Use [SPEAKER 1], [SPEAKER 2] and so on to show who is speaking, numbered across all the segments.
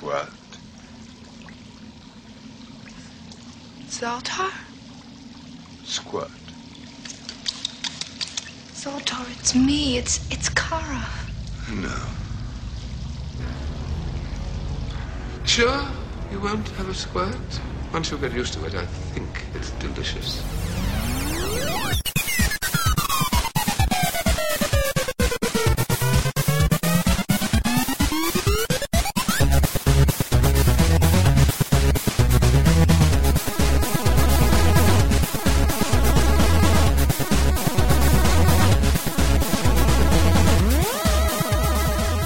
[SPEAKER 1] What?
[SPEAKER 2] Zoltar?
[SPEAKER 1] Squat.
[SPEAKER 2] Zoltar, it's me. It's it's Kara.
[SPEAKER 1] No. Sure, you won't have a squirt? Once you get used to it, I think it's delicious.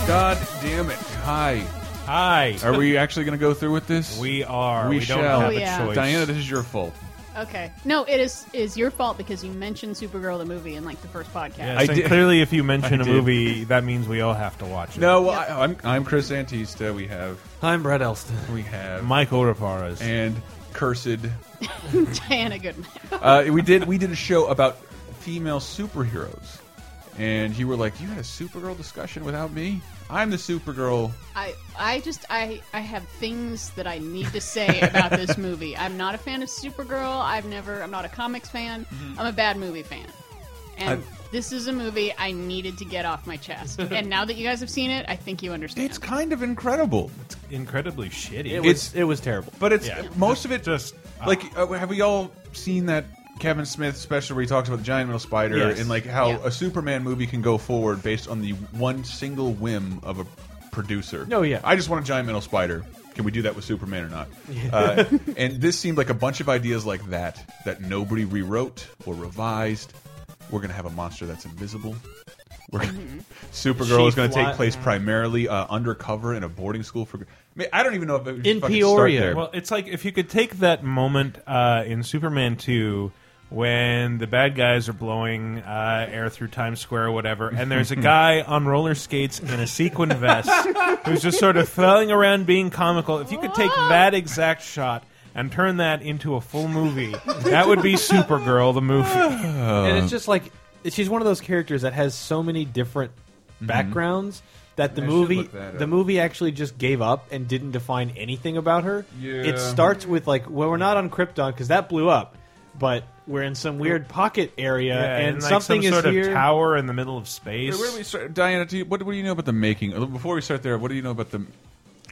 [SPEAKER 3] God damn it. Hi.
[SPEAKER 4] Hi.
[SPEAKER 3] Are we actually going to go through with this?
[SPEAKER 4] We are.
[SPEAKER 3] We,
[SPEAKER 4] We,
[SPEAKER 3] shall.
[SPEAKER 4] don't have
[SPEAKER 5] Oh, yeah.
[SPEAKER 4] a choice.
[SPEAKER 3] Diana, this is your fault.
[SPEAKER 5] Okay. No, it is is your fault because you mentioned Supergirl the movie in like the first podcast.
[SPEAKER 4] Yes,
[SPEAKER 3] I
[SPEAKER 4] and
[SPEAKER 3] did-
[SPEAKER 4] clearly, if you mention
[SPEAKER 3] I
[SPEAKER 4] a
[SPEAKER 3] did.
[SPEAKER 4] movie, that means we all have to watch it.
[SPEAKER 3] No, well, I, I'm, I'm Chris Antista. We have.
[SPEAKER 6] I'm Brett Elston.
[SPEAKER 3] We have.
[SPEAKER 4] Michael Raparez.
[SPEAKER 3] and cursed.
[SPEAKER 5] Diana Goodman.
[SPEAKER 3] Uh, we did we did a show about female superheroes, and you were like, "You had a Supergirl discussion without me. I'm the Supergirl."
[SPEAKER 5] I I just I I have things that I need to say about this movie. I'm not a fan of Supergirl. I've never. I'm not a comics fan. I'm a bad movie fan. And this is a movie I needed to get off my chest. and now that you guys have seen it, I think you understand.
[SPEAKER 3] It's kind of incredible,
[SPEAKER 4] incredibly shitty.
[SPEAKER 6] It was,
[SPEAKER 3] It's-
[SPEAKER 6] it was terrible.
[SPEAKER 3] but it's
[SPEAKER 4] Yeah.
[SPEAKER 3] most of it
[SPEAKER 4] Just-
[SPEAKER 3] like uh, have we all seen that Kevin Smith special where he talks about the giant metal spider
[SPEAKER 6] Yes.
[SPEAKER 3] and like how
[SPEAKER 5] Yeah.
[SPEAKER 3] a Superman movie can go forward based on the one single whim of a producer.
[SPEAKER 6] Oh, yeah.
[SPEAKER 3] I just want a giant metal spider. Can we do that with Superman or not? Uh, and this seemed like a bunch of ideas like that that nobody rewrote or revised. We're gonna have a monster that's invisible. We're Supergirl
[SPEAKER 6] Mm-hmm. She
[SPEAKER 3] is going to take
[SPEAKER 6] fly-
[SPEAKER 3] place primarily uh, undercover in a boarding school for. I, mean, I don't even know if it
[SPEAKER 6] In
[SPEAKER 3] fucking
[SPEAKER 6] Peoria.
[SPEAKER 3] Start there.
[SPEAKER 4] Well, it's like if you could take that moment uh, in Superman 2 when the bad guys are blowing uh, air through Times Square or whatever, and there's a guy on roller skates in a sequin vest who's just sort of flailing around being comical. If you could take that exact shot and turn that into a full movie, that would be Supergirl, the movie.
[SPEAKER 6] and
[SPEAKER 4] Uh,
[SPEAKER 6] it's just like she's one of those characters that has so many different
[SPEAKER 4] Mm-hmm.
[SPEAKER 6] backgrounds that the
[SPEAKER 3] I should
[SPEAKER 6] movie
[SPEAKER 3] look that
[SPEAKER 6] the
[SPEAKER 3] up.
[SPEAKER 6] movie actually just gave up and didn't define anything about her.
[SPEAKER 3] Yeah.
[SPEAKER 6] It starts with like, well, we're not on Krypton because that blew up, but we're in some weird pocket area
[SPEAKER 4] Yeah,
[SPEAKER 6] and,
[SPEAKER 4] like,
[SPEAKER 6] something
[SPEAKER 4] some
[SPEAKER 6] is
[SPEAKER 4] sort
[SPEAKER 6] here.
[SPEAKER 4] of tower in the middle of space.
[SPEAKER 3] Wait, where do we start, Diana? Do you, what, what do you know about the making? Uh, Before we start there, what do you know about the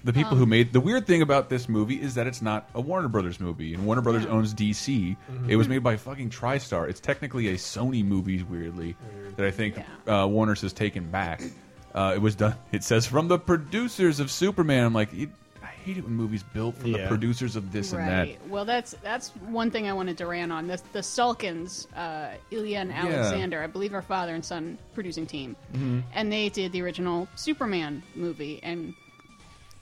[SPEAKER 3] the people
[SPEAKER 5] Um.
[SPEAKER 3] who made the weird thing about this movie is that it's not a Warner Brothers movie, and Warner Brothers owns DC.
[SPEAKER 5] Mm-hmm.
[SPEAKER 3] It was made by fucking TriStar. It's technically a Sony movie, weirdly, that I think uh, Warner's has taken back. Uh, it was done. It says from the producers of Superman. I'm like, it, I hate it when movies built from the
[SPEAKER 6] Yeah.
[SPEAKER 3] producers of this and that.
[SPEAKER 5] Right. Well, that's that's one thing I wanted to rant on. The, the Salkins, uh, Ilya and
[SPEAKER 3] Yeah. Mm-hmm.
[SPEAKER 5] Alexander, I believe, are father and son producing team, and they did the original Superman movie, and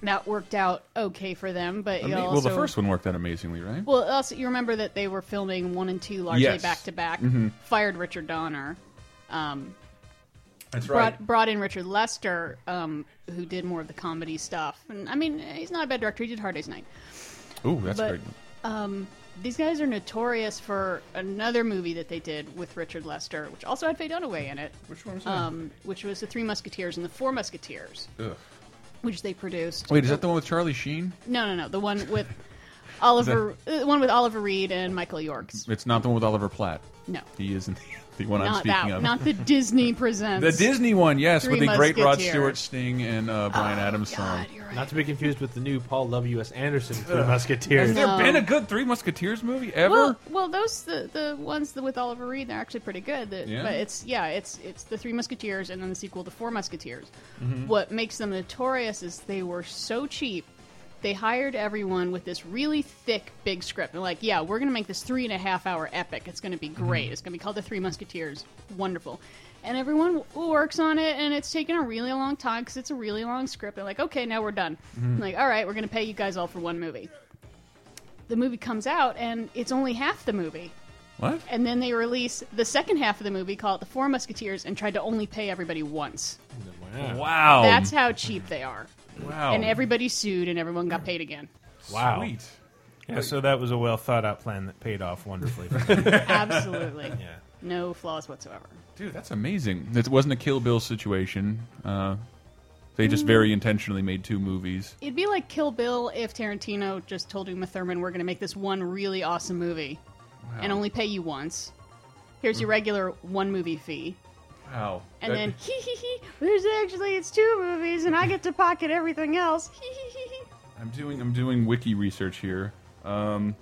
[SPEAKER 5] that worked out okay for them. But you
[SPEAKER 3] Ama-
[SPEAKER 5] also,
[SPEAKER 3] well, the first one worked out amazingly, right?
[SPEAKER 5] Well, also you remember that they were filming one and two largely
[SPEAKER 3] Yes. Mm-hmm.
[SPEAKER 5] back to back. Fired Richard Donner, um,
[SPEAKER 3] That's
[SPEAKER 5] brought brought in Richard Lester, um, who did more of the comedy stuff. And I mean, he's not a bad director. He did Hard Day's Night.
[SPEAKER 3] Ooh, that's
[SPEAKER 5] but-
[SPEAKER 3] great.
[SPEAKER 5] These guys are notorious for another movie that they did with Richard Lester, which also had Faye Dunaway in it,
[SPEAKER 3] Which one was that?
[SPEAKER 5] um, which was The Three Musketeers and The Four Musketeers,
[SPEAKER 3] Ugh.
[SPEAKER 5] which they produced.
[SPEAKER 3] Wait, is that the one with Charlie Sheen?
[SPEAKER 5] No, no, no. The one with Oliver, the one with Oliver Reed and Michael Yorks.
[SPEAKER 3] It's not the one with Oliver Platt.
[SPEAKER 5] No,
[SPEAKER 3] He isn't the one I'm
[SPEAKER 5] not
[SPEAKER 3] speaking
[SPEAKER 5] that.
[SPEAKER 3] of.
[SPEAKER 5] Not the Disney presents.
[SPEAKER 3] the Disney one, yes,
[SPEAKER 5] Three
[SPEAKER 3] with the great Rod
[SPEAKER 5] Musketeers. Oh,
[SPEAKER 3] Stewart Sting and uh, Brian Adams song.
[SPEAKER 5] God, you're right.
[SPEAKER 6] Not to be confused with the new Paul W. S. Anderson Three Musketeers.
[SPEAKER 3] Has there
[SPEAKER 5] No.
[SPEAKER 3] been a good Three Musketeers movie ever?
[SPEAKER 5] Well, well, those the the ones that with Oliver Reed they're actually pretty good. The-
[SPEAKER 3] Yeah.
[SPEAKER 5] But it's yeah, it's it's the Three Musketeers and then the sequel, The Four Musketeers. What makes them notorious is they were so cheap. They hired everyone with this really thick, big script. They're like, yeah, we're going to make this three and a half hour epic. It's going to be great. It's going to be called The Three Musketeers. Wonderful. And everyone w- works on it, and it's taken a really long time because it's a really long script. They're like, okay, now we're done. Like, all right, we're going to pay you guys all for one movie the movie comes out and it's only half the movie.
[SPEAKER 3] what?
[SPEAKER 5] And then they release the second half of the movie, call it The Four Musketeers, and tried to only pay everybody once.
[SPEAKER 3] Wow.
[SPEAKER 5] That's how cheap they are.
[SPEAKER 3] wow.
[SPEAKER 5] And everybody sued and everyone got paid again.
[SPEAKER 4] wow.
[SPEAKER 3] Sweet.
[SPEAKER 4] Yeah, so that was a well thought out plan that paid off wonderfully.
[SPEAKER 5] Absolutely.
[SPEAKER 4] yeah.
[SPEAKER 5] No flaws whatsoever.
[SPEAKER 3] Dude, that's amazing. It wasn't a Kill Bill situation. Uh, They
[SPEAKER 5] Mm-hmm.
[SPEAKER 3] just very intentionally made two movies.
[SPEAKER 5] It'd be like Kill Bill if Tarantino just told Uma Thurman, "We're going to make this one really awesome movie, and only pay you once. Here's your regular one movie fee."
[SPEAKER 3] Wow.
[SPEAKER 5] And
[SPEAKER 3] That-
[SPEAKER 5] then hee hee hee. There's actually it's two movies, and I get to pocket everything else. Hee hee hee hee.
[SPEAKER 3] I'm doing I'm doing wiki research here. Um,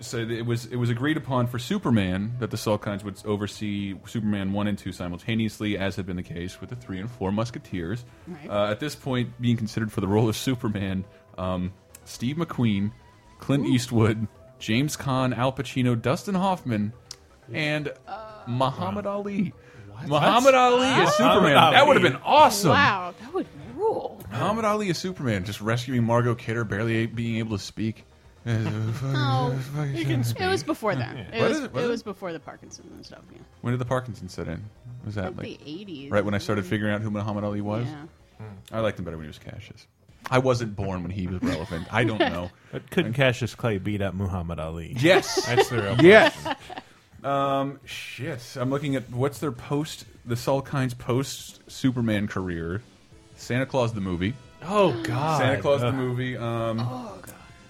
[SPEAKER 3] so it was it was agreed upon for Superman that the Salkinds would oversee Superman one and two simultaneously, as had been the case with the three and four Musketeers.
[SPEAKER 5] Right.
[SPEAKER 3] Uh, at this point, being considered for the role of Superman, um, Steve McQueen, Clint Eastwood, James Caan, Al Pacino, Dustin Hoffman, and Muhammad Ali. Muhammad Ali as Superman. That
[SPEAKER 4] Ali.
[SPEAKER 3] would have been awesome.
[SPEAKER 5] Wow, that would rule.
[SPEAKER 3] Muhammad Ali is Superman, just rescuing Margot Kidder, barely being able to speak.
[SPEAKER 5] Oh, it was before that. It
[SPEAKER 3] What
[SPEAKER 5] was,
[SPEAKER 3] is it?
[SPEAKER 5] it,
[SPEAKER 3] What is
[SPEAKER 5] was
[SPEAKER 3] it?
[SPEAKER 5] before the Parkinson's and stuff. Yeah,
[SPEAKER 3] When did the Parkinson set in? Was that
[SPEAKER 5] like,
[SPEAKER 3] like
[SPEAKER 5] the eighties.
[SPEAKER 3] right when I started figuring out who Muhammad Ali was?
[SPEAKER 5] Yeah.
[SPEAKER 3] I liked him better when he was Cassius. I wasn't born when he was relevant. I don't know.
[SPEAKER 4] But could Cassius Clay beat up Muhammad Ali?
[SPEAKER 3] Yes.
[SPEAKER 4] That's the real
[SPEAKER 3] yes. Um, shit. I'm looking at what's their post, the Salkinds post Superman career. Santa Claus the movie.
[SPEAKER 6] Oh God!
[SPEAKER 3] Santa Claus the movie. Um,
[SPEAKER 4] Oh,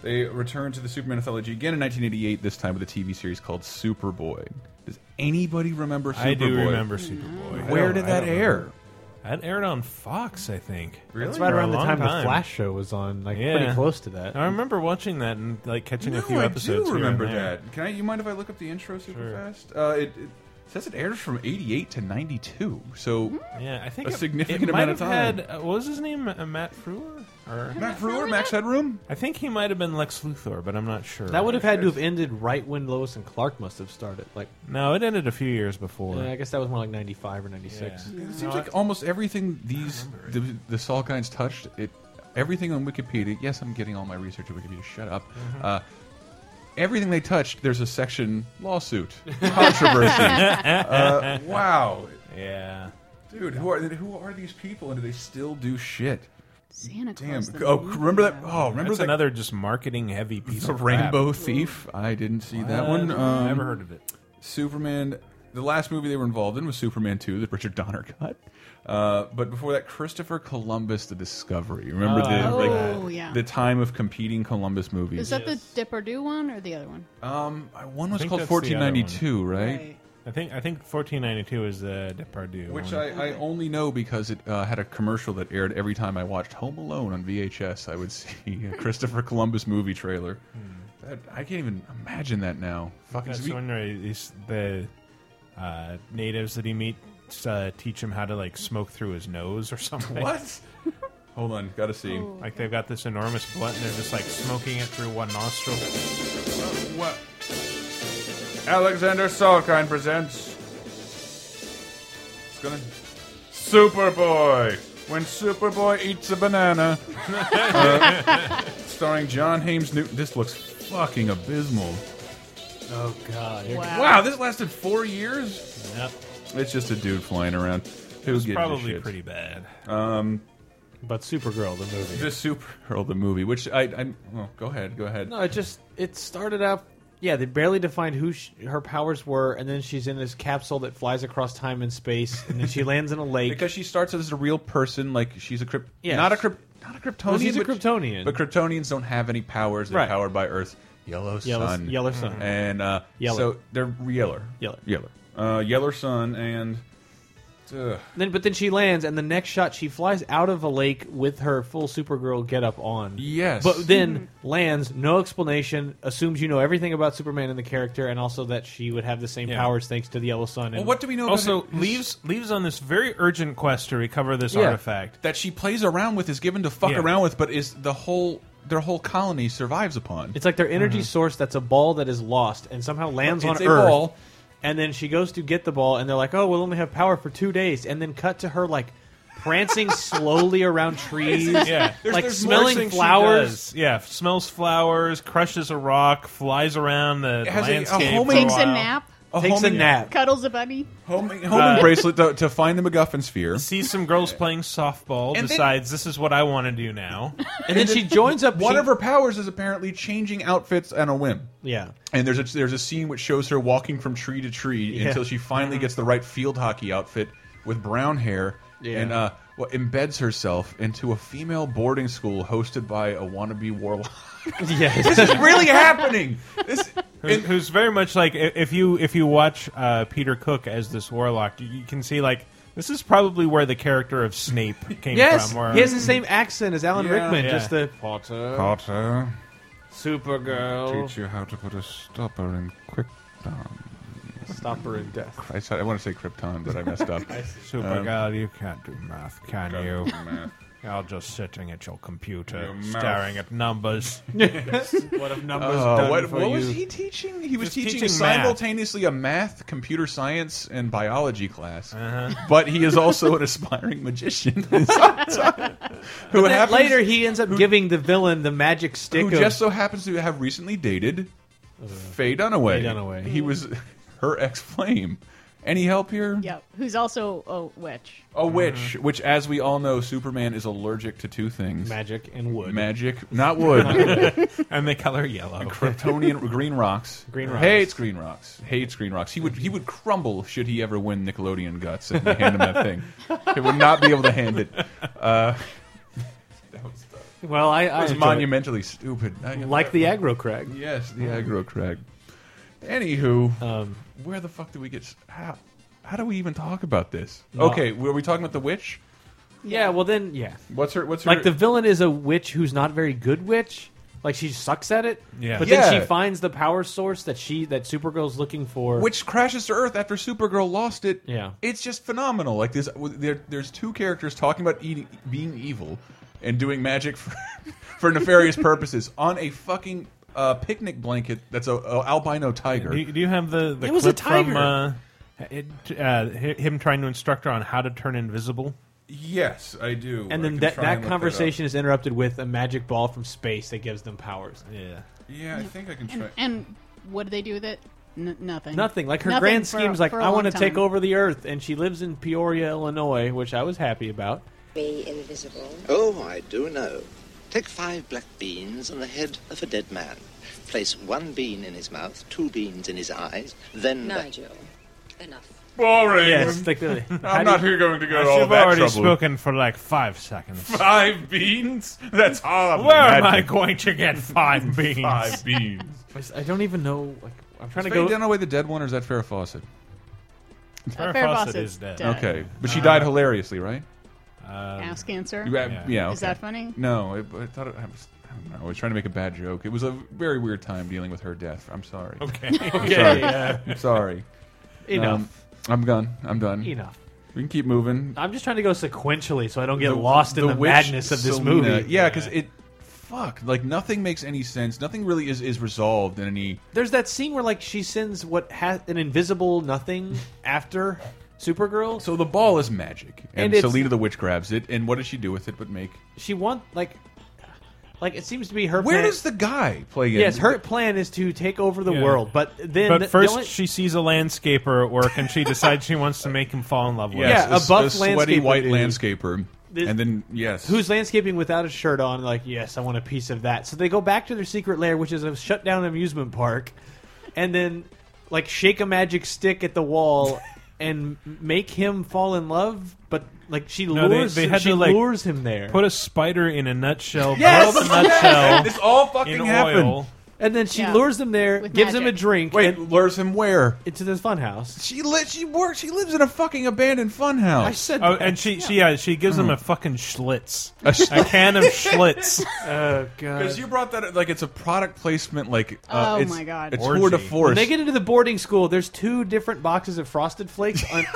[SPEAKER 3] They returned to the Superman mythology again in 1988, this time with a TV series called Superboy. Does anybody remember Superboy?
[SPEAKER 4] I do remember Superboy.
[SPEAKER 3] Where
[SPEAKER 4] I
[SPEAKER 3] did
[SPEAKER 4] don't- I
[SPEAKER 3] that
[SPEAKER 4] don't know.
[SPEAKER 3] air?
[SPEAKER 4] That aired on Fox, I think.
[SPEAKER 3] Really?
[SPEAKER 6] It's right
[SPEAKER 4] For a
[SPEAKER 6] around the
[SPEAKER 4] long
[SPEAKER 6] time,
[SPEAKER 4] time.
[SPEAKER 6] the Flash show was on, like
[SPEAKER 4] Yeah.
[SPEAKER 6] pretty close to that.
[SPEAKER 4] I remember watching that and like catching a
[SPEAKER 3] No,
[SPEAKER 4] few
[SPEAKER 3] I
[SPEAKER 4] episodes.
[SPEAKER 3] do
[SPEAKER 4] here and
[SPEAKER 3] remember
[SPEAKER 4] there.
[SPEAKER 3] that. Can I? You mind if I look up the intro super
[SPEAKER 4] Sure.
[SPEAKER 3] fast? Uh, it, it says it aired from 88 to 92. So
[SPEAKER 4] Yeah, I think
[SPEAKER 3] A
[SPEAKER 4] it-
[SPEAKER 3] significant
[SPEAKER 4] it might
[SPEAKER 3] amount of
[SPEAKER 4] have
[SPEAKER 3] time.
[SPEAKER 4] Had, uh, what was his name? Uh, Matt Frewer? Or
[SPEAKER 3] Matt Brewer, Max Headroom.
[SPEAKER 4] I think he might have been Lex Luthor, but I'm not sure.
[SPEAKER 6] That would have had to have ended right when Lois and Clark must have started. Like,
[SPEAKER 4] no. It ended a few years before.
[SPEAKER 6] yeah, I guess that was more like '95 or '96.
[SPEAKER 4] Yeah.
[SPEAKER 3] It seems like almost everything these the, the Salkinds touched it. Everything on Wikipedia. Yes, I'm getting all my research at Wikipedia. Shut up.
[SPEAKER 4] Mm-hmm.
[SPEAKER 3] Uh, everything they touched, there's a section lawsuit controversy. uh, wow,
[SPEAKER 4] Yeah.
[SPEAKER 3] dude, who are who are these people, and do they still do shit?
[SPEAKER 5] Santa
[SPEAKER 3] Damn.
[SPEAKER 5] Claus. the
[SPEAKER 3] Oh,
[SPEAKER 5] movie.
[SPEAKER 3] remember that? Oh, remember
[SPEAKER 4] That's
[SPEAKER 3] that
[SPEAKER 4] another just marketing heavy piece
[SPEAKER 3] The
[SPEAKER 4] of
[SPEAKER 3] Rainbow Thief. I didn't see
[SPEAKER 4] crap.
[SPEAKER 3] that one. Um,
[SPEAKER 4] never heard of it.
[SPEAKER 3] Superman. The last movie they were involved in was Superman 2, the Richard Donner cut. Uh, but before that, Christopher Columbus: The Discovery. Remember the
[SPEAKER 5] Oh,
[SPEAKER 3] like
[SPEAKER 5] yeah.
[SPEAKER 3] the time of competing Columbus movies.
[SPEAKER 5] Is that the Depardieu one or the other one?
[SPEAKER 3] um, one was
[SPEAKER 4] think
[SPEAKER 3] called
[SPEAKER 4] that's the other
[SPEAKER 3] 1492, right?
[SPEAKER 4] I think I think 1492 is the Depardieu.
[SPEAKER 3] Which
[SPEAKER 4] one.
[SPEAKER 3] I, I only know because it uh, had a commercial that aired every time I watched Home Alone on VHS. I would see a Christopher Columbus movie trailer. That, I can't even imagine that now. Fucking
[SPEAKER 4] Hmm. That's
[SPEAKER 3] we-
[SPEAKER 4] the one where he's the uh, natives that he meets uh, teach him how to like smoke through his nose or something.
[SPEAKER 3] What? Hold on, gotta
[SPEAKER 5] Oh.
[SPEAKER 3] see.
[SPEAKER 4] Like they've got this enormous blunt and they're just like smoking it through one nostril.
[SPEAKER 3] What? Alexander Salkind presents. It's gonna. Superboy! When Superboy eats a banana. Uh, starring John Hames Newton. This looks fucking abysmal.
[SPEAKER 6] Oh God! Here-
[SPEAKER 5] Wow.
[SPEAKER 3] Wow, this lasted four years?
[SPEAKER 4] Yep.
[SPEAKER 3] It's just a dude flying around. Who's
[SPEAKER 4] It's probably pretty bad.
[SPEAKER 3] Um,
[SPEAKER 6] But Supergirl, the movie.
[SPEAKER 3] The Supergirl, the movie, which I. I well, go ahead, go ahead.
[SPEAKER 6] No, it just it started out. Yeah, they barely defined who sh her powers were, and then she's in this capsule that flies across time and space, and then she lands in a lake.
[SPEAKER 3] Because she starts as a real person, like she's a crypt,
[SPEAKER 6] Yes.
[SPEAKER 3] not a crypt, not a Kryptonian.
[SPEAKER 6] Well, she's a
[SPEAKER 3] but-
[SPEAKER 6] Kryptonian.
[SPEAKER 3] but Kryptonians don't have any powers. They're
[SPEAKER 6] Right.
[SPEAKER 3] powered by Earth's yellow,
[SPEAKER 6] Yellow-
[SPEAKER 3] sun,
[SPEAKER 6] yellow sun.
[SPEAKER 3] and uh,
[SPEAKER 6] Yeller.
[SPEAKER 3] so they're yeller,
[SPEAKER 6] Yeller.
[SPEAKER 3] yeller, uh, yeller sun, and ugh.
[SPEAKER 6] then, but then she lands, and the next shot she flies out of a lake with her full Supergirl getup on.
[SPEAKER 3] Yes.
[SPEAKER 6] But then lands, no explanation, assumes you know everything about Superman and the character, and also that she would have the same
[SPEAKER 4] Yeah.
[SPEAKER 6] powers thanks to the yellow sun. And
[SPEAKER 3] well, what do we know? about
[SPEAKER 4] Also,
[SPEAKER 3] his-
[SPEAKER 4] leaves leaves on this very urgent quest to recover this
[SPEAKER 6] Yeah.
[SPEAKER 4] artifact.
[SPEAKER 3] that she plays around with is given to fuck
[SPEAKER 4] Yeah.
[SPEAKER 3] around with, but is the whole their whole colony survives upon.
[SPEAKER 6] It's like their energy source that's a ball that is lost and somehow lands
[SPEAKER 3] Mm-hmm. It's
[SPEAKER 6] on
[SPEAKER 3] a
[SPEAKER 6] Earth.
[SPEAKER 3] ball.
[SPEAKER 6] And then she goes to get the ball, and they're like, "Oh, we'll only have power for two days." And then cut to her like prancing slowly around trees,
[SPEAKER 4] Yeah.
[SPEAKER 3] There's-
[SPEAKER 6] like
[SPEAKER 3] there's more
[SPEAKER 6] smelling
[SPEAKER 3] things she
[SPEAKER 6] flowers.
[SPEAKER 4] Yeah, smells flowers, crushes a rock, flies around the
[SPEAKER 3] It has a- a
[SPEAKER 4] landscape.
[SPEAKER 3] homing-
[SPEAKER 4] for
[SPEAKER 5] Takes a
[SPEAKER 4] while.
[SPEAKER 5] nap,
[SPEAKER 6] Takes a
[SPEAKER 3] homing-
[SPEAKER 6] nap.
[SPEAKER 5] cuddles a bunny.
[SPEAKER 3] homing, homing bracelet to, to find the MacGuffin sphere.
[SPEAKER 4] Sees some girls playing softball.
[SPEAKER 3] And then-
[SPEAKER 4] decides this is what I want to do now.
[SPEAKER 6] And then she joins up.
[SPEAKER 3] One
[SPEAKER 6] she-
[SPEAKER 3] of her powers is apparently changing outfits on a whim.
[SPEAKER 6] yeah.
[SPEAKER 3] And there's a, there's a scene which shows her walking from tree to tree
[SPEAKER 6] Yeah.
[SPEAKER 3] until she finally gets the right field hockey outfit with brown hair.
[SPEAKER 6] Yeah.
[SPEAKER 3] And uh, well, embeds herself into a female boarding school hosted by a wannabe warlock.
[SPEAKER 6] yes.
[SPEAKER 3] This is really happening. This
[SPEAKER 4] Who's, who's very much like i- if you if you watch uh, Peter Cook as this warlock, you, you can see like this is probably where the character of Snape came
[SPEAKER 6] Yes.
[SPEAKER 4] from. where-
[SPEAKER 6] He has the same accent as Alan
[SPEAKER 3] Yeah.
[SPEAKER 6] Rickman.
[SPEAKER 4] Yeah.
[SPEAKER 6] Just the Potter,
[SPEAKER 3] Potter
[SPEAKER 6] Supergirl,
[SPEAKER 3] you how to put a stopper in quick.
[SPEAKER 6] Stopper in Death.
[SPEAKER 3] I, said- I want to say Krypton, but I messed up.
[SPEAKER 4] Super God, you can't do math, can you?
[SPEAKER 3] Um, Math.
[SPEAKER 4] You're just sitting at your computer,
[SPEAKER 3] Your mouth.
[SPEAKER 4] staring at numbers.
[SPEAKER 6] What have numbers
[SPEAKER 3] Uh,
[SPEAKER 6] done
[SPEAKER 3] what
[SPEAKER 6] for
[SPEAKER 3] what
[SPEAKER 6] you?
[SPEAKER 3] was he teaching? He was
[SPEAKER 4] Just
[SPEAKER 3] teaching,
[SPEAKER 4] teaching math.
[SPEAKER 3] simultaneously a math, computer science, and biology class. But he is also an aspiring magician. who
[SPEAKER 6] But
[SPEAKER 3] happens,
[SPEAKER 6] later he ends up giving the villain the magic stick
[SPEAKER 3] who
[SPEAKER 6] of
[SPEAKER 3] just so happens to have recently dated Faye Dunaway.
[SPEAKER 6] Uh, Faye Dunaway.
[SPEAKER 3] He was her ex flame. Any help here?
[SPEAKER 5] Yeah, who's also a witch.
[SPEAKER 3] A
[SPEAKER 6] Uh-huh.
[SPEAKER 3] witch, which, as we all know, Superman is allergic to two things:
[SPEAKER 6] magic and wood.
[SPEAKER 3] magic, not wood.
[SPEAKER 4] and they color yellow.
[SPEAKER 3] Kryptonian green rocks.
[SPEAKER 6] Green rocks.
[SPEAKER 3] Hates green rocks. Hates green rocks. He would he would crumble should he ever win Nickelodeon guts and they hand him that thing. He would not be able to hand it. Uh,
[SPEAKER 6] well, I, I
[SPEAKER 3] it's
[SPEAKER 6] enjoy it.
[SPEAKER 3] monumentally stupid. I-
[SPEAKER 6] like the aggro crag.
[SPEAKER 3] yes, the aggro crag. Anywho,
[SPEAKER 6] Oh. Um,
[SPEAKER 3] where the fuck do we get? s- How how do we even talk about this? Okay, were we talking about the witch?
[SPEAKER 6] yeah. Well, then yeah.
[SPEAKER 3] What's her? What's her?
[SPEAKER 6] Like the villain is a witch who's not very good witch. Like she sucks at it.
[SPEAKER 4] Yeah.
[SPEAKER 6] But
[SPEAKER 3] Yeah.
[SPEAKER 6] then she finds the power source that she that Supergirl's looking for.
[SPEAKER 3] which crashes to Earth after Supergirl lost it.
[SPEAKER 6] Yeah.
[SPEAKER 3] it's just phenomenal. Like there's there, there's two characters talking about eating, being evil and doing magic for, for nefarious purposes on a fucking uh, picnic blanket that's a, a albino tiger.
[SPEAKER 4] Do, do you have the, the
[SPEAKER 6] It
[SPEAKER 4] clip
[SPEAKER 6] was a
[SPEAKER 4] from
[SPEAKER 6] tiger.
[SPEAKER 4] uh, it, uh, hi- him trying to instruct her on how to turn invisible?
[SPEAKER 3] yes, I do.
[SPEAKER 6] and
[SPEAKER 3] I
[SPEAKER 6] then
[SPEAKER 3] can
[SPEAKER 6] that,
[SPEAKER 3] try
[SPEAKER 6] that
[SPEAKER 3] and look
[SPEAKER 6] conversation is interrupted with a magic ball from space that gives them powers.
[SPEAKER 4] Yeah.
[SPEAKER 3] up. yeah, I think I can try.
[SPEAKER 5] And what do they do with it? N- nothing.
[SPEAKER 6] Nothing. Like her
[SPEAKER 5] Nothing
[SPEAKER 6] grand
[SPEAKER 5] for-
[SPEAKER 6] scheme's like,
[SPEAKER 5] for a
[SPEAKER 6] I
[SPEAKER 5] long
[SPEAKER 6] want to take
[SPEAKER 5] time.
[SPEAKER 6] over the earth, and she lives in Peoria, Illinois, which I was happy about.
[SPEAKER 7] Be invisible.
[SPEAKER 8] Oh, I do know. Take five black beans and the head of a dead man. Place one bean in his mouth, two beans in his eyes, then.
[SPEAKER 7] Nigel, enough.
[SPEAKER 3] Boring.
[SPEAKER 6] Yes, like the,
[SPEAKER 3] I'm not here going to go to all
[SPEAKER 4] I've
[SPEAKER 3] that
[SPEAKER 4] already
[SPEAKER 3] trouble.
[SPEAKER 4] spoken for like five seconds.
[SPEAKER 3] Five beans. That's all.
[SPEAKER 4] Where am I going to get five beans?
[SPEAKER 3] Five beans.
[SPEAKER 6] I don't even know. Like, I'm trying
[SPEAKER 3] Is
[SPEAKER 6] to
[SPEAKER 3] Faye
[SPEAKER 6] go.
[SPEAKER 3] Dunaway the dead one, or is that Farrah Fawcett?
[SPEAKER 5] Uh,
[SPEAKER 4] Farrah
[SPEAKER 5] Farrah
[SPEAKER 4] Fawcett
[SPEAKER 5] Fawcett's
[SPEAKER 4] is dead.
[SPEAKER 5] dead.
[SPEAKER 3] Okay, but
[SPEAKER 6] Uh,
[SPEAKER 3] she died hilariously, right?
[SPEAKER 5] Ass cancer.
[SPEAKER 3] You-
[SPEAKER 4] Yeah.
[SPEAKER 3] yeah
[SPEAKER 5] Is
[SPEAKER 3] okay.
[SPEAKER 5] that funny?
[SPEAKER 3] No, I, I thought it, I was. I don't know. I was trying to make a bad joke. It was a very weird time dealing with her death. I'm sorry.
[SPEAKER 4] Okay.
[SPEAKER 3] I'm sorry. I'm sorry.
[SPEAKER 6] Enough.
[SPEAKER 3] Um, I'm done. I'm done.
[SPEAKER 6] Enough.
[SPEAKER 3] We can keep moving.
[SPEAKER 6] I'm just trying to go sequentially so I don't get lost in the,
[SPEAKER 3] witch
[SPEAKER 6] madness of this
[SPEAKER 3] Selena-
[SPEAKER 6] movie.
[SPEAKER 3] Yeah, because it. Fuck. Like nothing makes any sense. Nothing really is is resolved in any.
[SPEAKER 6] There's that scene where like she sends what has an invisible nothing after Supergirl. So
[SPEAKER 3] So the ball is magic, and,
[SPEAKER 6] And it's-
[SPEAKER 3] Selena the witch grabs it. And what does she do with it? But make.
[SPEAKER 6] she want like like it seems to be her
[SPEAKER 3] Where
[SPEAKER 6] plan.
[SPEAKER 3] does the guy play in?
[SPEAKER 6] Yes, her plan is to take over the
[SPEAKER 4] Yeah.
[SPEAKER 6] world, but then the-
[SPEAKER 4] But
[SPEAKER 6] the
[SPEAKER 4] first,
[SPEAKER 6] only-
[SPEAKER 4] she sees a landscaper at work, and she decides she wants to make him fall in love with.
[SPEAKER 3] Yes,
[SPEAKER 6] Yeah, a
[SPEAKER 3] the-
[SPEAKER 6] buff
[SPEAKER 3] the sweaty
[SPEAKER 6] landscaper
[SPEAKER 3] white
[SPEAKER 6] dude.
[SPEAKER 3] landscaper,
[SPEAKER 6] This-
[SPEAKER 3] and then yes,
[SPEAKER 6] who's landscaping without a shirt on like yes i want a piece of that so they go back to their secret lair which is a shut down amusement park and then like shake a magic stick at the wall and make him fall in love but like she
[SPEAKER 4] No, they-
[SPEAKER 6] lures
[SPEAKER 4] they had
[SPEAKER 6] she
[SPEAKER 4] to, like,
[SPEAKER 6] lures him there
[SPEAKER 4] Put a spider in a nutshell.
[SPEAKER 6] Yes!
[SPEAKER 4] Boil the nutshell
[SPEAKER 3] This all fucking
[SPEAKER 4] in
[SPEAKER 3] happened.
[SPEAKER 4] oil.
[SPEAKER 6] and then she
[SPEAKER 5] Yeah.
[SPEAKER 6] lures him there
[SPEAKER 5] With
[SPEAKER 6] gives him a
[SPEAKER 5] magic.
[SPEAKER 6] drink
[SPEAKER 3] Wait,
[SPEAKER 6] and-
[SPEAKER 3] lures him where?
[SPEAKER 6] into this fun house
[SPEAKER 3] She li She works. She lives in a fucking abandoned funhouse.
[SPEAKER 6] i said
[SPEAKER 4] Oh, and she, she, yeah, she gives
[SPEAKER 6] Hmm.
[SPEAKER 4] him a fucking Schlitz,
[SPEAKER 3] A sh-
[SPEAKER 4] a can of Schlitz.
[SPEAKER 6] oh god
[SPEAKER 3] Because you brought that like it's a product placement. Like uh,
[SPEAKER 5] Oh
[SPEAKER 3] it's,
[SPEAKER 5] my God.
[SPEAKER 3] it's
[SPEAKER 4] Orgy.
[SPEAKER 3] tour de force.
[SPEAKER 6] When they get into the boarding school, there's two different boxes of Frosted Flakes on,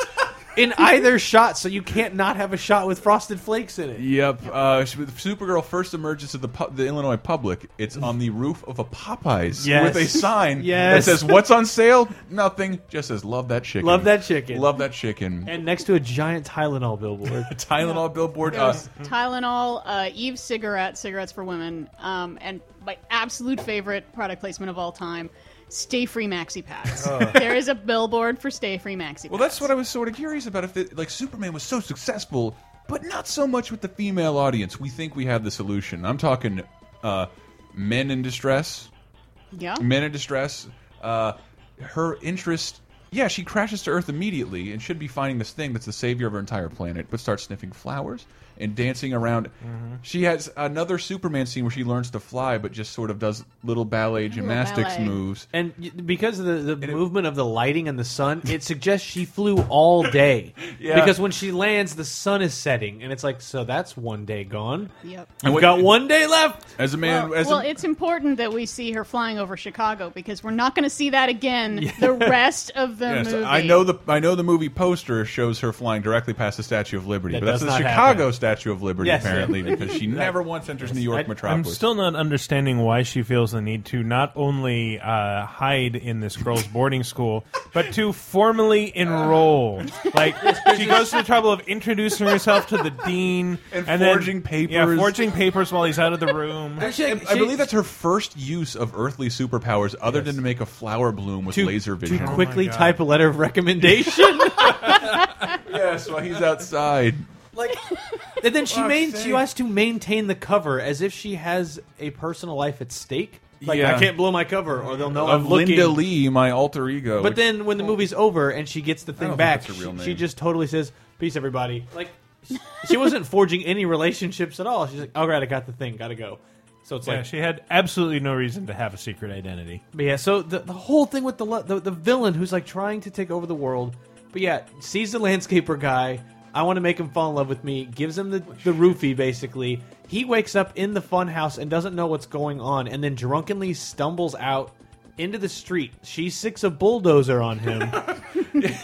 [SPEAKER 6] in either shot, so you can't not have a shot with Frosted Flakes in it.
[SPEAKER 3] Yep. Uh, she- Supergirl first emerges to the pu the Illinois public. It's on the roof of a Popeyes
[SPEAKER 6] Yes.
[SPEAKER 3] with a sign
[SPEAKER 6] Yes.
[SPEAKER 3] that says "What's on sale?" Nothing. Just says "Love that chicken."
[SPEAKER 6] Love that chicken.
[SPEAKER 3] Love that chicken.
[SPEAKER 6] And next to a giant Tylenol billboard.
[SPEAKER 3] Tylenol billboard.
[SPEAKER 5] There
[SPEAKER 3] Uh,
[SPEAKER 5] was Tylenol, uh, Eve cigarette, cigarettes for women, um, and my absolute favorite product placement of all time, Stay Free Maxi Packs. There is a billboard for Stay Free Maxi Packs.
[SPEAKER 3] well, that's what I was sort of curious about. If it, like Superman was so successful, but not so much with the female audience. We think we have the solution. I'm talking uh, men in distress.
[SPEAKER 5] Yeah.
[SPEAKER 3] men in distress. Uh, her interest Yeah, she crashes to Earth immediately and should be finding this thing that's the savior of her entire planet, but starts sniffing flowers and dancing around.
[SPEAKER 6] Mm-hmm.
[SPEAKER 3] She has another Superman scene where she learns to fly, but just sort of does little ballet gymnastics
[SPEAKER 5] ballet.
[SPEAKER 3] moves.
[SPEAKER 6] And y- because of the, the movement of the lighting and the sun, it suggests she flew all day.
[SPEAKER 3] Yeah.
[SPEAKER 6] Because when she lands, the sun is setting, and it's like, so that's one day gone.
[SPEAKER 5] Yep.
[SPEAKER 3] And
[SPEAKER 6] We've
[SPEAKER 3] what-
[SPEAKER 6] got one day left.
[SPEAKER 3] As a man,
[SPEAKER 5] Well,
[SPEAKER 3] as
[SPEAKER 5] well,
[SPEAKER 3] a,
[SPEAKER 5] it's important that we see her flying over Chicago because we're not going to see that again the rest of the
[SPEAKER 3] Yes,
[SPEAKER 5] movie.
[SPEAKER 3] I know the I know the movie poster shows her flying directly past the Statue of Liberty,
[SPEAKER 6] That
[SPEAKER 3] but that's
[SPEAKER 6] does
[SPEAKER 3] the
[SPEAKER 6] not
[SPEAKER 3] Chicago
[SPEAKER 6] happen.
[SPEAKER 3] Statue of Liberty
[SPEAKER 6] Yes.
[SPEAKER 3] apparently because she never once enters New York
[SPEAKER 6] I-
[SPEAKER 3] metropolis.
[SPEAKER 4] I'm still not understanding why she feels the need to not only uh, hide in this girl's boarding school, but to formally enroll. Like she goes to the trouble of introducing herself to the dean
[SPEAKER 3] And
[SPEAKER 4] then-
[SPEAKER 3] forging papers.
[SPEAKER 4] Yeah, forging papers while he's out of the room.
[SPEAKER 3] I, I believe that's her first use of earthly superpowers, other than to make a flower bloom with
[SPEAKER 6] To-
[SPEAKER 3] laser
[SPEAKER 6] To
[SPEAKER 3] vision.
[SPEAKER 6] quickly
[SPEAKER 4] God.
[SPEAKER 6] type a letter of recommendation.
[SPEAKER 3] yes, while he's outside.
[SPEAKER 6] like, and then she
[SPEAKER 3] Fuck's
[SPEAKER 6] main,
[SPEAKER 3] sake.
[SPEAKER 6] she has to maintain the cover as if she has a personal life at stake. Like
[SPEAKER 3] Yeah.
[SPEAKER 6] I can't blow my cover, or they'll know I'm
[SPEAKER 3] Of
[SPEAKER 6] looking.
[SPEAKER 3] Linda Lee, my alter ego.
[SPEAKER 6] But
[SPEAKER 3] which-
[SPEAKER 6] then when the movie's over and she gets the
[SPEAKER 3] don't
[SPEAKER 6] thing
[SPEAKER 3] think
[SPEAKER 6] back,
[SPEAKER 3] that's her real
[SPEAKER 6] she,
[SPEAKER 3] name.
[SPEAKER 6] she just totally says, "Peace, everybody." Like she- she wasn't forging any relationships at all. She's like, "All right, I got the thing, gotta go." So it's
[SPEAKER 4] yeah,
[SPEAKER 6] like,
[SPEAKER 4] she had absolutely no reason to have a secret identity.
[SPEAKER 6] but yeah. So the, the whole thing with the, lo- the the villain who's like trying to take over the world, but yeah, sees the landscaper guy. I want to make him fall in love with me. Gives him the
[SPEAKER 3] Oh,
[SPEAKER 6] the roofie basically. He wakes up in the funhouse and doesn't know what's going on, and then drunkenly stumbles out into the street. She sticks a bulldozer on him.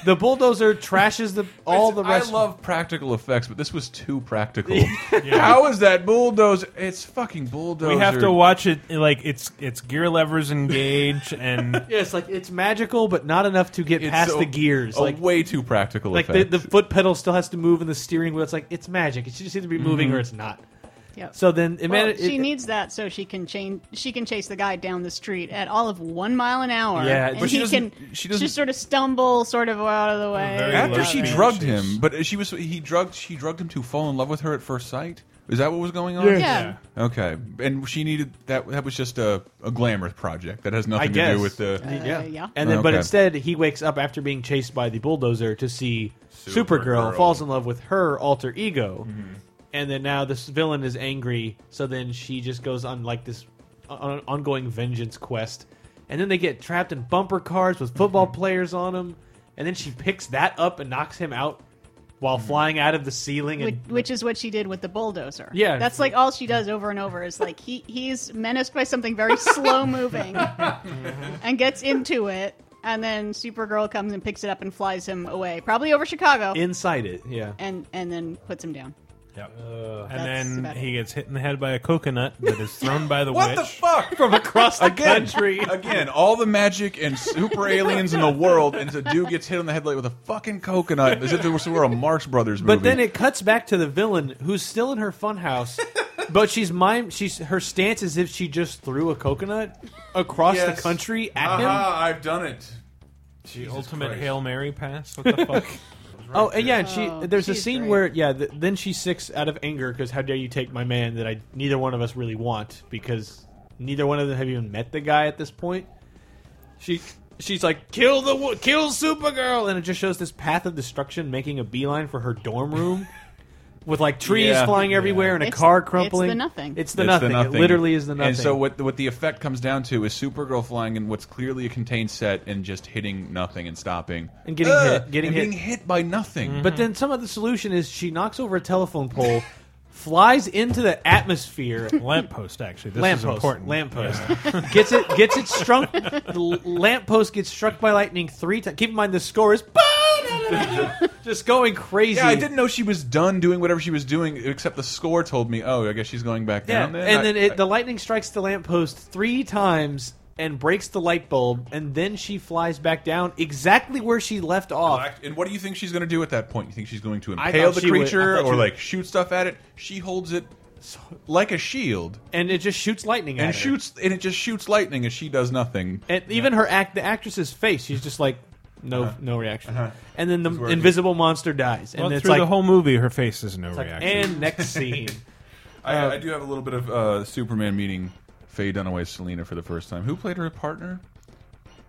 [SPEAKER 6] the bulldozer trashes the all the rest.
[SPEAKER 3] I love practical effects, but this was too practical. How is that bulldozer? It's fucking bulldozer.
[SPEAKER 4] We have to watch it like it's it's gear levers engage and
[SPEAKER 6] Yeah, it's like it's magical, but not enough to get
[SPEAKER 3] It's
[SPEAKER 6] past
[SPEAKER 3] a-
[SPEAKER 6] the gears.
[SPEAKER 3] A
[SPEAKER 6] like
[SPEAKER 3] way too practical.
[SPEAKER 6] like the,
[SPEAKER 3] effect.
[SPEAKER 6] the foot pedal still has to move and the steering wheel it's like it's magic it should just either be moving
[SPEAKER 3] Mm-hmm.
[SPEAKER 6] or it's not
[SPEAKER 5] Yep.
[SPEAKER 6] so then it
[SPEAKER 5] Well,
[SPEAKER 6] man- it-
[SPEAKER 5] she
[SPEAKER 6] it-
[SPEAKER 5] needs that so she can chain she can chase the guy down the street at all of one mile an hour.
[SPEAKER 6] Yeah,
[SPEAKER 5] and
[SPEAKER 6] but she
[SPEAKER 5] he
[SPEAKER 3] doesn't-
[SPEAKER 5] can
[SPEAKER 3] she doesn't-
[SPEAKER 5] just sort of stumble, sort of out of the way.
[SPEAKER 4] very
[SPEAKER 3] after
[SPEAKER 4] low
[SPEAKER 3] she
[SPEAKER 4] fantasy.
[SPEAKER 3] drugged him, but she was he drugged she drugged him to fall in love with her at first sight. Is that what was going on?
[SPEAKER 5] yeah.
[SPEAKER 3] Okay, and she needed that. That was just a, a glamour project that has nothing to
[SPEAKER 6] guess.
[SPEAKER 3] do with the.
[SPEAKER 5] Yeah. Uh, yeah.
[SPEAKER 6] and then but
[SPEAKER 3] Okay.
[SPEAKER 6] instead he wakes up after being chased by the bulldozer to see supergirl,
[SPEAKER 3] Supergirl.
[SPEAKER 6] falls in love with her alter ego and then now this villain is angry so then she just goes on like this on, ongoing vengeance quest and then they get trapped in bumper cars with football players on them and then she picks that up and knocks him out while flying out of the ceiling
[SPEAKER 5] Which,
[SPEAKER 6] and
[SPEAKER 5] which is what she did with the bulldozer.
[SPEAKER 6] Yeah.
[SPEAKER 5] that's like all she does over and over is like he he's menaced by something very slow moving, and gets into it, and then Supergirl comes and picks it up and flies him away, probably over Chicago,
[SPEAKER 6] inside it yeah
[SPEAKER 5] and and then puts him down.
[SPEAKER 4] Yep.
[SPEAKER 5] That's
[SPEAKER 4] and then
[SPEAKER 5] better.
[SPEAKER 4] he gets hit in the head by a coconut that is thrown by the
[SPEAKER 3] What
[SPEAKER 4] witch.
[SPEAKER 3] the fuck?
[SPEAKER 6] from across the
[SPEAKER 3] Again,
[SPEAKER 6] country.
[SPEAKER 3] again, all the magic and super aliens in the world, and a dude gets hit on the head like with a fucking coconut, as if it were a Marx Brothers movie.
[SPEAKER 6] But then it cuts back to the villain who's still in her funhouse, but she's mime. She's her stance is if she just threw a coconut across
[SPEAKER 3] Yes. Uh-huh.
[SPEAKER 6] the country at him.
[SPEAKER 3] Aha, I've done it.
[SPEAKER 4] The ultimate
[SPEAKER 3] Christ.
[SPEAKER 4] Hail Mary pass. What the fuck?
[SPEAKER 6] Oh, and yeah, and she
[SPEAKER 5] Oh,
[SPEAKER 6] there's a
[SPEAKER 5] she's
[SPEAKER 6] scene
[SPEAKER 5] great.
[SPEAKER 6] where yeah, th- then she sicks out of anger because how dare you take my man that I neither one of us really want because neither one of them have even met the guy at this point. She she's like kill the wo- kill Supergirl, and it just shows this path of destruction making a beeline for her dorm room. With like trees
[SPEAKER 3] Yeah.
[SPEAKER 6] flying everywhere and a
[SPEAKER 5] It's-
[SPEAKER 6] car
[SPEAKER 5] it's the
[SPEAKER 6] crumpling.
[SPEAKER 5] nothing.
[SPEAKER 6] It's the,
[SPEAKER 3] It's
[SPEAKER 6] nothing. It literally is the nothing.
[SPEAKER 3] And so what what the effect comes down to is Supergirl flying in what's clearly a contained set and just hitting nothing and stopping
[SPEAKER 6] And getting
[SPEAKER 3] Ugh!
[SPEAKER 6] hit, getting
[SPEAKER 3] and
[SPEAKER 6] hit. Mm-hmm.
[SPEAKER 3] being hit by nothing.
[SPEAKER 6] But
[SPEAKER 5] Mm-hmm.
[SPEAKER 6] then some of the solution is she knocks over a telephone pole, flies into the atmosphere,
[SPEAKER 4] Lamppost, actually. This is
[SPEAKER 6] lamppost,
[SPEAKER 4] important.
[SPEAKER 6] lamppost, gets it, gets it struck. The lamppost gets struck by lightning three times. Keep in mind the score is just going crazy.
[SPEAKER 3] yeah, I didn't know she was done doing whatever she was doing, except the score told me, oh, I guess she's going back
[SPEAKER 6] Yeah,
[SPEAKER 3] down there.
[SPEAKER 6] and
[SPEAKER 3] I-
[SPEAKER 6] then it, the lightning strikes the lamppost three times and breaks the light bulb, and then she flies back down exactly where she left off.
[SPEAKER 3] Black- And what do you think she's going to do at that point? You think she's going to
[SPEAKER 6] I
[SPEAKER 3] impale
[SPEAKER 6] thought
[SPEAKER 3] the
[SPEAKER 6] she would- I
[SPEAKER 3] creature
[SPEAKER 6] thought she
[SPEAKER 3] or
[SPEAKER 6] would-
[SPEAKER 3] like shoot stuff at it? She holds it s- like a shield
[SPEAKER 6] and it just shoots lightning
[SPEAKER 3] and
[SPEAKER 6] at her.
[SPEAKER 3] shoots, and it just shoots lightning, and she does nothing.
[SPEAKER 6] and even her act, the actress's face, she's just like no, no reaction. And then the
[SPEAKER 3] Uh-huh. working.
[SPEAKER 6] invisible monster dies, and
[SPEAKER 4] Well,
[SPEAKER 6] it's
[SPEAKER 4] through
[SPEAKER 6] like,
[SPEAKER 4] the whole movie, her face is no
[SPEAKER 6] it's like,
[SPEAKER 4] reaction.
[SPEAKER 6] and next scene.
[SPEAKER 3] I, I do have a little bit uh, of uh, Superman meeting Faye Dunaway Selena for the first time. Who played her partner?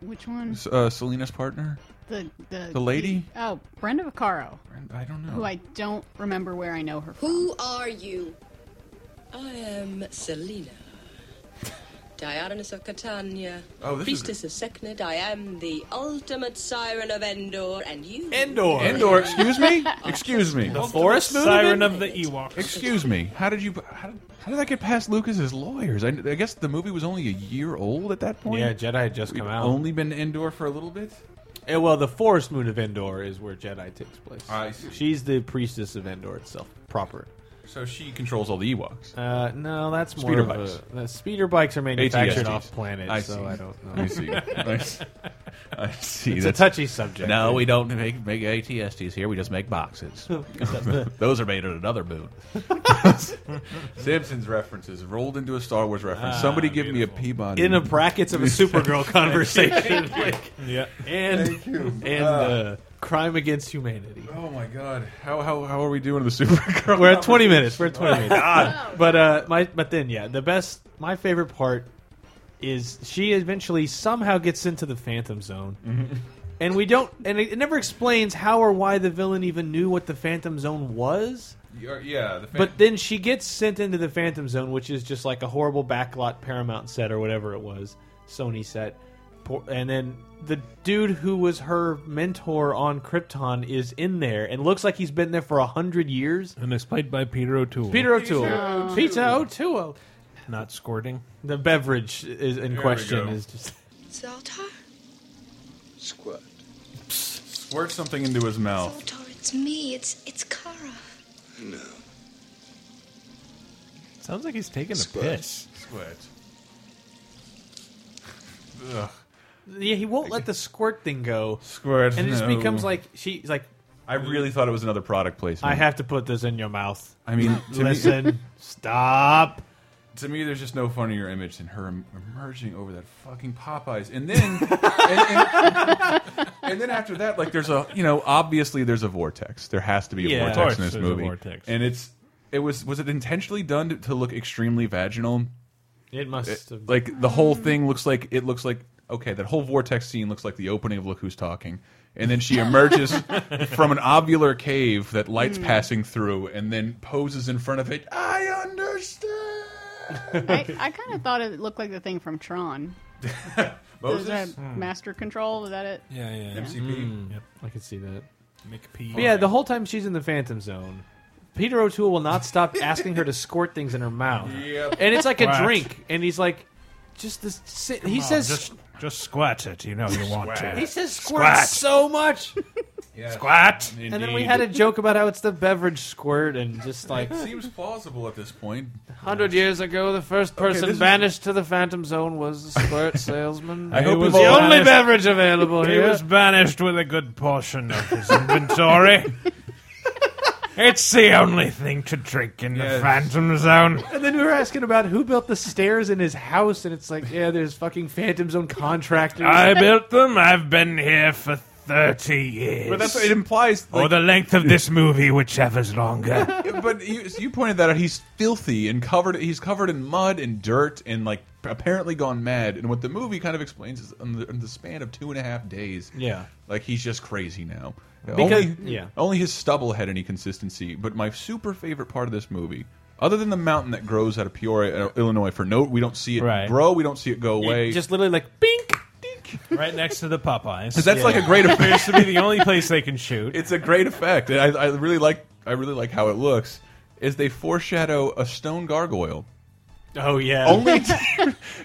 [SPEAKER 5] Which one?
[SPEAKER 3] S- Uh, Selena's partner.
[SPEAKER 5] The the
[SPEAKER 3] The lady?
[SPEAKER 5] oh, Brenda Vaccaro,
[SPEAKER 3] I don't know.
[SPEAKER 5] who I don't remember where I know her. From.
[SPEAKER 7] Who are you? I am Selina. Dionis of Catania,
[SPEAKER 3] Oh, this is-
[SPEAKER 7] priestess of Seknet. I am the ultimate siren of Endor, and you.
[SPEAKER 6] Endor.
[SPEAKER 3] Endor. Excuse me. Excuse me.
[SPEAKER 4] The
[SPEAKER 6] forest moving?
[SPEAKER 4] Siren of the Ewoks.
[SPEAKER 3] Excuse me. How did you? How did, how did I get past Lucas's lawyers? I, I guess the movie was only a year old at that point.
[SPEAKER 6] Yeah, Jedi had just
[SPEAKER 3] We've
[SPEAKER 6] come out.
[SPEAKER 3] only been indoor for a little bit.
[SPEAKER 6] Eh, well, the forest moon of Endor is where Jedi takes place.
[SPEAKER 3] I see.
[SPEAKER 6] She's the priestess of Endor itself, proper.
[SPEAKER 3] So she controls all the Ewoks.
[SPEAKER 6] Uh, no, that's more
[SPEAKER 3] Speeder
[SPEAKER 6] of
[SPEAKER 3] bikes.
[SPEAKER 6] A, the speeder bikes are manufactured
[SPEAKER 3] ATSTs.
[SPEAKER 6] off planet,
[SPEAKER 3] I
[SPEAKER 6] so
[SPEAKER 3] see.
[SPEAKER 6] I don't know.
[SPEAKER 3] I see. I see. I see.
[SPEAKER 6] It's a
[SPEAKER 3] That's-
[SPEAKER 6] touchy subject.
[SPEAKER 3] we don't make make ATSTs here. We just make boxes. Those are made at another moon. Simpsons references rolled into a Star Wars reference. Somebody give me a Peabody.
[SPEAKER 6] in the brackets of a Supergirl conversation,
[SPEAKER 4] Yeah.
[SPEAKER 6] and and uh, crime against humanity.
[SPEAKER 3] oh my God! How how how are we doing with the Supergirl?
[SPEAKER 6] We're at 20 minutes. We're at 20 minutes. But uh, my but then yeah, the best my favorite part is she eventually somehow gets into the Phantom Zone. And we don't and it, it never explains how or why the villain even knew what the Phantom Zone was.
[SPEAKER 3] Yeah, the fan-
[SPEAKER 6] But then she gets sent into the Phantom Zone, which is just like a horrible backlot Paramount set or whatever it was, Sony set. Por- And then the dude who was her mentor on Krypton is in there and looks like he's been there for a hundred years.
[SPEAKER 4] And it's played by Peter O'Toole.
[SPEAKER 6] Peter O'Toole. Peter O'Toole.
[SPEAKER 4] Not squirting.
[SPEAKER 6] The beverage is in
[SPEAKER 3] we
[SPEAKER 6] question
[SPEAKER 3] go.
[SPEAKER 6] is just
[SPEAKER 2] Zoltar?
[SPEAKER 8] Squirt.
[SPEAKER 3] squirt something into his mouth.
[SPEAKER 2] Zoltar, it's me. It's it's Kara.
[SPEAKER 8] No.
[SPEAKER 4] Sounds like he's taking a
[SPEAKER 8] Squirt.
[SPEAKER 4] piss.
[SPEAKER 3] Squirt. Ugh.
[SPEAKER 6] yeah. He won't let the squirt thing go,
[SPEAKER 3] Squirt.
[SPEAKER 6] and it just
[SPEAKER 3] no.
[SPEAKER 6] becomes like she's like,
[SPEAKER 3] I really thought it was another product placement.
[SPEAKER 6] I have to put this in your mouth.
[SPEAKER 3] Mm. I mean, to me,
[SPEAKER 6] Listen, stop.
[SPEAKER 3] to me, there's just no funnier image than her em- emerging over that fucking Popeyes, and then, and, and- and then after that, like there's a, you know, obviously there's a vortex. There has to be a
[SPEAKER 6] Yeah. Of
[SPEAKER 3] vortex
[SPEAKER 4] course
[SPEAKER 3] in this
[SPEAKER 4] there's a
[SPEAKER 3] movie,
[SPEAKER 4] vortex.
[SPEAKER 3] and it's, it was, was it intentionally done to, to look extremely vaginal?
[SPEAKER 6] It must have
[SPEAKER 3] Like the whole thing looks like it looks like okay, that whole vortex scene looks like the opening of Look Who's Talking. And then she emerges from an ovular cave that light's
[SPEAKER 4] Hmm.
[SPEAKER 3] passing through and then poses in front of it. I understand.
[SPEAKER 5] I, I kind of thought it looked like the thing from Tron. Was
[SPEAKER 3] Moses?
[SPEAKER 5] that Master Control? Was that it?
[SPEAKER 4] Yeah, yeah.
[SPEAKER 3] MCP.
[SPEAKER 6] I can see that.
[SPEAKER 4] McPee.
[SPEAKER 6] But yeah, the whole time she's in the Phantom Zone, Peter O'Toole will not stop asking her to squirt things in her mouth.
[SPEAKER 3] Yep.
[SPEAKER 6] And it's like a
[SPEAKER 4] Right.
[SPEAKER 6] drink, and he's like, just this. Sit. He says,
[SPEAKER 4] just, just squat it. You know you want
[SPEAKER 6] he
[SPEAKER 4] to.
[SPEAKER 6] says squirt
[SPEAKER 4] Squat.
[SPEAKER 6] so much.
[SPEAKER 4] Squat.
[SPEAKER 6] And then we had a joke about how it's the beverage squirt, and just like
[SPEAKER 3] It seems plausible at this point.
[SPEAKER 6] hundred years ago, the first person
[SPEAKER 3] this is-
[SPEAKER 6] banished to the Phantom Zone was the squirt salesman.
[SPEAKER 3] I
[SPEAKER 6] It
[SPEAKER 3] hope
[SPEAKER 6] was
[SPEAKER 3] we've
[SPEAKER 6] the
[SPEAKER 3] all
[SPEAKER 6] only
[SPEAKER 4] banished-
[SPEAKER 6] beverage available
[SPEAKER 4] He
[SPEAKER 6] here.
[SPEAKER 4] was banished with a good portion of his inventory. it's the only thing to drink in
[SPEAKER 3] Yes.
[SPEAKER 4] the Phantom Zone.
[SPEAKER 6] And then we were asking about who built the stairs in his house, and it's like, yeah, there's fucking Phantom Zone contractors.
[SPEAKER 4] I built them. I've been here for 30 years.
[SPEAKER 3] But that's it implies.
[SPEAKER 4] or
[SPEAKER 3] Like,
[SPEAKER 4] the length of this movie, whichever's longer.
[SPEAKER 3] but you, you pointed that out. He's filthy and covered. He's covered in mud and dirt and like apparently gone mad. And what the movie kind of explains is in the, in the span of two and a half days.
[SPEAKER 6] Yeah.
[SPEAKER 3] like he's just crazy now.
[SPEAKER 6] Because-
[SPEAKER 3] only,
[SPEAKER 6] yeah.
[SPEAKER 3] only his stubble had any consistency. But my super favorite part of this movie. Other than the mountain that grows out of Peoria, uh, Illinois, for note, we don't see it
[SPEAKER 4] Right.
[SPEAKER 3] grow, we don't see it go away.
[SPEAKER 6] just literally like bink.
[SPEAKER 4] right next to the Popeyes.
[SPEAKER 3] 'Cause that's like a great effect.
[SPEAKER 4] appears to be the only place they can shoot.
[SPEAKER 3] it's a great effect. And I, I really like I really like how it looks. Is they foreshadow a stone gargoyle
[SPEAKER 6] Oh yeah,
[SPEAKER 3] only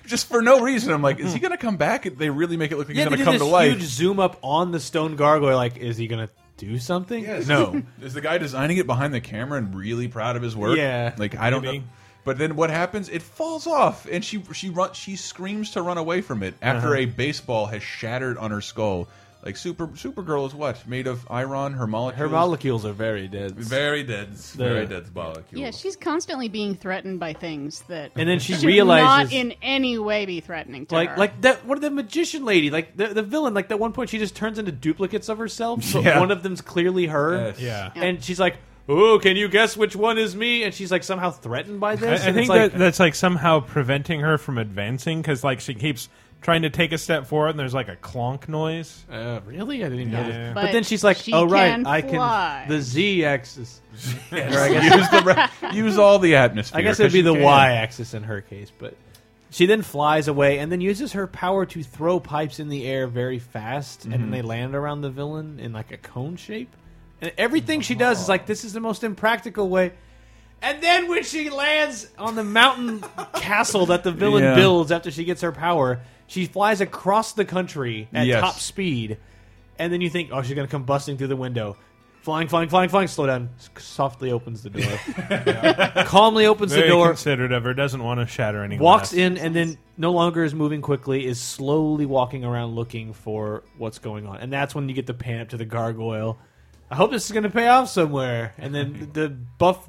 [SPEAKER 3] just for no reason. I'm like, is he gonna come back? They really make it look like
[SPEAKER 6] yeah.
[SPEAKER 3] he's
[SPEAKER 6] They
[SPEAKER 3] gonna
[SPEAKER 6] did
[SPEAKER 3] come to
[SPEAKER 6] this
[SPEAKER 3] life.
[SPEAKER 6] huge zoom up on the stone gargoyle. Like, is he gonna do something?
[SPEAKER 3] Yes.
[SPEAKER 6] No.
[SPEAKER 3] is the guy designing it behind the camera and really proud of his work?
[SPEAKER 6] Yeah,
[SPEAKER 3] like I don't
[SPEAKER 4] maybe.
[SPEAKER 3] know. But then what happens? It falls off, and she she run she screams to run away from it after
[SPEAKER 6] Uh-huh.
[SPEAKER 3] a baseball has shattered on her skull. Like super Supergirl is what made of iron, her molecules,
[SPEAKER 6] Her molecules are very dead.
[SPEAKER 3] very dense, very dense molecules.
[SPEAKER 5] Yeah, she's constantly being threatened by things that
[SPEAKER 6] And then she
[SPEAKER 5] should
[SPEAKER 6] realizes,
[SPEAKER 5] not in any way be threatening to
[SPEAKER 6] like,
[SPEAKER 5] her.
[SPEAKER 6] like that. What the magician lady? Like the, the villain. Like at one point, she just turns into duplicates of herself. So
[SPEAKER 3] Yeah.
[SPEAKER 6] one of them's clearly her.
[SPEAKER 3] Yes.
[SPEAKER 4] yeah.
[SPEAKER 6] And she's like, "Oh, can you guess which one is me?" And she's like somehow threatened by
[SPEAKER 4] I,
[SPEAKER 6] this.
[SPEAKER 4] I
[SPEAKER 6] and
[SPEAKER 4] think
[SPEAKER 6] it's like,
[SPEAKER 4] that, that's like somehow preventing her from advancing because like she keeps trying to take a step forward, and there's like a clonk noise.
[SPEAKER 3] Uh,
[SPEAKER 6] Really, I didn't
[SPEAKER 4] Yeah.
[SPEAKER 6] know. This.
[SPEAKER 5] But
[SPEAKER 6] But, then she's like,
[SPEAKER 5] she
[SPEAKER 6] "Oh right,
[SPEAKER 5] can
[SPEAKER 6] I
[SPEAKER 5] fly."
[SPEAKER 6] can the z axis.
[SPEAKER 3] use, the re- use all the atmosphere.
[SPEAKER 6] I guess it'd be
[SPEAKER 3] 'cause
[SPEAKER 6] the
[SPEAKER 3] you can.
[SPEAKER 6] y axis in her case, but." She then flies away and then uses her power to throw pipes in the air very fast, and
[SPEAKER 3] Mm-hmm.
[SPEAKER 6] then they land around the villain in like a cone shape. And everything she does is like, this is the most impractical way. And then when she lands on the mountain castle that the villain
[SPEAKER 3] Yeah.
[SPEAKER 6] builds after she gets her power, she flies across the country at
[SPEAKER 3] Yes.
[SPEAKER 6] top speed. And then you think, oh, she's going to come busting through the window. Flying, flying, flying, flying. Slow down. S- Softly opens the door. Calmly opens
[SPEAKER 4] Very
[SPEAKER 6] the door.
[SPEAKER 4] considered of her. Doesn't want to shatter anyone.
[SPEAKER 6] Walks in and then no longer is moving quickly, is slowly walking around looking for what's going on. And that's when you get the pan up to the gargoyle. I hope this is going to pay off somewhere. And then the buff,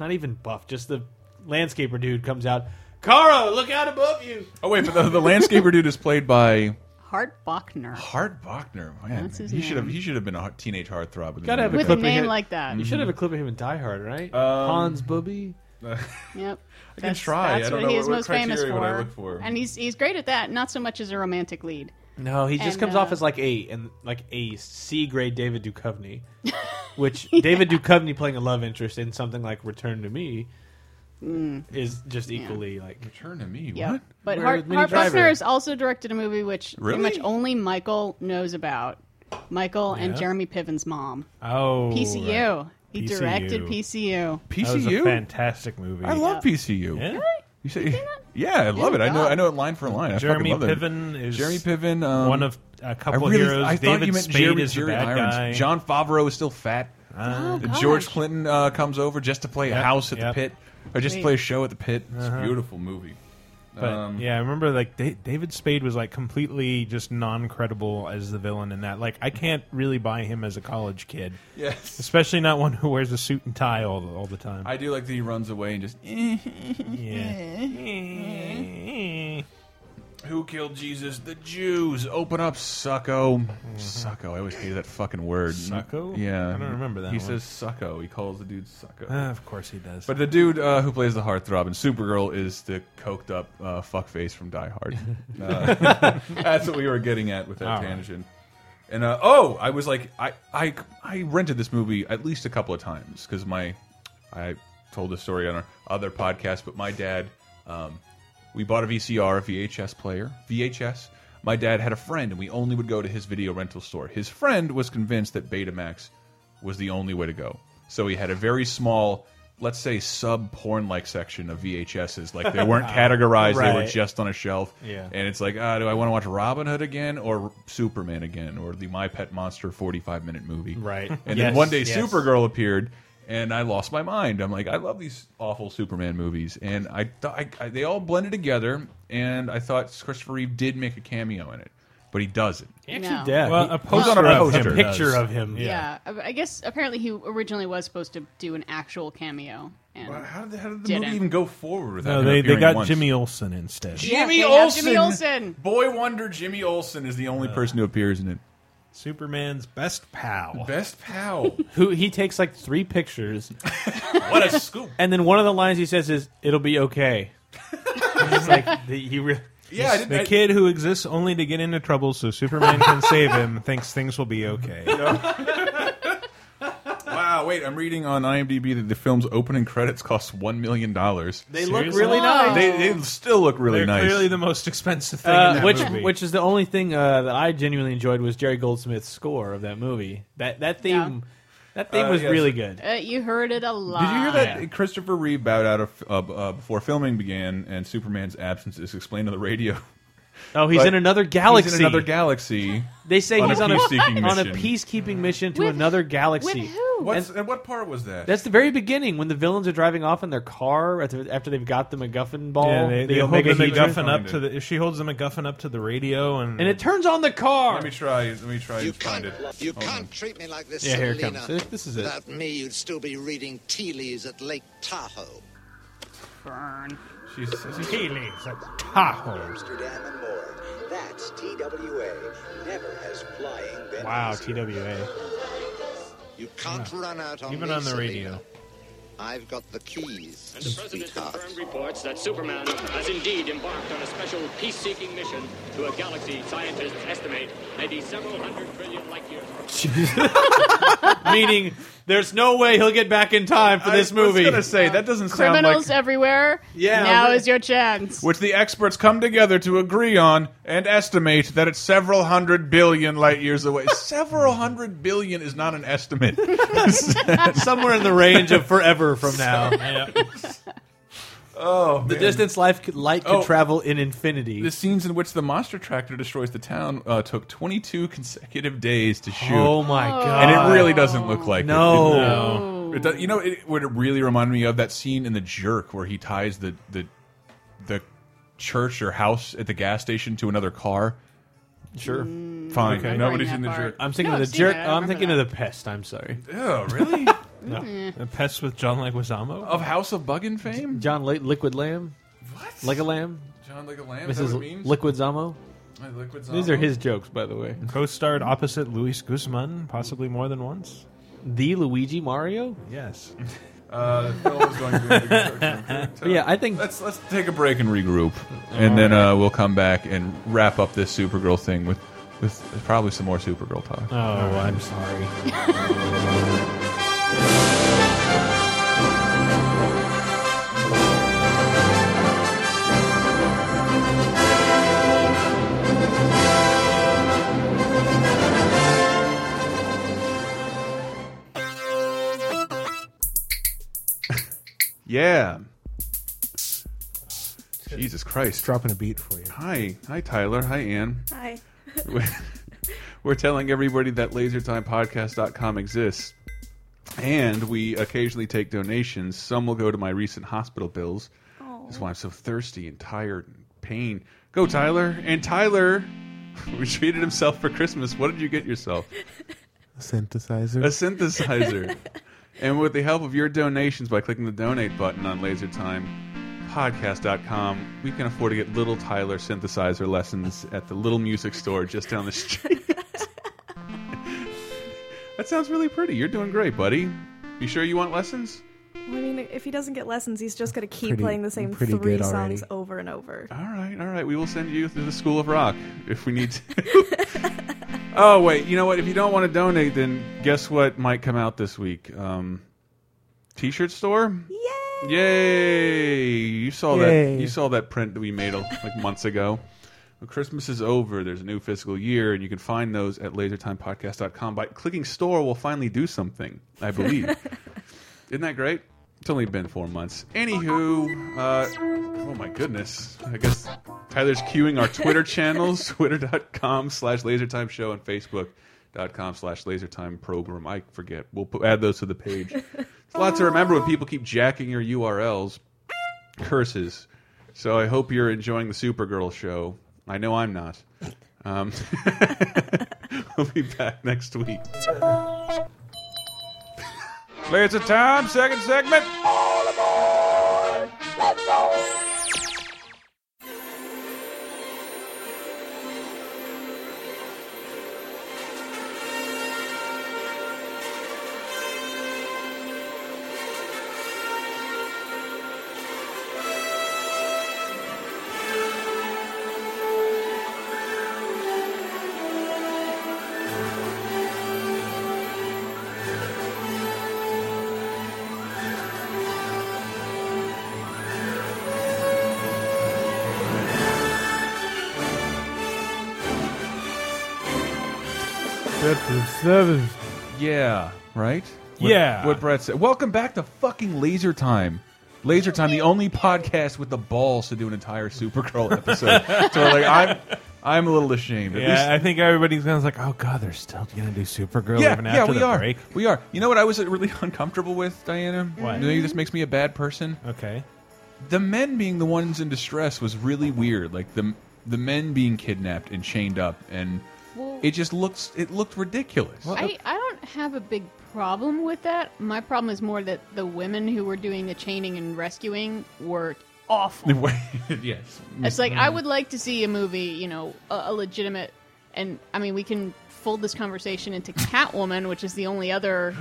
[SPEAKER 6] not even buff, just the landscaper dude comes out. Kara, look out above you.
[SPEAKER 3] Oh wait, but the, the landscaper dude is played by
[SPEAKER 5] Hart Bachner.
[SPEAKER 3] Hart Bachner. Man,
[SPEAKER 5] That's his
[SPEAKER 3] he should
[SPEAKER 5] name.
[SPEAKER 3] have he should have been a hot- teenage heartthrob. in the
[SPEAKER 6] Gotta have
[SPEAKER 3] movie.
[SPEAKER 5] With a
[SPEAKER 6] Clipping
[SPEAKER 5] name
[SPEAKER 6] it.
[SPEAKER 5] like that.
[SPEAKER 6] You should have a clip of him in Die Hard, right?
[SPEAKER 3] Um,
[SPEAKER 6] Hans Booby.
[SPEAKER 5] Yep. I
[SPEAKER 3] can try. I
[SPEAKER 5] That's
[SPEAKER 3] don't
[SPEAKER 5] what
[SPEAKER 3] know
[SPEAKER 5] he's
[SPEAKER 3] what- what
[SPEAKER 5] most famous
[SPEAKER 3] criteria
[SPEAKER 5] for.
[SPEAKER 3] would I look for?
[SPEAKER 5] And he's he's great at that, not so much as a romantic lead.
[SPEAKER 6] No, he just
[SPEAKER 5] And,
[SPEAKER 6] comes
[SPEAKER 5] uh,
[SPEAKER 6] off as like a and like a C grade David Duchovny, which David Duchovny playing a love interest in something like Return to Me
[SPEAKER 5] Mm.
[SPEAKER 6] is just equally like
[SPEAKER 3] Return to me.
[SPEAKER 5] Yeah.
[SPEAKER 3] What?
[SPEAKER 5] But
[SPEAKER 6] Where
[SPEAKER 5] Hart,
[SPEAKER 6] with Minnie
[SPEAKER 5] Hart
[SPEAKER 6] Driver?
[SPEAKER 5] Buckner has also directed a movie which
[SPEAKER 3] Really?
[SPEAKER 5] pretty much only Michael knows about. Michael and
[SPEAKER 4] Yeah.
[SPEAKER 5] Jeremy Piven's mom.
[SPEAKER 4] Oh, right.
[SPEAKER 5] PCU. He
[SPEAKER 4] PCU.
[SPEAKER 5] directed PCU.
[SPEAKER 4] That was a
[SPEAKER 3] PCU.
[SPEAKER 4] fantastic movie.
[SPEAKER 3] I love PCU.
[SPEAKER 4] Yeah?
[SPEAKER 3] You say, yeah, I love it. I know. I know it line for line. I
[SPEAKER 4] Oh, Jeremy
[SPEAKER 3] fucking love it.
[SPEAKER 4] Piven is
[SPEAKER 3] Jeremy Piven. Um,
[SPEAKER 4] one of a
[SPEAKER 3] I
[SPEAKER 4] couple
[SPEAKER 3] really-
[SPEAKER 4] heroes.
[SPEAKER 3] I thought
[SPEAKER 4] David
[SPEAKER 3] you meant
[SPEAKER 4] Spade
[SPEAKER 3] Jerry,
[SPEAKER 4] is the
[SPEAKER 3] Jerry
[SPEAKER 4] bad
[SPEAKER 3] Irons.
[SPEAKER 4] guy.
[SPEAKER 3] John Favreau is still fat.
[SPEAKER 5] Oh, gosh.
[SPEAKER 3] George Clinton uh, comes over just to play a
[SPEAKER 4] Yep,
[SPEAKER 3] house at
[SPEAKER 4] yep. Uh-huh.
[SPEAKER 3] the pit, or just to
[SPEAKER 5] Wait.
[SPEAKER 3] play a show at the pit. It's a beautiful movie.
[SPEAKER 4] But
[SPEAKER 3] Um,
[SPEAKER 4] yeah, I remember like Da- David Spade was like completely just non credible as the villain in that. Like I can't really buy him as a college kid,
[SPEAKER 3] Yes,
[SPEAKER 4] especially not one who wears a suit and tie all the, all the time.
[SPEAKER 3] I do like that he runs away and just. "Eh,
[SPEAKER 4] yeah.
[SPEAKER 3] Who killed Jesus? The Jews. Open up, sucko. Sucko. I always hated that fucking word.
[SPEAKER 4] Sucko?
[SPEAKER 3] Yeah.
[SPEAKER 4] I don't remember that
[SPEAKER 3] He
[SPEAKER 4] one.
[SPEAKER 3] says sucko. He calls the dude sucko.
[SPEAKER 4] Ah, of course he does.
[SPEAKER 3] But the dude uh, who plays the heartthrob in Supergirl is the coked up uh, fuckface from Die Hard. Uh, that's what we were getting at with that
[SPEAKER 4] All right.
[SPEAKER 3] tangent. And uh, oh, I was like, I, I I rented this movie at least a couple of times because my I told this story on our other podcast, but my dad, um, we bought a VCR, a VHS player, VHS. My dad had a friend, and we only would go to his video rental store. His friend was convinced that Betamax was the only way to go. So he had a very small, let's say, sub porn like section of VHSs. Like they weren't categorized; they were
[SPEAKER 6] Right.
[SPEAKER 3] just on a shelf.
[SPEAKER 6] Yeah.
[SPEAKER 3] And it's like, ah, do I want to watch Robin Hood again, or Superman again, or the My Pet Monster forty-five minute movie?
[SPEAKER 6] Right.
[SPEAKER 3] And then
[SPEAKER 6] Yes,
[SPEAKER 3] one day,
[SPEAKER 6] yes.
[SPEAKER 3] Supergirl appeared, and I lost my mind. I'm like, I love these awful Superman movies, and I, thought I, I they all blended together, and I thought Christopher Reeve did make a cameo in it, but he doesn't.
[SPEAKER 6] actually
[SPEAKER 5] No.
[SPEAKER 6] dead.
[SPEAKER 4] well,
[SPEAKER 6] He-
[SPEAKER 4] a poster
[SPEAKER 3] on a
[SPEAKER 4] of
[SPEAKER 3] poster.
[SPEAKER 4] him
[SPEAKER 6] picture
[SPEAKER 4] does.
[SPEAKER 6] of him.
[SPEAKER 5] Yeah. Uh, I I guess apparently he originally was supposed to do an actual cameo. And
[SPEAKER 3] How did, how did the
[SPEAKER 5] Didn't.
[SPEAKER 3] movie even go forward without
[SPEAKER 4] No,
[SPEAKER 3] him
[SPEAKER 4] they they
[SPEAKER 3] appearing
[SPEAKER 4] got
[SPEAKER 3] once?
[SPEAKER 4] Jimmy Olsen instead.
[SPEAKER 5] Yeah,
[SPEAKER 3] Jimmy
[SPEAKER 5] they have
[SPEAKER 3] Olsen.
[SPEAKER 5] Jimmy Olsen.
[SPEAKER 3] Boy Wonder Jimmy Olsen is the only
[SPEAKER 4] Uh.
[SPEAKER 3] person who appears in it.
[SPEAKER 4] Superman's best pal.
[SPEAKER 3] Best pal.
[SPEAKER 6] Who he takes like three pictures,
[SPEAKER 3] what a scoop.
[SPEAKER 6] and then one of the lines he says is, "It'll be okay." it's like the, he re-
[SPEAKER 3] Yeah, I didn't,
[SPEAKER 4] the
[SPEAKER 3] I-
[SPEAKER 4] kid who exists only to get into trouble so Superman can save him thinks things will be okay.
[SPEAKER 3] Wow, wait, I'm reading on IMDb that the film's opening credits cost one million dollars.
[SPEAKER 6] they look
[SPEAKER 4] Seriously?
[SPEAKER 6] really nice.
[SPEAKER 3] They, they still look really
[SPEAKER 4] They're
[SPEAKER 3] nice.
[SPEAKER 4] clearly the most expensive thing in
[SPEAKER 6] Uh,
[SPEAKER 4] that
[SPEAKER 6] which
[SPEAKER 4] movie.
[SPEAKER 6] which is the only thing uh, that I genuinely enjoyed was Jerry Goldsmith's score of that movie. That that theme,
[SPEAKER 5] Yeah.
[SPEAKER 6] that theme
[SPEAKER 3] Uh,
[SPEAKER 6] was
[SPEAKER 3] yes.
[SPEAKER 6] really good.
[SPEAKER 5] Uh, you heard it a lot.
[SPEAKER 3] Did you hear that
[SPEAKER 6] Yeah.
[SPEAKER 3] Christopher Reeve bowed out of, uh, uh, before filming began, and Superman's absence is explained on the radio.
[SPEAKER 6] Oh, he's
[SPEAKER 3] But
[SPEAKER 6] in another
[SPEAKER 3] He's
[SPEAKER 6] galaxy.
[SPEAKER 3] in another galaxy.
[SPEAKER 6] they say
[SPEAKER 3] on a
[SPEAKER 6] he's on a
[SPEAKER 3] peacekeeping
[SPEAKER 6] on a
[SPEAKER 3] mission.
[SPEAKER 6] peacekeeping mission to
[SPEAKER 5] Mm-hmm. With-
[SPEAKER 6] another galaxy.
[SPEAKER 5] With who?
[SPEAKER 3] What's, and, what part was that?
[SPEAKER 6] That's the very beginning when the villains are driving off in their car after, after they've got the MacGuffin ball.
[SPEAKER 4] Yeah, they,
[SPEAKER 6] the
[SPEAKER 4] they hold
[SPEAKER 6] Omega
[SPEAKER 4] the
[SPEAKER 6] Heat-
[SPEAKER 3] Heatran.
[SPEAKER 4] MacGuffin up to the. She holds the MacGuffin up to the radio, and,
[SPEAKER 6] and it turns on the car.
[SPEAKER 3] Let me try. Let me try
[SPEAKER 8] You
[SPEAKER 3] and find
[SPEAKER 8] can't,
[SPEAKER 3] it.
[SPEAKER 8] you
[SPEAKER 3] Hold
[SPEAKER 8] can't treat me like this,
[SPEAKER 6] Yeah, here it
[SPEAKER 8] Selena.
[SPEAKER 6] comes. This- this is it.
[SPEAKER 8] Without me, you'd still be reading tea leaves at Lake Tahoe.
[SPEAKER 5] Burn.
[SPEAKER 3] on. She's- she's-
[SPEAKER 4] Heelys, that's Tahoe.
[SPEAKER 9] Amsterdam and more. That's TWA. Never has flying been
[SPEAKER 6] Wow,
[SPEAKER 9] easier.
[SPEAKER 6] TWA.
[SPEAKER 8] You can't run out on
[SPEAKER 4] Even
[SPEAKER 8] me,
[SPEAKER 4] on the
[SPEAKER 8] Selena.
[SPEAKER 4] radio.
[SPEAKER 8] I've got the keys,
[SPEAKER 10] And the president
[SPEAKER 8] sweetheart.
[SPEAKER 10] confirmed reports that Superman has indeed embarked on a special peace-seeking mission to a galaxy scientists estimate may be several hundred trillion light years.
[SPEAKER 6] Meaning, there's no way he'll get back in time for this movie.
[SPEAKER 3] I was gonna say that doesn't sound
[SPEAKER 5] Criminals
[SPEAKER 3] like
[SPEAKER 5] everywhere.
[SPEAKER 6] Yeah,
[SPEAKER 5] Now
[SPEAKER 6] right.
[SPEAKER 5] is your chance.
[SPEAKER 3] which the experts come together to agree on and estimate that it's several hundred billion light years away. several hundred billion is not an estimate.
[SPEAKER 6] Somewhere in the range of forever from now.
[SPEAKER 3] oh,
[SPEAKER 6] The distance life could, light could
[SPEAKER 3] Oh.
[SPEAKER 6] travel in infinity.
[SPEAKER 3] The scenes in which the monster tractor destroys the town uh, took 22 consecutive days to shoot,
[SPEAKER 6] oh my god!
[SPEAKER 3] and
[SPEAKER 4] Uh,
[SPEAKER 3] it really doesn't look like
[SPEAKER 6] No.
[SPEAKER 3] It.
[SPEAKER 6] No.
[SPEAKER 3] It does- you know it, what it really reminded me of that scene in The Jerk where he ties the the the church or house at the gas station to another car.
[SPEAKER 6] sure.
[SPEAKER 3] Fine,
[SPEAKER 5] Okay.
[SPEAKER 3] nobody's
[SPEAKER 5] Remembering
[SPEAKER 3] seen The
[SPEAKER 5] that
[SPEAKER 3] Jerk.
[SPEAKER 5] part.
[SPEAKER 6] I'm thinking
[SPEAKER 5] No,
[SPEAKER 6] of
[SPEAKER 5] I've
[SPEAKER 6] the
[SPEAKER 5] seen
[SPEAKER 6] jerk.
[SPEAKER 5] it. I
[SPEAKER 6] I'm
[SPEAKER 5] remember
[SPEAKER 6] thinking
[SPEAKER 5] that.
[SPEAKER 6] of the pest. I'm sorry.
[SPEAKER 3] Oh, really?
[SPEAKER 4] The Pest with John Leguizamo.
[SPEAKER 6] Oh.
[SPEAKER 3] of House of Buggin fame?
[SPEAKER 6] John Li- Liquid Lamb,
[SPEAKER 3] What?
[SPEAKER 6] like a lamb.
[SPEAKER 3] John like a lamb? Is that what it
[SPEAKER 6] Mrs.
[SPEAKER 3] means? Uh-huh.
[SPEAKER 6] Liquid Zamo.
[SPEAKER 3] My liquid
[SPEAKER 6] These
[SPEAKER 3] zombie?
[SPEAKER 6] are his jokes, by the way.
[SPEAKER 4] Co-starred opposite Luis Guzman, possibly more than once.
[SPEAKER 6] The Luigi Mario.
[SPEAKER 4] Yes.
[SPEAKER 3] Uh, Phil was going to do the construction.
[SPEAKER 6] But yeah, I think
[SPEAKER 3] Let's let's take a break and regroup, and then uh, we'll come back and wrap up this Supergirl thing with with probably some more Supergirl talk.
[SPEAKER 4] Oh, I'm sorry.
[SPEAKER 3] Yeah. Jesus Christ!
[SPEAKER 4] Dropping a beat for you.
[SPEAKER 3] Hi, hi Tyler, hi Ann.
[SPEAKER 2] Hi.
[SPEAKER 3] We're- We're telling everybody that LaserTimePodcast.com exists, and we occasionally take donations. Some will go to my recent hospital bills. That's why I'm so thirsty and tired and pain. Go, Tyler! And Tyler, we treated himself for Christmas. What did you get yourself?
[SPEAKER 4] Synthesizer.
[SPEAKER 3] a synthesizer. and with the help of your donations by clicking the donate button on lasertimepodcast.com, we can afford to get little Tyler synthesizer lessons at the little music store just down the street. that sounds really pretty. You're doing great, buddy. You sure you want lessons?
[SPEAKER 2] I mean, if he doesn't get lessons, he's just going to keep
[SPEAKER 4] Pretty-
[SPEAKER 2] playing the same
[SPEAKER 4] pretty
[SPEAKER 2] three
[SPEAKER 4] good already.
[SPEAKER 2] songs over and over.
[SPEAKER 3] All right, all right. We will send you through the School of Rock if we need to. oh, wait. You know what? If you don't want to donate, then guess what might come out this week? Um, t shirt store?
[SPEAKER 2] Yay!
[SPEAKER 3] Yay! You saw
[SPEAKER 4] Yay.
[SPEAKER 3] that. You saw that print that we made uh, like months ago. When Christmas is over. There's a new fiscal year, and you can find those at LaserTimePodcast.com. By clicking store, we'll finally do something. I believe. Isn't that great? It's only been four months. Anywho, uh, oh my goodness. I guess Tyler's queuing our Twitter channels, twitter.com slash lasertime show and facebook.com slash lasertime program. I forget. We'll put, add those to the page. It's a lot to remember when people keep jacking your URLs. Curses. So I hope you're enjoying the Supergirl show. I know I'm not. Um, we'll be back next week. Laser time, second segment.
[SPEAKER 4] Seven.
[SPEAKER 3] Yeah, right? What-
[SPEAKER 4] Yeah.
[SPEAKER 3] What Brett said. Welcome back to fucking Laser Time. Laser Time, the only podcast with the balls to do an entire Supergirl episode. so like I'm I'm a little ashamed. At least-
[SPEAKER 4] Yeah, I think everybody's gonna like, oh god, they're still gonna do Supergirl even after
[SPEAKER 3] we
[SPEAKER 4] the
[SPEAKER 3] are.
[SPEAKER 4] break.
[SPEAKER 3] We are. You know what I was really uncomfortable with, Diana?
[SPEAKER 4] What?
[SPEAKER 3] Maybe this makes me a bad person.
[SPEAKER 4] Okay.
[SPEAKER 3] The men being the ones in distress was really weird. Like the the men being kidnapped and chained up and
[SPEAKER 5] Well-
[SPEAKER 3] it just looks it looked ridiculous.
[SPEAKER 5] I, I don't have a big problem with that. My problem is more that the women who were doing the chaining and rescuing were awful.
[SPEAKER 3] yes.
[SPEAKER 5] It's like I would like to see a movie, you know, a, a legitimate, and I mean, we can fold this conversation into Catwoman, which is the only other,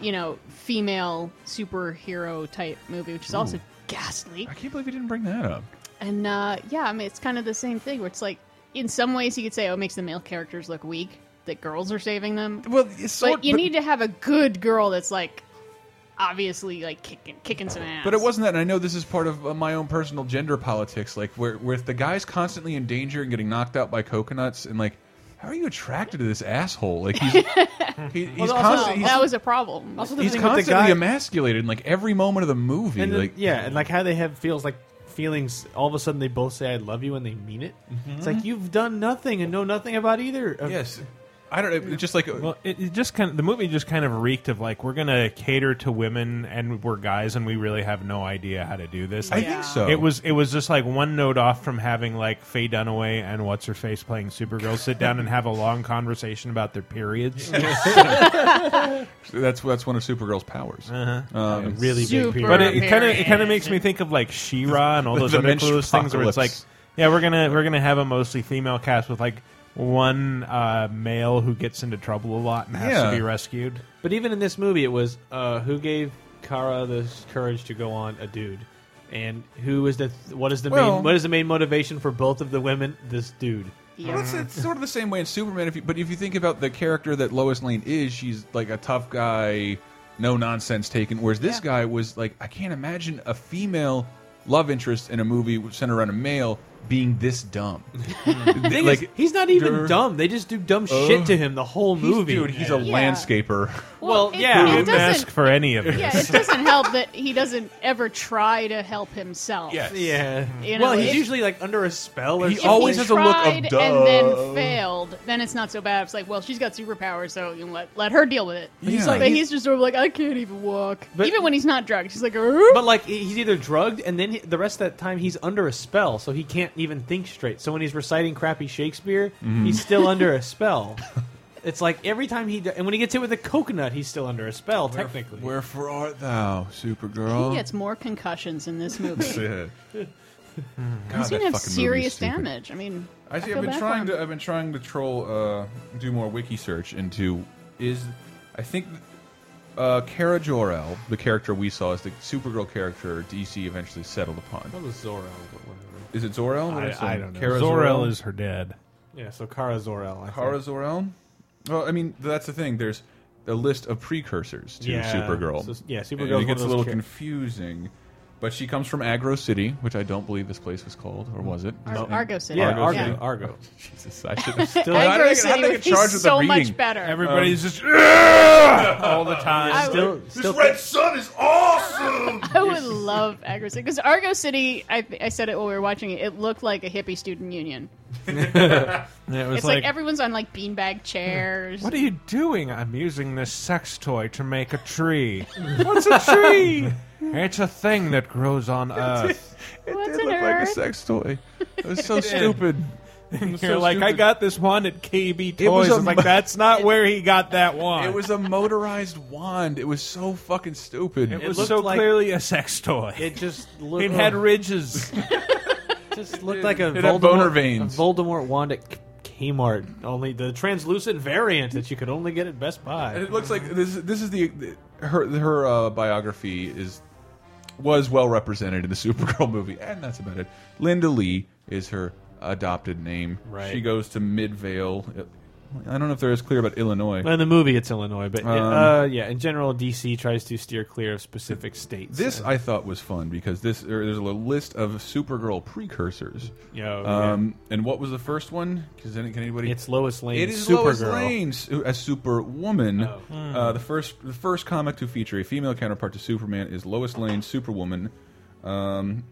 [SPEAKER 5] you know, female superhero type movie, which is also ghastly.
[SPEAKER 3] I can't believe you didn't bring that up.
[SPEAKER 5] And uh, yeah, I mean, it's kind of the same thing where it's like, in some ways, you could say, oh, it makes the male characters look weak that girls are saving them.
[SPEAKER 3] Well, it's
[SPEAKER 5] but you need to have a good girl that's like, obviously, like kicking kicking some ass.
[SPEAKER 3] But it wasn't that. And I know this is part of uh, my own personal gender politics, like where where if the guy's constantly in danger and getting knocked out by coconuts, and like, how are you attracted to this asshole? Like he's he, he's,
[SPEAKER 5] No,
[SPEAKER 3] constantly,
[SPEAKER 5] that was a problem.
[SPEAKER 6] Also, the
[SPEAKER 3] he's, he's
[SPEAKER 6] thing with the
[SPEAKER 3] constantly
[SPEAKER 6] guy,
[SPEAKER 3] emasculated in like every moment of the movie.
[SPEAKER 6] and then-
[SPEAKER 3] like
[SPEAKER 6] yeah, and like how they have feels like feelings. All of a sudden, they both say "I love you" and they mean it. It's like you've done nothing and know nothing about either. of-
[SPEAKER 3] yes, I don't know. It's just like
[SPEAKER 4] Well, it, it just kind of the movie just kind of reeked of like we're gonna cater to women and we're guys and we really have no idea how to do this.
[SPEAKER 3] I
[SPEAKER 4] Like,
[SPEAKER 3] think so.
[SPEAKER 4] It was it was just like one note off from having like Faye Dunaway and what's her face playing Supergirl sit down and have a long conversation about their periods.
[SPEAKER 3] that's that's one of Supergirl's powers.
[SPEAKER 6] Uh-huh.
[SPEAKER 3] Um,
[SPEAKER 4] really
[SPEAKER 5] Super
[SPEAKER 4] big, but it, it kind of it
[SPEAKER 5] periods.
[SPEAKER 4] kind of makes me think of like She-Ra and all those
[SPEAKER 3] The
[SPEAKER 4] other cool things where
[SPEAKER 3] menstrupocalypse.
[SPEAKER 4] it's like, yeah, we're gonna we're gonna have a mostly female cast with like one uh, male who gets into trouble a lot and has
[SPEAKER 3] Yeah.
[SPEAKER 4] to be rescued.
[SPEAKER 6] But even in this movie, it was uh, who gave Kara the s- courage to go on a dude, and who is the th- what is the
[SPEAKER 3] Well-
[SPEAKER 6] main what is the main motivation for both of the women? This dude.
[SPEAKER 5] Yeah.
[SPEAKER 3] Well, it's, it's sort of the same way in Superman. If you, but if you think about the character that Lois Lane is, she's like a tough guy, no nonsense taken. Whereas this guy was like, I can't imagine a female love interest in a movie centered around a male being this dumb.
[SPEAKER 6] Thing
[SPEAKER 3] like,
[SPEAKER 6] is, he's not even
[SPEAKER 3] Dur-
[SPEAKER 6] dumb. They just do dumb shit to him the whole
[SPEAKER 3] he's-
[SPEAKER 6] movie.
[SPEAKER 3] dude, he's a
[SPEAKER 5] Yeah.
[SPEAKER 3] landscaper.
[SPEAKER 6] well,
[SPEAKER 5] it- it
[SPEAKER 6] yeah. Who
[SPEAKER 4] Who
[SPEAKER 5] doesn't-
[SPEAKER 4] didn't ask for any of this?
[SPEAKER 5] Yeah, it doesn't help that he doesn't ever try to help himself.
[SPEAKER 3] Yes.
[SPEAKER 6] yeah.
[SPEAKER 5] You
[SPEAKER 6] well,
[SPEAKER 5] know,
[SPEAKER 6] he's
[SPEAKER 5] it-
[SPEAKER 6] usually like under a spell. Or
[SPEAKER 3] He
[SPEAKER 5] If
[SPEAKER 6] something.
[SPEAKER 3] always
[SPEAKER 5] he
[SPEAKER 3] has a look of
[SPEAKER 5] tried
[SPEAKER 3] duh.
[SPEAKER 5] and then failed, then it's not so bad. It's like, well, she's got superpowers, so you know, let let her deal with it.
[SPEAKER 3] But he's Yeah. like-
[SPEAKER 5] but he's just sort of like, I can't even walk.
[SPEAKER 6] But-
[SPEAKER 5] even when he's not drugged, he's like,
[SPEAKER 6] But like he- he's either drugged, and then he- the rest of that time he's under a spell, so he can't even think straight. So when he's reciting crappy Shakespeare, he's still under a spell. It's like every time he do- and when he gets hit with a coconut, he's still under a spell. technically,
[SPEAKER 3] Wherefore art thou, Supergirl?
[SPEAKER 5] he gets more concussions in this movie.
[SPEAKER 3] Yeah. God,
[SPEAKER 5] He's
[SPEAKER 3] that
[SPEAKER 5] gonna have
[SPEAKER 3] fucking movie is
[SPEAKER 5] serious
[SPEAKER 3] stupid.
[SPEAKER 5] damage. I mean,
[SPEAKER 3] I see.
[SPEAKER 5] feel
[SPEAKER 3] I've been
[SPEAKER 5] bad
[SPEAKER 3] trying
[SPEAKER 5] for him.
[SPEAKER 3] to. I've been trying to troll. Uh, do more wiki search into is. I think uh, Kara Jor El, the character we saw, is the Supergirl character DC eventually settled upon.
[SPEAKER 6] that was Zorel.
[SPEAKER 3] Is it Zor El?
[SPEAKER 4] I, I don't know.
[SPEAKER 3] Kara
[SPEAKER 4] Zor-El
[SPEAKER 3] Zor-El
[SPEAKER 4] is her dad.
[SPEAKER 6] Yeah, so Kara Zorel. I
[SPEAKER 3] Kara
[SPEAKER 6] think.
[SPEAKER 3] Zor El. Well, I mean that's the thing. There's a list of precursors to
[SPEAKER 6] Yeah.
[SPEAKER 3] Supergirl.
[SPEAKER 6] So- yeah,
[SPEAKER 3] And
[SPEAKER 6] Supergirl's
[SPEAKER 3] It
[SPEAKER 6] one of
[SPEAKER 3] gets a
[SPEAKER 6] those
[SPEAKER 3] little
[SPEAKER 6] char-
[SPEAKER 3] confusing. But she comes from Agro City, which I don't believe this place was called, or was it?
[SPEAKER 5] Ar- Argo City.
[SPEAKER 6] Yeah,
[SPEAKER 3] Argo
[SPEAKER 6] Argo.
[SPEAKER 3] City.
[SPEAKER 6] Argo.
[SPEAKER 3] Jesus, I should have
[SPEAKER 6] Still,
[SPEAKER 3] How do they get- how
[SPEAKER 5] Agro
[SPEAKER 3] do
[SPEAKER 5] City
[SPEAKER 3] they
[SPEAKER 5] would
[SPEAKER 3] get charged
[SPEAKER 5] be
[SPEAKER 3] with the
[SPEAKER 5] so much
[SPEAKER 3] reading?
[SPEAKER 5] better.
[SPEAKER 4] Everybody's just all the
[SPEAKER 5] I
[SPEAKER 4] time.
[SPEAKER 5] would-
[SPEAKER 6] still, still
[SPEAKER 3] sun is awesome.
[SPEAKER 5] I would love Agro City because Argo City. I, I said it while we were watching it. It looked like a hippie student union.
[SPEAKER 4] And it was
[SPEAKER 5] It's, like, everyone's on like beanbag chairs.
[SPEAKER 4] What are you doing? I'm using this sex toy to make a tree. What's a tree? it's a thing that grows on Earth.
[SPEAKER 3] It
[SPEAKER 5] What's
[SPEAKER 3] did
[SPEAKER 5] an
[SPEAKER 3] look like a
[SPEAKER 5] earth?
[SPEAKER 3] sex toy. It was so stupid.
[SPEAKER 4] You're
[SPEAKER 3] so
[SPEAKER 4] like, I
[SPEAKER 3] stupid.
[SPEAKER 4] got this wand at KB Toys.
[SPEAKER 3] It was a
[SPEAKER 4] It's like,
[SPEAKER 3] mu-
[SPEAKER 4] that's not where he got that wand.
[SPEAKER 3] It was a motorized wand. It was so fucking stupid.
[SPEAKER 4] It was
[SPEAKER 6] looked
[SPEAKER 4] so
[SPEAKER 6] like-
[SPEAKER 4] clearly a sex toy. It,
[SPEAKER 6] it just looked.
[SPEAKER 4] had ridges.
[SPEAKER 6] just looked like a
[SPEAKER 3] it had
[SPEAKER 6] Voldemort,
[SPEAKER 3] boner
[SPEAKER 6] a
[SPEAKER 3] veins.
[SPEAKER 6] Voldemort wand at K- Kmart. Only the translucent variant that you could only get at Best
[SPEAKER 3] And
[SPEAKER 6] Buy.
[SPEAKER 3] it looks like this. This is the her her uh, biography is was well represented in the Supergirl movie, and that's about it. Linda Lee is her adopted name.
[SPEAKER 6] Right.
[SPEAKER 3] She goes to Midvale. I don't know if they're as clear about Illinois.
[SPEAKER 6] Well, in the movie, it's Illinois, but
[SPEAKER 3] Um,
[SPEAKER 6] uh, yeah, in general, DC tries to steer clear of specific states.
[SPEAKER 3] This
[SPEAKER 6] And-
[SPEAKER 3] I thought was fun because this er, there's a list of Supergirl precursors.
[SPEAKER 6] Yeah, oh, yeah.
[SPEAKER 3] Um, And what was the first one? Because any, can anybody?
[SPEAKER 6] it's Lois Lane.
[SPEAKER 3] it is
[SPEAKER 6] Supergirl.
[SPEAKER 3] Lois Lane su- uh, as Superwoman.
[SPEAKER 6] Oh.
[SPEAKER 3] Uh, the first the first comic to feature a female counterpart to Superman is Lois Lane Superwoman, um,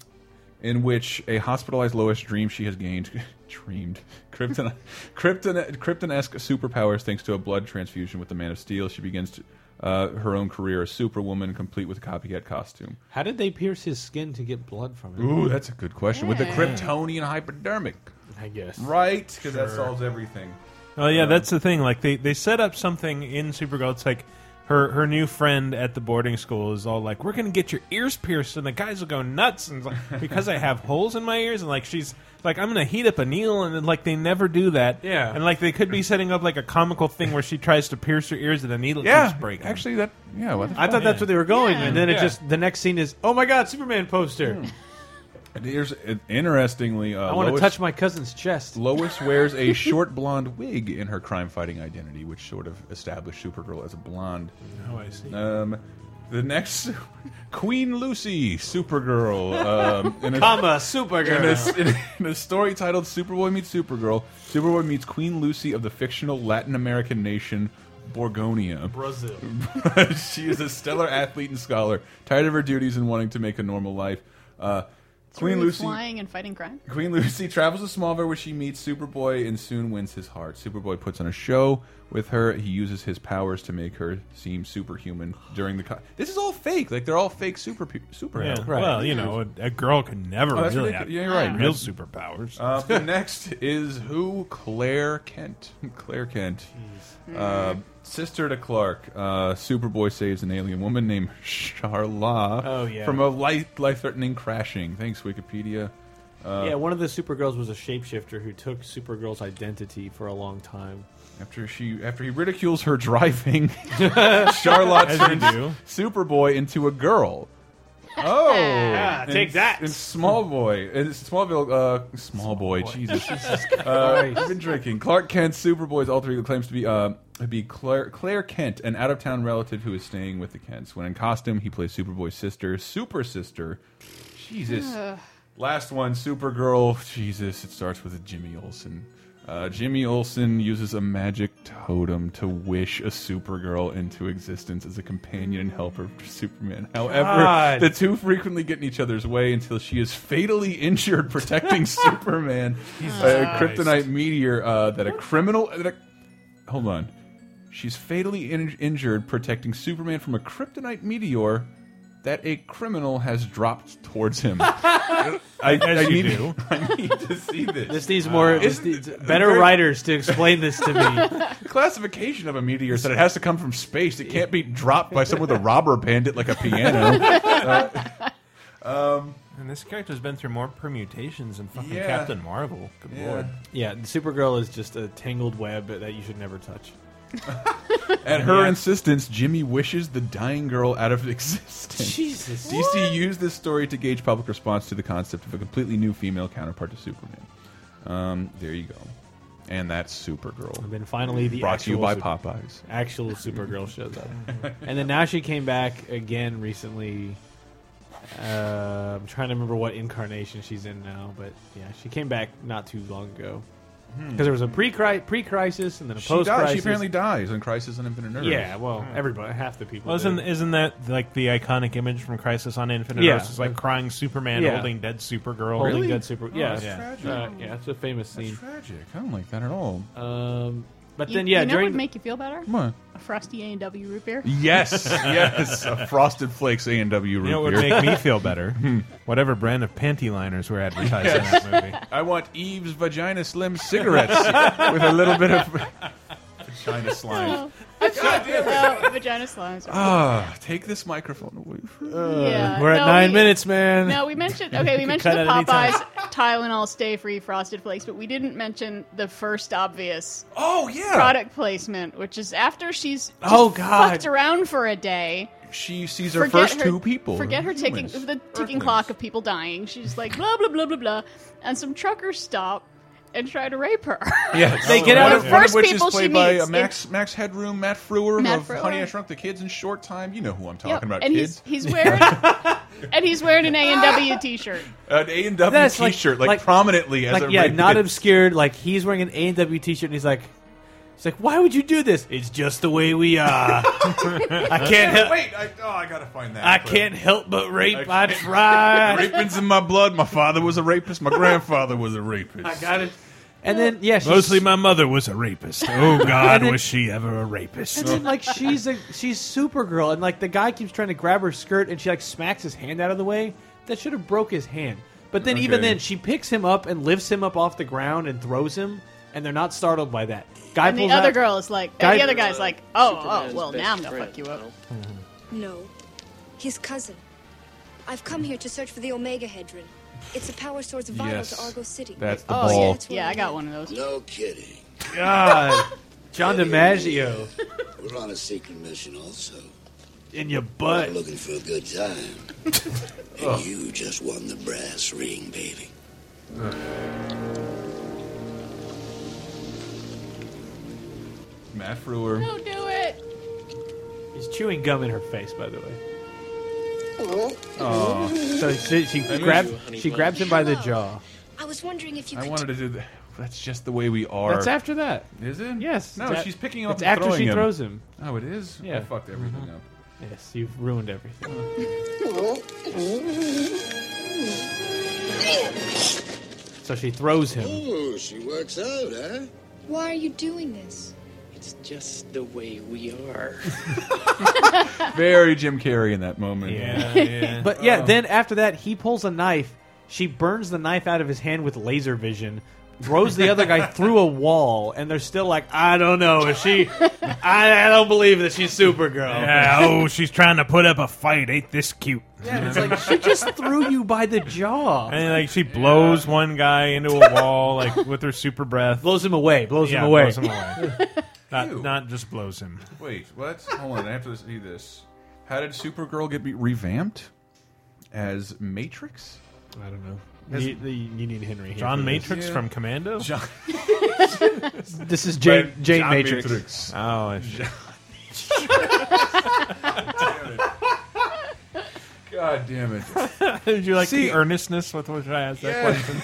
[SPEAKER 3] in which a hospitalized Lois dreams she has gained dreamed krypton krypton krypton-esque superpowers thanks to a blood transfusion with the Man of Steel. She begins to, uh, her own career as Superwoman, complete with a copycat costume.
[SPEAKER 6] How did they pierce his skin to get blood from him?
[SPEAKER 3] Ooh, that's a good question. With the
[SPEAKER 5] Yeah.
[SPEAKER 3] Kryptonian hypodermic,
[SPEAKER 6] I guess.
[SPEAKER 3] right? Because that solves everything.
[SPEAKER 4] Oh yeah, that's the thing. Like they they set up something in Supergirl. It's like her her new friend at the boarding school is all like, "We're gonna get your ears pierced," and the guys will go nuts, and it's like, because I have holes in my ears, and like she's like, "I'm gonna heat up a needle," and then, like they never do that,
[SPEAKER 3] Yeah.
[SPEAKER 4] and like they could be setting up like a comical thing where she tries to pierce her ears and the needle
[SPEAKER 3] Yeah,
[SPEAKER 4] keeps breaking.
[SPEAKER 3] actually, that yeah. What the
[SPEAKER 6] I thought that's where they were going,
[SPEAKER 5] Yeah.
[SPEAKER 6] and then
[SPEAKER 4] Yeah.
[SPEAKER 6] it just the next scene is oh my god, Superman poster.
[SPEAKER 3] f- Here's interestingly, uh,
[SPEAKER 6] I want
[SPEAKER 3] Hmm.
[SPEAKER 6] to
[SPEAKER 3] Lois-
[SPEAKER 6] touch my cousin's chest.
[SPEAKER 3] Lois wears a short blonde wig in her crime-fighting identity, which sort of established Supergirl as a blonde.
[SPEAKER 4] oh, I see.
[SPEAKER 3] Um, the next Queen Lucy, Supergirl, um, in, a,
[SPEAKER 6] I'm a
[SPEAKER 3] in,
[SPEAKER 6] Supergirl.
[SPEAKER 3] a, in a- in a story titled "Superboy Meets Supergirl." Superboy meets Queen Lucy of the fictional Latin American nation Borgonia.
[SPEAKER 6] Brazil.
[SPEAKER 3] she is a stellar athlete and scholar, tired of her duties and wanting to make a normal life. Uh, Queen
[SPEAKER 5] Really
[SPEAKER 3] Lucy.
[SPEAKER 5] flying and fighting crime.
[SPEAKER 3] Queen Lucy travels to Smallville where she meets Superboy and soon wins his heart. Superboy puts on a show with her. He uses his powers to make her seem superhuman during the. Co this is all fake. Like they're all fake super
[SPEAKER 4] Yeah.
[SPEAKER 3] superheroes.
[SPEAKER 4] Well, you know, a, a girl could never
[SPEAKER 3] Oh, that's
[SPEAKER 4] really
[SPEAKER 3] ridiculous.
[SPEAKER 4] have
[SPEAKER 3] Yeah, you're right.
[SPEAKER 4] real superpowers.
[SPEAKER 3] Uh, the next is who? Claire Kent. Claire Kent, uh, sister to Clark. Uh, Superboy saves an alien woman named Charla
[SPEAKER 6] Oh, yeah.
[SPEAKER 3] from a life life threatening crashing. Thanks Wikipedia.
[SPEAKER 6] yeah, one of the Supergirls was a shapeshifter who took Supergirl's identity for a long time.
[SPEAKER 3] After she, after he ridicules her driving, Charlotte
[SPEAKER 4] As you
[SPEAKER 3] turns
[SPEAKER 4] do.
[SPEAKER 3] Superboy into a girl. Oh,
[SPEAKER 6] Yeah,
[SPEAKER 3] And-
[SPEAKER 6] take that.
[SPEAKER 3] And Smallboy, and Smallville, uh, Smallboy, Jesus, uh, I've been drinking. Clark Kent, Superboy's alter ego, claims to be uh, to be Claire, Claire Kent, an out of town relative who is staying with the Kents. When in costume, he plays Superboy's sister, Super Sister. Jesus. Last one, Supergirl. Jesus, it starts with a Jimmy Olsen. Uh, Jimmy Olsen uses a magic totem to wish a Supergirl into existence as a companion and helper for Superman. However,
[SPEAKER 6] God.
[SPEAKER 3] the two frequently get in each other's way until she is fatally injured protecting Superman. a kryptonite meteor uh, that a criminal. That a, hold on. She's fatally in injured protecting Superman from a kryptonite meteor that a criminal has dropped towards him. I, I
[SPEAKER 4] you
[SPEAKER 3] need,
[SPEAKER 4] do.
[SPEAKER 3] I need to see this.
[SPEAKER 6] This needs more this
[SPEAKER 3] Uh, Isn't
[SPEAKER 6] needs
[SPEAKER 3] it-
[SPEAKER 6] better
[SPEAKER 3] very-
[SPEAKER 6] writers to explain this to me.
[SPEAKER 3] classification of a meteor is that it has to come from space. It can't be dropped by someone with a robber bandit like a piano.
[SPEAKER 4] and this character's been through more permutations than fucking
[SPEAKER 3] Yeah.
[SPEAKER 4] Captain Marvel. Good lord.
[SPEAKER 6] yeah, Supergirl is just a tangled web that you should never touch.
[SPEAKER 3] At her
[SPEAKER 4] Yeah.
[SPEAKER 3] insistence, Jimmy wishes the dying girl out of existence.
[SPEAKER 6] Jesus.
[SPEAKER 3] DC used this story to gauge public response to the concept of a completely new female counterpart to Superman. Um, there you go. And that's Supergirl.
[SPEAKER 6] And then finally the
[SPEAKER 3] Brought to you
[SPEAKER 6] actual
[SPEAKER 3] by
[SPEAKER 6] Sup-
[SPEAKER 3] Popeyes.
[SPEAKER 6] actual Supergirl shows up. And then now she came back again recently. Uh, I'm trying to remember what incarnation she's in now, but yeah, she came back not too long ago. Because there was a pre pre crisis and then a
[SPEAKER 3] Hmm. She,
[SPEAKER 6] post
[SPEAKER 3] dies,
[SPEAKER 6] crisis.
[SPEAKER 3] she apparently Hmm. dies on Crisis on Infinite Earths.
[SPEAKER 6] Yeah, well, everybody, half the people.
[SPEAKER 4] Well, isn't
[SPEAKER 6] do.
[SPEAKER 4] isn't that like the iconic image from Crisis on Infinite
[SPEAKER 6] Yeah.
[SPEAKER 4] Earths? It's like crying Superman
[SPEAKER 6] Yeah.
[SPEAKER 4] holding dead Supergirl.
[SPEAKER 6] holding dead super? yeah,
[SPEAKER 3] Oh, that's
[SPEAKER 6] yeah.
[SPEAKER 3] tragic.
[SPEAKER 6] Uh, yeah, it's a famous
[SPEAKER 3] That's
[SPEAKER 6] scene.
[SPEAKER 3] tragic. I don't like that at all.
[SPEAKER 6] Um, but
[SPEAKER 5] You,
[SPEAKER 6] then,
[SPEAKER 5] you know
[SPEAKER 6] yeah,
[SPEAKER 5] what
[SPEAKER 6] during
[SPEAKER 5] would make you feel better?
[SPEAKER 3] Come on.
[SPEAKER 5] A frosty A and W root beer.
[SPEAKER 3] Yes, yes. A Frosted Flakes A and W root
[SPEAKER 4] You know what
[SPEAKER 3] beer.
[SPEAKER 4] would make me feel better?
[SPEAKER 6] Hmm.
[SPEAKER 4] Whatever brand of panty liners were advertised in that movie.
[SPEAKER 3] I want Eve's Vagina Slim cigarettes with a little bit of vagina slime.
[SPEAKER 5] Oh. No, vagina slimes.
[SPEAKER 3] Ah, take this microphone away from me.
[SPEAKER 5] yeah.
[SPEAKER 6] we're at
[SPEAKER 5] No,
[SPEAKER 6] nine
[SPEAKER 5] we-
[SPEAKER 6] minutes, man.
[SPEAKER 5] No, we mentioned okay. We mentioned the
[SPEAKER 4] cut it anytime.
[SPEAKER 5] Popeyes Tylenol Stay Free Frosted Flakes, but we didn't mention the first obvious
[SPEAKER 3] Oh yeah.
[SPEAKER 5] product placement, which is after she's just
[SPEAKER 6] Oh, God.
[SPEAKER 5] fucked around for a day.
[SPEAKER 3] She sees her first two people.
[SPEAKER 5] Forget her ticking
[SPEAKER 3] Humans.
[SPEAKER 5] the ticking
[SPEAKER 3] Earthlings.
[SPEAKER 5] clock of people dying. She's like blah blah blah blah blah, and some truckers stop and try to rape her.
[SPEAKER 3] Yeah,
[SPEAKER 6] They get out
[SPEAKER 3] one
[SPEAKER 6] of-
[SPEAKER 3] one
[SPEAKER 5] first
[SPEAKER 3] which
[SPEAKER 5] people
[SPEAKER 3] is
[SPEAKER 5] she
[SPEAKER 3] played by
[SPEAKER 5] meets
[SPEAKER 3] uh, Max Max Headroom, Matt Frewer
[SPEAKER 5] Matt
[SPEAKER 3] of
[SPEAKER 5] Frewer.
[SPEAKER 3] Honey I Shrunk the Kids in Short Time. You know who I'm talking
[SPEAKER 5] Yep,
[SPEAKER 3] about,
[SPEAKER 5] and
[SPEAKER 3] kids.
[SPEAKER 5] he's he's wearing and he's wearing an A and W t-shirt.
[SPEAKER 3] An A and W
[SPEAKER 6] That's like-
[SPEAKER 3] T-shirt, like,
[SPEAKER 6] like-
[SPEAKER 3] prominently as
[SPEAKER 6] like
[SPEAKER 3] a
[SPEAKER 6] yeah,
[SPEAKER 3] rated-
[SPEAKER 6] not obscured. Like he's wearing an A and W T-shirt, and he's like, he's like, why would you do this? It's just the way we are. I can't help.
[SPEAKER 3] Wait, I, oh, I gotta find that.
[SPEAKER 6] I
[SPEAKER 3] clip.
[SPEAKER 6] can't help but rape.
[SPEAKER 3] I
[SPEAKER 6] I try.
[SPEAKER 3] Raping's in my blood. My father was a rapist. My grandfather was a rapist.
[SPEAKER 6] I got it. And then yeah, she's,
[SPEAKER 4] Mostly my mother was a rapist. Oh, God,
[SPEAKER 6] And it-
[SPEAKER 4] was she ever a rapist?
[SPEAKER 6] And then like she's a she's Supergirl, and like the guy keeps trying to grab her skirt, and she like smacks his hand out of the way. That should have broke his hand. But then even
[SPEAKER 3] Okay.
[SPEAKER 6] then, she picks him up and lifts him up off the ground and throws him. and they're not startled by that. Guy
[SPEAKER 5] And the
[SPEAKER 6] pulls
[SPEAKER 5] other
[SPEAKER 6] out-
[SPEAKER 5] girl is like,
[SPEAKER 6] Guy-
[SPEAKER 5] the other
[SPEAKER 3] Uh,
[SPEAKER 5] guy's like, oh, oh, well, now I'm gonna
[SPEAKER 10] friend,
[SPEAKER 5] fuck you up.
[SPEAKER 11] No, his cousin. I've come here to search for the Omega Hedron. It's a power source vital
[SPEAKER 3] Yes.
[SPEAKER 11] to Argo City.
[SPEAKER 3] That's the
[SPEAKER 5] Oh,
[SPEAKER 3] ball.
[SPEAKER 5] yeah, yeah, I got one of those.
[SPEAKER 12] No kidding.
[SPEAKER 6] God, John DiMaggio
[SPEAKER 12] We're on a secret mission also.
[SPEAKER 6] in your butt.
[SPEAKER 12] We're looking for a good time. and you just won the brass ring, baby.
[SPEAKER 3] Matt Frewer.
[SPEAKER 5] Don't do it.
[SPEAKER 6] He's chewing gum in her face, by the way.
[SPEAKER 12] Oh,
[SPEAKER 3] Aw.
[SPEAKER 6] So she, she
[SPEAKER 3] I miss
[SPEAKER 6] grabs
[SPEAKER 3] you, honey
[SPEAKER 6] she
[SPEAKER 3] bun.
[SPEAKER 6] grabs him by the jaw.
[SPEAKER 11] I was wondering if you
[SPEAKER 3] I
[SPEAKER 11] could.
[SPEAKER 3] wanted to do that. That's just the way we are.
[SPEAKER 6] That's after that.
[SPEAKER 3] Is it?
[SPEAKER 6] Yes.
[SPEAKER 3] No,
[SPEAKER 6] It's a-
[SPEAKER 3] she's picking him up
[SPEAKER 6] it's
[SPEAKER 3] and
[SPEAKER 6] after
[SPEAKER 3] throwing
[SPEAKER 6] she
[SPEAKER 3] him.
[SPEAKER 6] throws him.
[SPEAKER 3] Oh, it is.
[SPEAKER 6] Yeah. Mm-hmm.
[SPEAKER 3] I fucked everything up.
[SPEAKER 6] Yes, you've ruined everything. So she throws him.
[SPEAKER 12] Oh, she works out, huh?
[SPEAKER 11] Why are you doing this?
[SPEAKER 10] It's just the way we are.
[SPEAKER 3] Very Jim Carrey in that moment.
[SPEAKER 4] Yeah, yeah.
[SPEAKER 6] But yeah, then after that, he pulls a knife. She burns the knife out of his hand with laser vision. Throws the other guy through a wall, and they're still like, I don't know. Is she? I, I don't believe that she's Supergirl.
[SPEAKER 4] Yeah, oh, she's trying to put up a fight. Ain't this cute?
[SPEAKER 6] Yeah, it's like she just threw you by the jaw.
[SPEAKER 4] And like she blows one guy into a wall, like with her super breath.
[SPEAKER 6] Blows him away. Blows
[SPEAKER 4] Yeah,
[SPEAKER 6] him away.
[SPEAKER 4] blows him away.
[SPEAKER 3] Ew.
[SPEAKER 4] not, not just blows him.
[SPEAKER 3] Wait, what? Hold on, I have to see this. How did Supergirl get be revamped as Matrix?
[SPEAKER 6] I don't know.
[SPEAKER 3] Has-
[SPEAKER 6] You, the, you need Henry. Here
[SPEAKER 4] John
[SPEAKER 6] for this.
[SPEAKER 4] Matrix
[SPEAKER 3] Yeah.
[SPEAKER 4] from Commando.
[SPEAKER 3] John,
[SPEAKER 6] This is Jane, Jane
[SPEAKER 3] John
[SPEAKER 6] Matrix.
[SPEAKER 4] oh, I see.
[SPEAKER 3] God damn it!
[SPEAKER 4] did you like
[SPEAKER 3] See-
[SPEAKER 4] the earnestness with which I asked that question?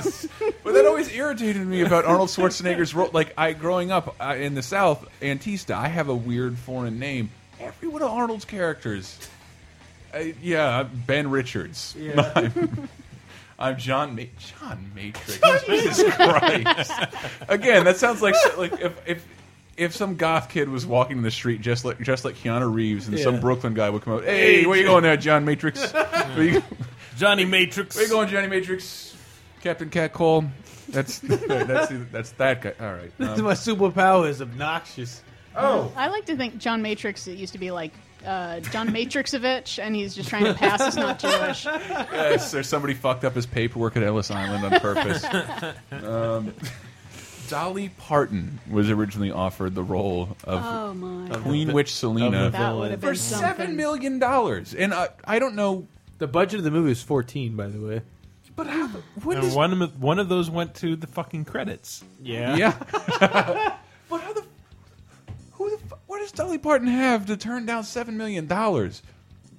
[SPEAKER 3] Yes. but that always irritated me about Arnold Schwarzenegger's role. Like I, growing up uh, in the South, Antista, I have a weird foreign name. Every one of Arnold's characters, uh, yeah, Ben Richards. I'm, I'm John Ma John Matrix. Jesus Christ! Again, that sounds like like if. if if some goth kid was walking in the street just like just like Keanu Reeves, and some
[SPEAKER 6] Yeah.
[SPEAKER 3] Brooklyn guy would come out, "Hey, where you going there, John Matrix?" Where you-
[SPEAKER 4] Johnny Matrix.
[SPEAKER 3] where you going, Johnny Matrix? Captain Cat Cole. That's that's that's that guy. All right. Um,
[SPEAKER 6] My superpower is obnoxious.
[SPEAKER 5] I like to think John Matrix it used to be like uh, John Matrixovich, and he's just trying to pass as not Jewish.
[SPEAKER 3] yes, there's somebody fucked up his paperwork at Ellis Island on purpose. um, Dolly Parton was originally offered the role of
[SPEAKER 5] Oh my!
[SPEAKER 3] Queen Witch Selena
[SPEAKER 6] of the-
[SPEAKER 5] That would have
[SPEAKER 3] for
[SPEAKER 5] been
[SPEAKER 3] seven
[SPEAKER 5] something.
[SPEAKER 3] million dollars, and I, I don't know,
[SPEAKER 6] The budget of the movie is fourteen, by the way.
[SPEAKER 3] but how, when
[SPEAKER 4] And
[SPEAKER 3] does
[SPEAKER 4] one of, one of those went to the fucking credits.
[SPEAKER 6] Yeah.
[SPEAKER 3] yeah? but how the who the fu- what does Dolly Parton have to turn down seven million dollars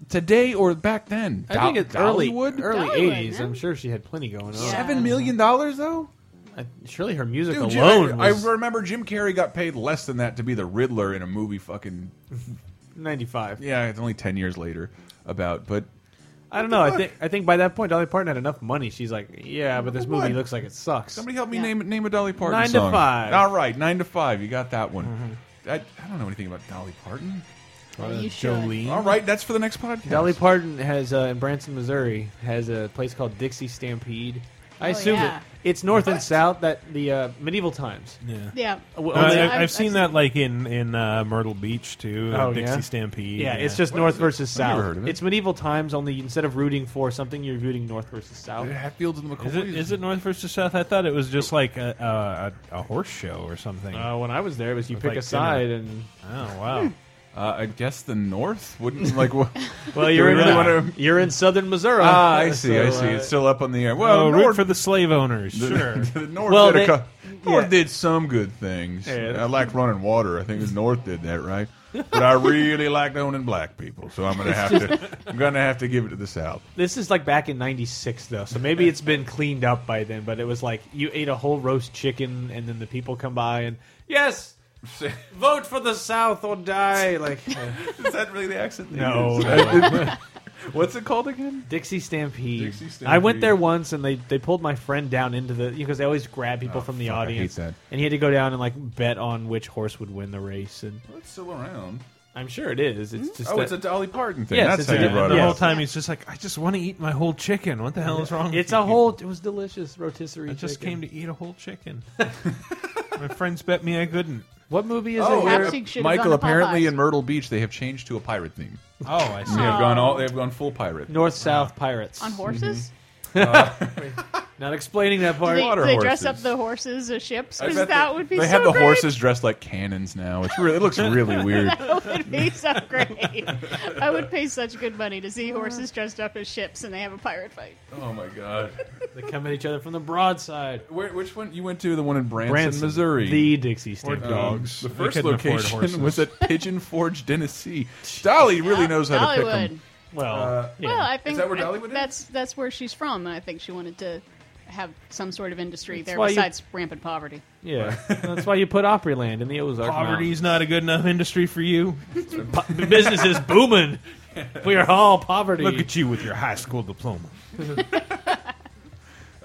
[SPEAKER 3] today or back then?
[SPEAKER 6] I think
[SPEAKER 3] Do-
[SPEAKER 6] it's early,
[SPEAKER 3] Dollywood?
[SPEAKER 6] early
[SPEAKER 5] Dollywood,
[SPEAKER 6] '80s.
[SPEAKER 5] man.
[SPEAKER 6] I'm sure she had plenty going on.
[SPEAKER 5] Yeah.
[SPEAKER 3] Seven million dollars though.
[SPEAKER 6] I- Surely her music
[SPEAKER 3] Dude, Jim-
[SPEAKER 6] alone
[SPEAKER 3] I,
[SPEAKER 6] was
[SPEAKER 3] I remember Jim Carrey got paid less than that to be the Riddler in a movie. Fucking
[SPEAKER 6] 95.
[SPEAKER 3] yeah, it's only ten years later. About but
[SPEAKER 6] I don't know. I think I think by that point, Dolly Parton had enough money. She's like, yeah, but this movie
[SPEAKER 3] What?
[SPEAKER 6] looks like it sucks.
[SPEAKER 3] somebody help me
[SPEAKER 5] Yeah.
[SPEAKER 3] name name a Dolly Parton
[SPEAKER 6] Nine to
[SPEAKER 3] song.
[SPEAKER 6] Five.
[SPEAKER 3] All right, nine to five. You got that one. I, I don't know anything about Dolly Parton.
[SPEAKER 5] You should.
[SPEAKER 3] All right, that's for the next podcast.
[SPEAKER 6] Dolly Parton has uh, in Branson, Missouri, has a place called Dixie Stampede. I
[SPEAKER 5] Oh,
[SPEAKER 6] assume
[SPEAKER 5] yeah.
[SPEAKER 6] it, it's north and south that the uh, medieval times.
[SPEAKER 4] Yeah.
[SPEAKER 5] Yeah.
[SPEAKER 6] Well,
[SPEAKER 4] No, Uh, I,
[SPEAKER 6] only-
[SPEAKER 4] have
[SPEAKER 5] I've- I've
[SPEAKER 4] seen
[SPEAKER 5] seen
[SPEAKER 4] that like in in uh, Myrtle Beach too.
[SPEAKER 6] Oh,
[SPEAKER 4] Dixie
[SPEAKER 6] yeah?
[SPEAKER 4] Stampede.
[SPEAKER 6] yeah, it's just north
[SPEAKER 3] I've
[SPEAKER 6] versus south.
[SPEAKER 3] never heard of it.
[SPEAKER 6] It's medieval times only instead of rooting for something, you're rooting north versus south.
[SPEAKER 3] Uh, Hatfields and the McCoys.
[SPEAKER 4] Is it is it north versus south? I thought it was just like a a, a, a horse show or something.
[SPEAKER 6] Uh, when I was there, it was you
[SPEAKER 4] With,
[SPEAKER 6] pick
[SPEAKER 4] like,
[SPEAKER 6] a side and
[SPEAKER 4] oh wow!
[SPEAKER 3] Uh, I guess the North wouldn't like. what-
[SPEAKER 6] well,
[SPEAKER 3] you're
[SPEAKER 6] you're
[SPEAKER 3] in,
[SPEAKER 6] in
[SPEAKER 3] uh,
[SPEAKER 6] you're in southern Missouri.
[SPEAKER 3] ah, I see, I
[SPEAKER 6] So,
[SPEAKER 3] see.
[SPEAKER 6] uh,
[SPEAKER 3] It's still up on the air. Well,
[SPEAKER 4] Oh, root
[SPEAKER 3] North
[SPEAKER 4] for the slave owners. Sure.
[SPEAKER 3] the North
[SPEAKER 6] Well,
[SPEAKER 3] did a
[SPEAKER 6] they-
[SPEAKER 3] cou- North
[SPEAKER 6] yeah.
[SPEAKER 3] did some good things.
[SPEAKER 6] Yeah.
[SPEAKER 3] I like running water. I think the North did that right. But I really liked owning black people, so I'm gonna have to. I'm gonna have to give it to the South.
[SPEAKER 6] This is like back in '96 though, so maybe it's been cleaned up by then. But it was like you ate a whole roast chicken, and then the people come by and yes, vote for the South or die. Like
[SPEAKER 3] Is that really the accent? they
[SPEAKER 6] No,
[SPEAKER 3] use? What's it called again?
[SPEAKER 6] Dixie Stampede.
[SPEAKER 3] Dixie Stampede.
[SPEAKER 6] I went there once, and they they pulled my friend down into the because they always grab people from the
[SPEAKER 3] Oh, fuck, I hate
[SPEAKER 6] audience,
[SPEAKER 3] that.
[SPEAKER 6] and he had to go down and like bet on which horse would win the race. And
[SPEAKER 3] Well, it's still around.
[SPEAKER 6] I'm sure it is. It's just
[SPEAKER 3] Oh,
[SPEAKER 6] that-
[SPEAKER 3] it's a Dolly Parton thing.
[SPEAKER 6] Yes,
[SPEAKER 3] That's
[SPEAKER 6] it's
[SPEAKER 3] how
[SPEAKER 6] a
[SPEAKER 3] you
[SPEAKER 6] different-
[SPEAKER 3] brought
[SPEAKER 4] the
[SPEAKER 3] it
[SPEAKER 6] yes.
[SPEAKER 4] whole
[SPEAKER 3] up.
[SPEAKER 4] time he's just like, I just want to eat my whole chicken. What the hell is wrong?
[SPEAKER 6] it's
[SPEAKER 4] with
[SPEAKER 6] a
[SPEAKER 4] you
[SPEAKER 6] whole. It was delicious rotisserie.
[SPEAKER 4] people? I just came
[SPEAKER 6] chicken.
[SPEAKER 4] to eat a whole chicken. My friends bet me I couldn't.
[SPEAKER 6] What movie
[SPEAKER 3] Oh, Michael, apparently in Myrtle Beach, they have changed to a pirate theme.
[SPEAKER 4] Oh, I see.
[SPEAKER 3] They have gone
[SPEAKER 4] Oh.
[SPEAKER 3] all. They have gone full pirate.
[SPEAKER 6] North South pirates
[SPEAKER 5] On
[SPEAKER 3] Mhm.
[SPEAKER 5] horses?
[SPEAKER 6] Not explaining that
[SPEAKER 5] Do
[SPEAKER 6] part.
[SPEAKER 5] they, do they dress up the horses as ships
[SPEAKER 3] I
[SPEAKER 5] because
[SPEAKER 3] bet
[SPEAKER 5] that would be
[SPEAKER 3] they
[SPEAKER 5] so
[SPEAKER 3] have the
[SPEAKER 5] great.
[SPEAKER 3] horses dressed like cannons now. It's really, it looks really weird.
[SPEAKER 5] that would be so great. I would pay such good money to see horses dressed up as ships and they have a pirate fight.
[SPEAKER 3] Oh my god!
[SPEAKER 6] they come at each other from the broadside.
[SPEAKER 3] Where, which one you went to? The one in Branson,
[SPEAKER 6] Branson,
[SPEAKER 3] Missouri.
[SPEAKER 6] the Dixie
[SPEAKER 3] Or
[SPEAKER 6] State
[SPEAKER 3] dogs. The
[SPEAKER 6] They
[SPEAKER 3] first
[SPEAKER 6] couldn't afford
[SPEAKER 3] location
[SPEAKER 6] horses.
[SPEAKER 3] was at Pigeon Forge, Tennessee. Dolly really knows how to pick
[SPEAKER 5] Dollywood.
[SPEAKER 3] them.
[SPEAKER 6] Well,
[SPEAKER 5] Well, I think
[SPEAKER 3] is that where
[SPEAKER 5] I-
[SPEAKER 3] Dollywood is?
[SPEAKER 5] that's that's where she's from. and I think she wanted to have some sort of industry
[SPEAKER 6] That's
[SPEAKER 5] there
[SPEAKER 6] why you-
[SPEAKER 5] besides rampant poverty.
[SPEAKER 6] Yeah, that's why you put Opryland in the Ozark.
[SPEAKER 4] Poverty's not a good enough industry for you.
[SPEAKER 6] Po- business is booming. We are all poverty.
[SPEAKER 4] Look at you with your high school diploma.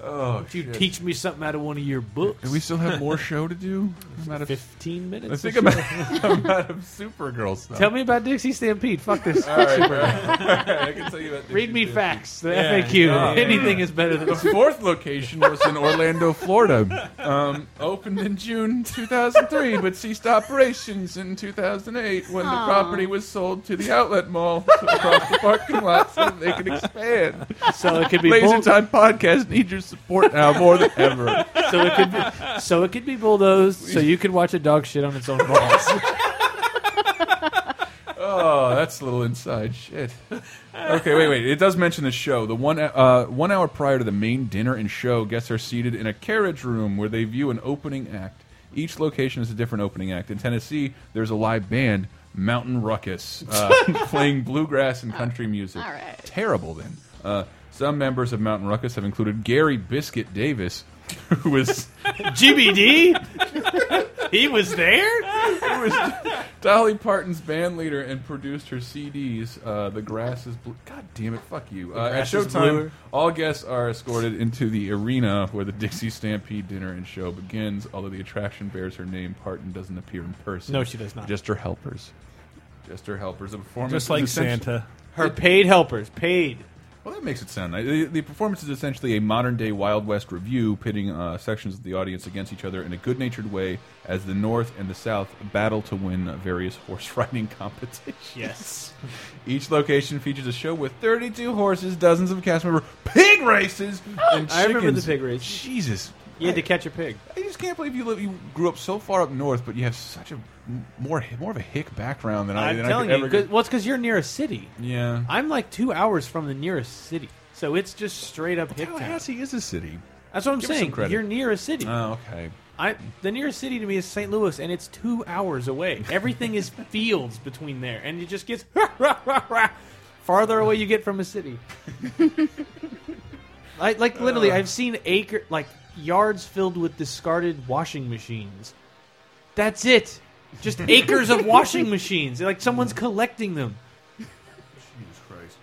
[SPEAKER 3] Oh,
[SPEAKER 6] you teach me something out of one of your books.
[SPEAKER 3] Do we still have more show to do? I'm out of
[SPEAKER 6] fifteen minutes.
[SPEAKER 3] I think
[SPEAKER 6] of
[SPEAKER 3] I'm
[SPEAKER 6] show.
[SPEAKER 3] out, I'm out of Supergirl stuff.
[SPEAKER 6] Tell me about Dixie Stampede. Fuck this.
[SPEAKER 3] All right,
[SPEAKER 6] Super.
[SPEAKER 3] bro. All right, I can tell you about Dixie
[SPEAKER 6] Read me
[SPEAKER 3] Stampede.
[SPEAKER 6] facts. The
[SPEAKER 3] Yeah.
[SPEAKER 6] FAQ.
[SPEAKER 3] Yeah.
[SPEAKER 6] Anything is better than
[SPEAKER 3] the fourth location was in Orlando, Florida. Um, opened in June 2003, but ceased operations in 2008 when
[SPEAKER 13] Aw.
[SPEAKER 3] the property was sold to the outlet mall across the parking lot so that they could expand.
[SPEAKER 6] So it could be
[SPEAKER 3] Laser
[SPEAKER 6] bull-
[SPEAKER 3] Time Podcast needs your support now more than ever.
[SPEAKER 6] So it could be, so it could be bulldozed. So you could watch a dog shit on its own balls.
[SPEAKER 3] Oh, that's a little inside shit. Okay, wait, wait. It does mention the show. The one uh, one hour prior to the main dinner and show, guests are seated in a carriage room where they view an opening act. Each location is a different opening act. In Tennessee, there's a live band, Mountain Ruckus, uh, playing bluegrass and country music.
[SPEAKER 13] All right.
[SPEAKER 3] Terrible then. Uh, some members of Mountain Ruckus have included Gary Biscuit Davis, who was
[SPEAKER 6] GBD. he was there.
[SPEAKER 3] Who was Dolly Parton's band leader and produced her CDs, uh, The Grass is Blue. God damn it, fuck you.
[SPEAKER 13] The
[SPEAKER 3] Uh, at
[SPEAKER 13] grass is
[SPEAKER 3] showtime,
[SPEAKER 13] bluer.
[SPEAKER 3] all guests are escorted into the arena where the Dixie Stampede dinner and show begins. Although the attraction bears her name, Parton doesn't appear in person.
[SPEAKER 6] No, she does not.
[SPEAKER 3] Just her helpers. Just her helpers. The performance
[SPEAKER 4] Just
[SPEAKER 3] is
[SPEAKER 4] like
[SPEAKER 3] essentially-
[SPEAKER 4] Santa.
[SPEAKER 6] Her paid helpers, paid.
[SPEAKER 3] Well, that makes it sound nice. The, the performance is essentially a modern day Wild West review, pitting uh, sections of the audience against each other in a good natured way as the North and the South battle to win various horse riding competitions.
[SPEAKER 6] Yes.
[SPEAKER 3] Each location features a show with 32 horses, dozens of cast members, pig races, and chickens.
[SPEAKER 6] Oh, I remember the pig race.
[SPEAKER 3] Jesus.
[SPEAKER 6] You had to catch a pig.
[SPEAKER 3] I just can't believe you live, you grew up so far up north, but you have such a more more of a hick background than I,
[SPEAKER 6] I'm
[SPEAKER 3] than
[SPEAKER 6] telling
[SPEAKER 3] I could
[SPEAKER 6] you,
[SPEAKER 3] ever
[SPEAKER 6] 'cause- well, it's because you're near a city.
[SPEAKER 3] Yeah.
[SPEAKER 6] I'm like two hours from the nearest city, so it's just straight up hick town.
[SPEAKER 3] Tallahassee is a city.
[SPEAKER 6] That's what I'm
[SPEAKER 3] Give us some
[SPEAKER 6] saying.
[SPEAKER 3] credit.
[SPEAKER 6] You're near a city.
[SPEAKER 3] Oh, okay.
[SPEAKER 6] I the nearest city to me is St. Louis, and it's two hours away. Everything is fields between there, and it just gets farther away you get from a city. I, like literally,
[SPEAKER 3] Uh.
[SPEAKER 13] Ugh.
[SPEAKER 6] I've seen acre like yards filled with discarded washing machines. That's it. Just acres of washing machines. Like someone's collecting them,
[SPEAKER 3] Jesus Christ.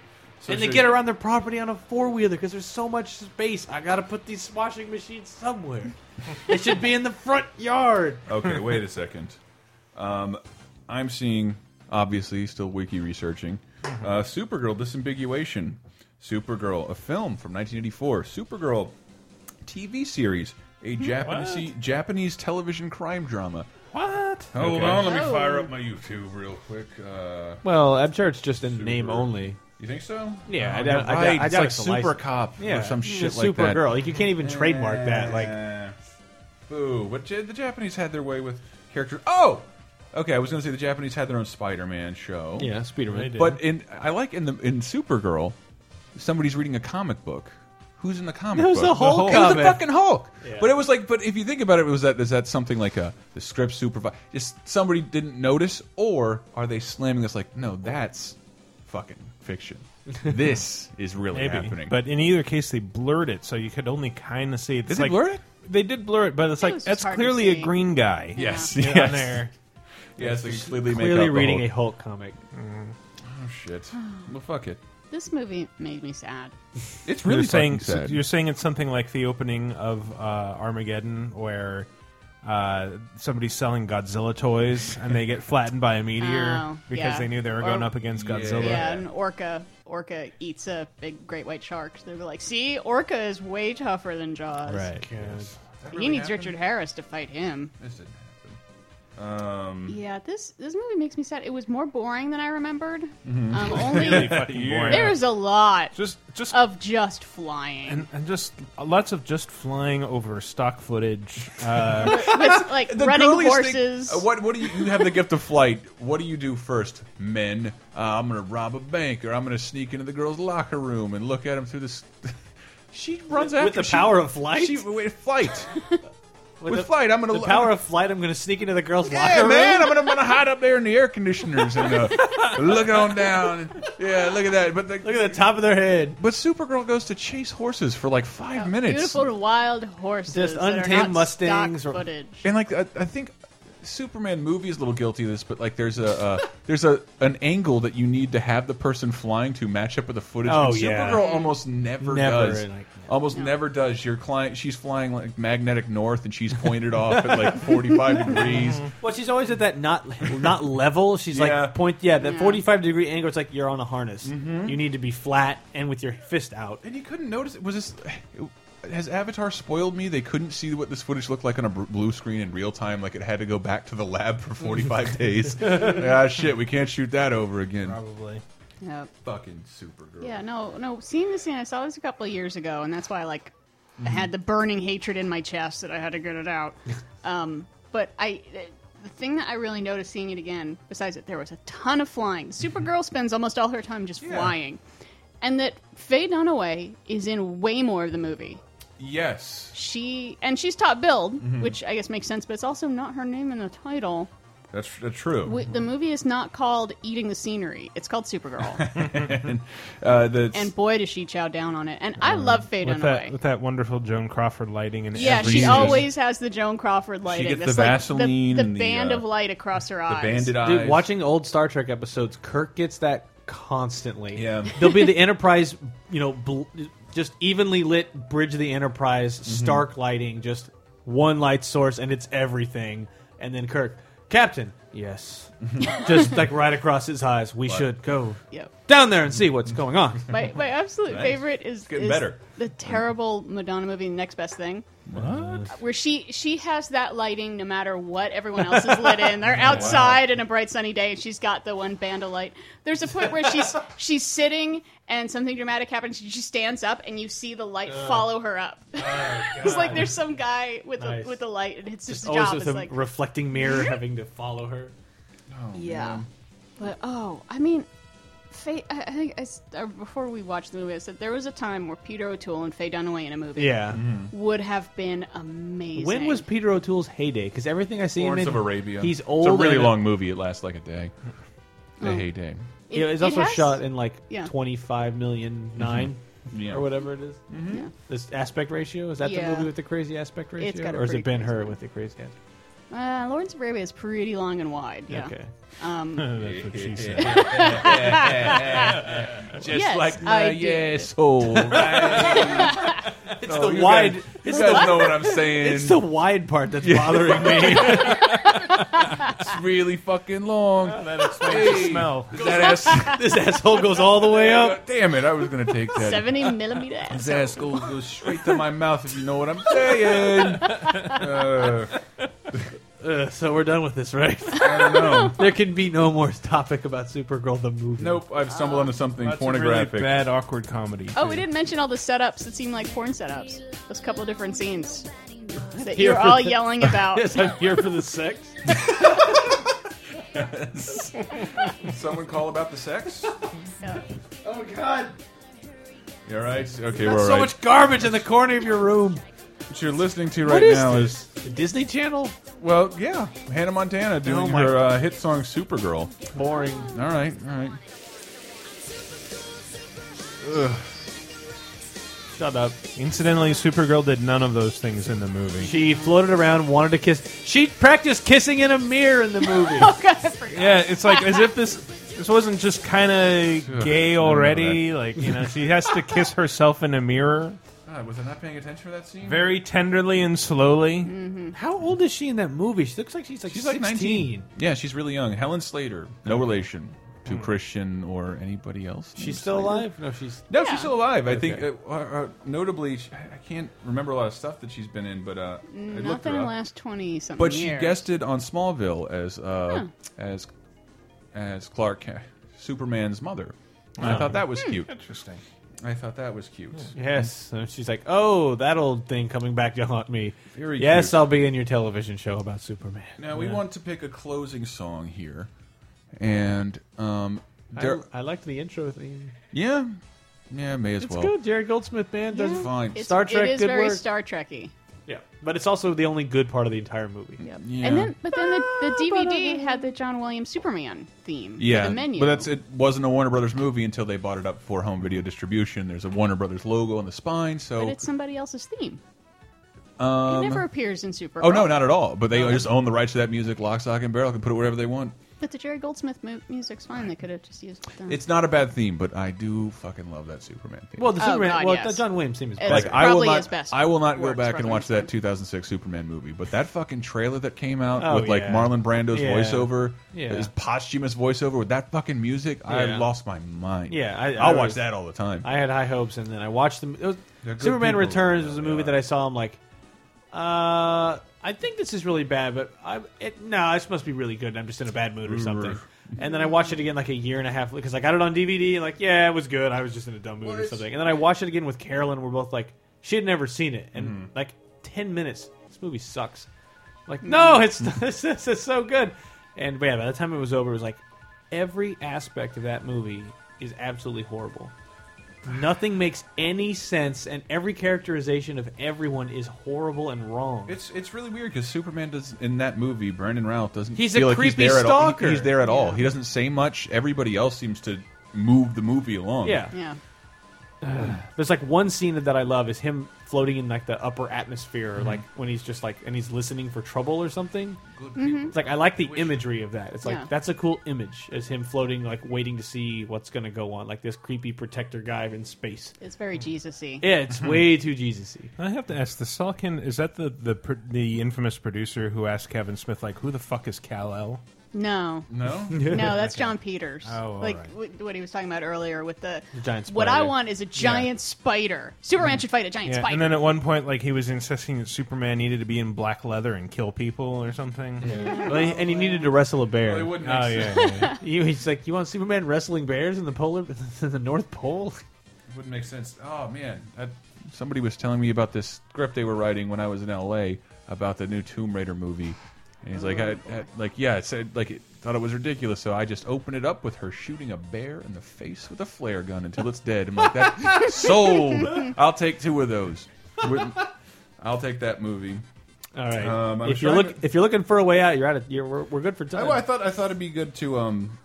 [SPEAKER 6] and they get around their property on a four wheeler because there's so much space. I gotta put these washing machines somewhere. they should be in the front yard.
[SPEAKER 3] okay, wait a second. Um, I'm seeing, obviously, still wiki researching. Uh, Supergirl disambiguation. Supergirl, a film from 1984. Supergirl TV series, a Japanese Japanese television crime drama.
[SPEAKER 4] What?
[SPEAKER 3] Hold
[SPEAKER 6] Okay.
[SPEAKER 3] on, let me
[SPEAKER 6] Oh.
[SPEAKER 3] fire up my YouTube real quick. Uh,
[SPEAKER 6] Well, I'm sure it's just in name only.
[SPEAKER 3] you think so?
[SPEAKER 6] Yeah,
[SPEAKER 3] Oh,
[SPEAKER 6] I
[SPEAKER 3] you're
[SPEAKER 6] doubt, I doubt,
[SPEAKER 3] right.
[SPEAKER 6] I
[SPEAKER 3] It's
[SPEAKER 6] doubt
[SPEAKER 3] like
[SPEAKER 6] it's a
[SPEAKER 3] Super
[SPEAKER 6] license.
[SPEAKER 3] Cop
[SPEAKER 6] yeah.
[SPEAKER 3] or some
[SPEAKER 6] Yeah,
[SPEAKER 3] shit like
[SPEAKER 6] Super
[SPEAKER 3] that.
[SPEAKER 6] Girl. Like you can't even trademark that. Like
[SPEAKER 3] Eh. boo. But Ja- the Japanese had their way with character. Oh, okay. I was going to say the Japanese had their own Spider-Man show.
[SPEAKER 6] Yeah, Spider-Man. They did.
[SPEAKER 3] But in I like in the in Supergirl, somebody's reading a comic book. Who's in the comic
[SPEAKER 6] Who's
[SPEAKER 3] book?
[SPEAKER 6] the Hulk
[SPEAKER 3] It was the
[SPEAKER 6] comic.
[SPEAKER 3] fucking Hulk.
[SPEAKER 6] Yeah.
[SPEAKER 3] But it was like, but if you think about it, it was that is that something like a the script supervisor? Just somebody didn't notice, or are they slamming us like, no, that's fucking fiction. This is really
[SPEAKER 4] Maybe.
[SPEAKER 3] happening.
[SPEAKER 4] But in either case, they blurred it, so you could only kind of see. It's
[SPEAKER 3] Did they
[SPEAKER 4] like,
[SPEAKER 3] blur it?
[SPEAKER 4] They did blur it, but it's
[SPEAKER 3] It
[SPEAKER 4] like
[SPEAKER 3] was just
[SPEAKER 4] that's
[SPEAKER 3] hard to
[SPEAKER 4] clearly a
[SPEAKER 3] see.
[SPEAKER 4] green guy.
[SPEAKER 3] Yes,
[SPEAKER 4] You know,
[SPEAKER 3] yes.
[SPEAKER 4] on there.
[SPEAKER 3] Yes, they completely make
[SPEAKER 6] clearly
[SPEAKER 3] out the
[SPEAKER 6] reading
[SPEAKER 3] Hulk.
[SPEAKER 6] a Hulk comic.
[SPEAKER 3] Oh shit. Well, fuck it.
[SPEAKER 5] This movie made me sad.
[SPEAKER 3] It's really
[SPEAKER 4] you're saying
[SPEAKER 3] fucking sad.
[SPEAKER 4] you're saying it's something like the opening of uh, Armageddon, where uh, somebody's selling Godzilla toys and they get flattened by a meteor
[SPEAKER 5] Oh,
[SPEAKER 4] because
[SPEAKER 5] yeah.
[SPEAKER 4] they knew they were
[SPEAKER 5] Or-
[SPEAKER 4] going up against Godzilla.
[SPEAKER 5] Yeah, an orca orca eats a big great white shark. They were like, "See, orca is way tougher than Jaws."
[SPEAKER 4] Right.
[SPEAKER 3] That
[SPEAKER 5] He
[SPEAKER 3] really
[SPEAKER 5] needs
[SPEAKER 3] happened?
[SPEAKER 5] Richard Harris to fight him.
[SPEAKER 3] This didn't happen. Um,
[SPEAKER 5] Yeah, this this movie makes me sad. It was more boring than I remembered.
[SPEAKER 3] Mhm.
[SPEAKER 5] Um,
[SPEAKER 3] It's
[SPEAKER 5] only
[SPEAKER 4] really fucking boring.
[SPEAKER 5] there's a lot
[SPEAKER 4] just just
[SPEAKER 5] of just flying.
[SPEAKER 4] and, and just lots of just flying over stock footage. Uh,
[SPEAKER 5] With, like
[SPEAKER 3] The
[SPEAKER 5] running
[SPEAKER 3] girliest
[SPEAKER 5] horses.
[SPEAKER 3] Thing, uh, what what do you you have the gift of flight? What do you do first, men? Uh, I'm gonna rob a bank, or I'm gonna sneak into the girls' locker room and look at them through this. she runs
[SPEAKER 6] With
[SPEAKER 3] after
[SPEAKER 6] the
[SPEAKER 3] she-
[SPEAKER 6] power of flight?
[SPEAKER 3] She with flight. with
[SPEAKER 6] the-
[SPEAKER 3] flight, I'm gonna
[SPEAKER 6] the
[SPEAKER 3] look-
[SPEAKER 6] power of flight. I'm going to sneak into the girls'
[SPEAKER 3] Yeah,
[SPEAKER 6] locker
[SPEAKER 3] man, I'm
[SPEAKER 6] room.
[SPEAKER 3] gonna, I'm gonna hide up there in the air conditioners and uh, look on down. And, yeah, look at that. But the, look
[SPEAKER 6] at the top of their head.
[SPEAKER 3] But Supergirl goes to chase horses for like five minutes.
[SPEAKER 5] Beautiful wild horses.
[SPEAKER 6] Just
[SPEAKER 5] that are not
[SPEAKER 6] untamed mustangs
[SPEAKER 5] stock
[SPEAKER 6] or-
[SPEAKER 5] footage.
[SPEAKER 3] And like I, I think Superman movie is a little guilty of this, but like there's a uh, there's a an angle that you need to have the person flying to match up with the footage.
[SPEAKER 4] Oh,
[SPEAKER 3] and
[SPEAKER 4] yeah.
[SPEAKER 3] Supergirl almost never,
[SPEAKER 4] Never,
[SPEAKER 3] does.
[SPEAKER 4] like, no.
[SPEAKER 3] Almost never does. Your client, she's flying like magnetic north, and she's pointed off at like 45 degrees.
[SPEAKER 6] Well, she's always at that not not level. She's
[SPEAKER 3] Yeah.
[SPEAKER 6] like point yeah, that
[SPEAKER 3] Yeah.
[SPEAKER 6] 45 degree angle. It's like you're on a harness. You need to be flat and with your fist out.
[SPEAKER 3] And you couldn't notice it was this. Has Avatar spoiled me? They couldn't see what this footage looked like on a br- blue screen in real time. Like it had to go back to the lab for 45 days. Like, ah, shit, we can't shoot that over again.
[SPEAKER 4] Probably.
[SPEAKER 5] Yep.
[SPEAKER 3] Fucking Supergirl.
[SPEAKER 5] Yeah, no, no. Seeing this scene, I saw this a couple of years ago, and that's why like I had
[SPEAKER 4] Mm-hmm.
[SPEAKER 5] the burning hatred in my chest that I had to get it out. um, but I, the thing that I really noticed seeing it again, besides that there was a ton of flying.
[SPEAKER 4] Mm-hmm.
[SPEAKER 5] Supergirl spends almost all her time just flying, and that Faye Dunaway is in way more of the movie.
[SPEAKER 3] Yes.
[SPEAKER 5] She and she's top billed,
[SPEAKER 4] Mm-hmm.
[SPEAKER 3] Mhm.
[SPEAKER 5] which I guess makes sense, but it's also not her name in the title.
[SPEAKER 3] That's, that's true.
[SPEAKER 5] W The movie is not called Eating the Scenery; it's called Supergirl.
[SPEAKER 3] and, uh, the,
[SPEAKER 5] and boy, does she chow down on it. And I love Faye
[SPEAKER 4] Uh, with
[SPEAKER 5] Dunaway.
[SPEAKER 4] that with that wonderful Joan Crawford lighting and
[SPEAKER 5] Yeah,
[SPEAKER 4] every
[SPEAKER 5] she
[SPEAKER 4] scene.
[SPEAKER 5] always has the Joan Crawford lighting.
[SPEAKER 4] gets
[SPEAKER 5] That's
[SPEAKER 4] the
[SPEAKER 5] like
[SPEAKER 4] Vaseline
[SPEAKER 5] the,
[SPEAKER 4] and the,
[SPEAKER 5] band
[SPEAKER 4] uh,
[SPEAKER 5] of light across her eyes.
[SPEAKER 6] Dude, watching old Star Trek episodes, Kirk gets that constantly.
[SPEAKER 3] Yeah.
[SPEAKER 6] There'll be the Enterprise, you know, bl- just evenly lit bridge of the
[SPEAKER 3] Mm-hmm.
[SPEAKER 6] Enterprise, stark lighting, just one light source, and it's everything. And then Kirk, Captain, yes. just like right across his eyes, we
[SPEAKER 3] Right.
[SPEAKER 6] should go
[SPEAKER 5] Yep.
[SPEAKER 6] down there and see what's going on.
[SPEAKER 5] My, my absolute
[SPEAKER 6] Nice.
[SPEAKER 5] favorite is,
[SPEAKER 6] It's getting
[SPEAKER 5] is
[SPEAKER 6] better.
[SPEAKER 5] the terrible Madonna movie, Next Best Thing. Where she she has that lighting no matter what everyone else is lit in. They're
[SPEAKER 13] Wow.
[SPEAKER 5] outside in a bright sunny day, and she's got the one band of light. There's a point where she's she's sitting and something dramatic happens. She stands up, and you see the light
[SPEAKER 6] Ugh.
[SPEAKER 5] follow her up. it's like there's some guy with
[SPEAKER 6] Nice.
[SPEAKER 5] a, with a light, and it's just,
[SPEAKER 6] Just
[SPEAKER 5] a
[SPEAKER 6] always
[SPEAKER 5] job.
[SPEAKER 6] with
[SPEAKER 5] It's
[SPEAKER 6] a
[SPEAKER 5] like
[SPEAKER 6] reflecting mirror having to follow her.
[SPEAKER 5] Yeah. But oh, I mean, Faye. I I think I s uh, before we watched the movie, I said there was a time where Peter O'Toole and Faye Dunaway in a movie,
[SPEAKER 6] Yeah. Mhm.
[SPEAKER 5] would have been amazing.
[SPEAKER 6] When was Peter O'Toole's heyday? Because everything I see him
[SPEAKER 3] Lawrence
[SPEAKER 6] in,
[SPEAKER 3] of Arabia.
[SPEAKER 6] He's old.
[SPEAKER 3] It's a really
[SPEAKER 6] and-
[SPEAKER 3] long movie. It lasts like a day. The
[SPEAKER 5] Oh.
[SPEAKER 3] heyday.
[SPEAKER 5] It-
[SPEAKER 6] Yeah, it's
[SPEAKER 5] it
[SPEAKER 6] also
[SPEAKER 5] has-
[SPEAKER 6] shot in like
[SPEAKER 5] Yeah.
[SPEAKER 6] 25 million 9
[SPEAKER 3] Mhm. Yeah.
[SPEAKER 6] or whatever it is.
[SPEAKER 5] Mhm. Yeah.
[SPEAKER 6] This aspect ratio is that
[SPEAKER 5] Yeah.
[SPEAKER 6] the movie with the crazy aspect ratio,
[SPEAKER 5] It's got a
[SPEAKER 6] or is it
[SPEAKER 5] pretty
[SPEAKER 6] Ben Hur with the crazy aspect?
[SPEAKER 5] uh, Lawrence of Arabia is pretty long and wide. Yeah.
[SPEAKER 6] Okay.
[SPEAKER 5] Um,
[SPEAKER 4] That's what she said.
[SPEAKER 3] Just
[SPEAKER 5] Yes,
[SPEAKER 3] like
[SPEAKER 5] I
[SPEAKER 3] my
[SPEAKER 5] did.
[SPEAKER 3] yes, all right.
[SPEAKER 6] It's
[SPEAKER 3] No,
[SPEAKER 6] the
[SPEAKER 3] you
[SPEAKER 6] wide.
[SPEAKER 3] guys- you
[SPEAKER 6] it's
[SPEAKER 3] guys
[SPEAKER 6] the-
[SPEAKER 3] know what I'm saying.
[SPEAKER 6] It's the wide part that's bothering me.
[SPEAKER 3] it's really fucking long.
[SPEAKER 4] that explains the smell.
[SPEAKER 3] Is that ass,
[SPEAKER 6] This asshole goes all the way up.
[SPEAKER 3] Damn it! I was gonna take that.
[SPEAKER 5] Seventy millimeter.
[SPEAKER 3] His ass goes, goes straight to my mouth. If you know what I'm saying. Uh,
[SPEAKER 6] Uh, so we're done with this, right?
[SPEAKER 3] I don't know.
[SPEAKER 6] There can be no more topic about Supergirl the movie.
[SPEAKER 3] Nope, I've stumbled onto something
[SPEAKER 4] Lots of really
[SPEAKER 3] pornographic.
[SPEAKER 4] bad, awkward comedy.
[SPEAKER 5] Oh, we didn't mention all the setups that seem like porn setups. Those couple of different scenes that
[SPEAKER 6] Here
[SPEAKER 5] you're
[SPEAKER 6] for
[SPEAKER 5] all
[SPEAKER 6] the-
[SPEAKER 5] yelling about.
[SPEAKER 6] yes, I'm here for the sex.
[SPEAKER 3] Someone call about the sex?
[SPEAKER 6] Oh God!
[SPEAKER 3] You all right? Okay,
[SPEAKER 6] That's
[SPEAKER 3] we're all
[SPEAKER 6] so
[SPEAKER 3] right.
[SPEAKER 6] much garbage in the corner of your room.
[SPEAKER 3] What you're listening to
[SPEAKER 6] What
[SPEAKER 3] right
[SPEAKER 6] is
[SPEAKER 3] now
[SPEAKER 6] this?
[SPEAKER 3] is
[SPEAKER 6] the Disney Channel.
[SPEAKER 3] well, yeah, Hannah Montana
[SPEAKER 6] Oh
[SPEAKER 3] doing
[SPEAKER 6] my-
[SPEAKER 3] her uh, hit song "Supergirl."
[SPEAKER 6] Boring.
[SPEAKER 3] All right, all right. Ugh.
[SPEAKER 6] Shut up.
[SPEAKER 4] Incidentally, Supergirl did none of those things in the movie.
[SPEAKER 6] She floated around, wanted to kiss. She practiced kissing in a mirror in the movie.
[SPEAKER 4] Yeah, it's like as if this this wasn't just kind of gay already. Like you know, she has to kiss herself in a mirror
[SPEAKER 3] God, was I not paying attention for that scene?
[SPEAKER 4] very tenderly and slowly.
[SPEAKER 6] How old is she in that movie? She looks like she's like
[SPEAKER 3] She's like
[SPEAKER 6] 16.
[SPEAKER 3] 19. Yeah, she's really young. Helen Slater, no relation. to Christian or anybody else.
[SPEAKER 6] She's still alive? No, she's
[SPEAKER 3] no, she's still alive. I think,
[SPEAKER 6] Okay.
[SPEAKER 3] uh, uh, notably, she, I can't remember a lot of stuff that she's been in, but uh, I looked
[SPEAKER 5] Mm, Nothing
[SPEAKER 3] her
[SPEAKER 5] in the
[SPEAKER 3] up.
[SPEAKER 5] last twenty something
[SPEAKER 3] But she
[SPEAKER 5] years.
[SPEAKER 3] guested on Smallville as uh,
[SPEAKER 5] Huh.
[SPEAKER 3] as as Clark Kent, Superman's mother. And
[SPEAKER 6] Oh.
[SPEAKER 3] I thought that was
[SPEAKER 6] Hmm.
[SPEAKER 3] cute.
[SPEAKER 4] Interesting.
[SPEAKER 3] I thought that was cute.
[SPEAKER 6] Yes, and she's like, "Oh, that old thing coming back to haunt me."
[SPEAKER 3] Very
[SPEAKER 6] yes,
[SPEAKER 3] cute.
[SPEAKER 6] I'll be in your television show about Superman.
[SPEAKER 3] Now we
[SPEAKER 6] Yeah.
[SPEAKER 3] want to pick a closing song here, and um, there,
[SPEAKER 6] I, I liked the intro theme.
[SPEAKER 3] yeah, yeah, may as
[SPEAKER 6] It's
[SPEAKER 3] well.
[SPEAKER 6] good. Jared Goldsmith band does
[SPEAKER 3] Yeah. Fine.
[SPEAKER 5] It's-
[SPEAKER 6] Star Trek
[SPEAKER 5] It is
[SPEAKER 6] good
[SPEAKER 5] very
[SPEAKER 6] work.
[SPEAKER 5] Star Trekky.
[SPEAKER 6] yeah, but it's also the only good part of the entire movie.
[SPEAKER 3] Yeah. Ah,
[SPEAKER 5] And then, but then the, the DVD had the John Williams Superman theme. for
[SPEAKER 3] Yeah,
[SPEAKER 5] the menu.
[SPEAKER 3] but that's it wasn't a Warner Brothers movie until they bought it up for home video distribution. There's a Warner Brothers logo on the spine,
[SPEAKER 5] But
[SPEAKER 3] so
[SPEAKER 5] it's somebody else's theme.
[SPEAKER 3] um,
[SPEAKER 5] it never appears in Super.
[SPEAKER 3] oh no, not at all. But they just own the rights to that music, lock, stock, and barrel, can put it wherever they want.
[SPEAKER 5] But the Jerry Goldsmith mu- music's fine. They could have just used it. Then.
[SPEAKER 3] It's not a bad theme, but I do fucking love that Superman theme.
[SPEAKER 6] Well, the
[SPEAKER 5] Oh,
[SPEAKER 6] Superman,
[SPEAKER 5] God,
[SPEAKER 6] well,
[SPEAKER 5] yes.
[SPEAKER 6] the John Williams theme is
[SPEAKER 5] It's
[SPEAKER 3] like
[SPEAKER 6] better.
[SPEAKER 3] I will
[SPEAKER 5] probably his
[SPEAKER 3] not,
[SPEAKER 5] best
[SPEAKER 3] I will not go
[SPEAKER 5] works,
[SPEAKER 3] back and
[SPEAKER 5] probably
[SPEAKER 3] watch
[SPEAKER 5] his
[SPEAKER 3] that 2006 Superman movie, but that fucking trailer that came out
[SPEAKER 6] Oh,
[SPEAKER 3] with like
[SPEAKER 6] yeah.
[SPEAKER 3] Marlon Brando's
[SPEAKER 6] Yeah.
[SPEAKER 3] voiceover,
[SPEAKER 6] Yeah.
[SPEAKER 3] his posthumous voiceover with that fucking music, I
[SPEAKER 6] Yeah.
[SPEAKER 3] lost my mind.
[SPEAKER 6] Yeah, I,
[SPEAKER 3] I, will
[SPEAKER 6] I
[SPEAKER 3] watch
[SPEAKER 6] was-
[SPEAKER 3] that all the time.
[SPEAKER 6] I had high hopes, and then I watched them. It was,
[SPEAKER 3] They're good
[SPEAKER 6] Superman
[SPEAKER 3] people.
[SPEAKER 6] Returns was a movie that I saw. I'm like, uh, I think this is really bad, but I, it, no, this must be really good. and I'm just in a bad mood or something. And then I watched it again like a year and a half because I got it on DVD. And like, yeah, it was good. I was just in a dumb mood or something. And then I watched it again with Carolyn. We're both like, she had never seen it, and
[SPEAKER 3] Mm-hmm.
[SPEAKER 6] like ten minutes, this movie sucks. Like, no, it's this, this is so good. And yeah, by the time it was over, it was like every aspect of that movie is absolutely horrible. Nothing makes any sense, and every characterization of everyone is horrible and wrong.
[SPEAKER 3] It's it's really weird because Superman does in that movie. Brandon Routh doesn't.
[SPEAKER 6] He's a
[SPEAKER 3] feel like
[SPEAKER 6] creepy
[SPEAKER 3] he's there At all.
[SPEAKER 6] stalker.
[SPEAKER 3] He- He's there at all.
[SPEAKER 6] Yeah.
[SPEAKER 3] He doesn't say much. Everybody else seems to move the movie along.
[SPEAKER 6] Yeah.
[SPEAKER 5] Yeah.
[SPEAKER 6] There's like one scene that I love is him floating in like the upper atmosphere, or, like when he's just like and he's listening for trouble or something.
[SPEAKER 5] Mhm.
[SPEAKER 6] It's like I like the imagery of that. It's like
[SPEAKER 5] Yeah.
[SPEAKER 6] that's a cool image as him floating, like waiting to see what's going to go on, like this creepy protector guy in space.
[SPEAKER 5] It's very
[SPEAKER 3] Mm.
[SPEAKER 5] Jesusy.
[SPEAKER 6] Yeah, it's way too Jesusy.
[SPEAKER 4] I have to ask the Salkin. Is that the the pr- the infamous producer who asked Kevin Smith like, "Who the fuck is Cal El?"
[SPEAKER 5] No.
[SPEAKER 3] No?
[SPEAKER 5] no, that's John Peters.
[SPEAKER 4] Oh, all
[SPEAKER 5] like
[SPEAKER 4] right.
[SPEAKER 5] w- what he was talking about earlier with the,
[SPEAKER 4] The giant
[SPEAKER 5] What I
[SPEAKER 4] spider.
[SPEAKER 5] want is a
[SPEAKER 4] Yeah.
[SPEAKER 5] giant spider. Superman should fight a giant
[SPEAKER 4] Yeah,
[SPEAKER 5] spider.
[SPEAKER 4] and then at one point, like he was insisting that Superman needed to be in black leather and kill people or something.
[SPEAKER 6] Well, he- and he needed to wrestle a bear.
[SPEAKER 4] Well, it wouldn't make
[SPEAKER 6] oh,
[SPEAKER 4] sense.
[SPEAKER 6] yeah, yeah, yeah. You- he's like, you want Superman wrestling bears in the polar, in the North Pole?
[SPEAKER 3] wouldn't make sense. Oh man, that, somebody was telling me about this script they were writing when I was in L.A. about the new Tomb Raider movie, and he's like, I, I- like yeah, it said like it thought it was ridiculous, so I just opened it up with her shooting a bear in the face with a flare gun until it's dead. I'm like, that sold. I'll take two of those. Wouldn't- I'll take that movie.
[SPEAKER 6] All right.
[SPEAKER 3] Um, I'm
[SPEAKER 6] if you're
[SPEAKER 3] trying
[SPEAKER 6] look,
[SPEAKER 3] to-
[SPEAKER 6] if you're looking for a way out, you're out of, you're, we're, we're good for
[SPEAKER 3] I,
[SPEAKER 6] time.
[SPEAKER 3] well, Oh, I thought I thought it'd be good to um,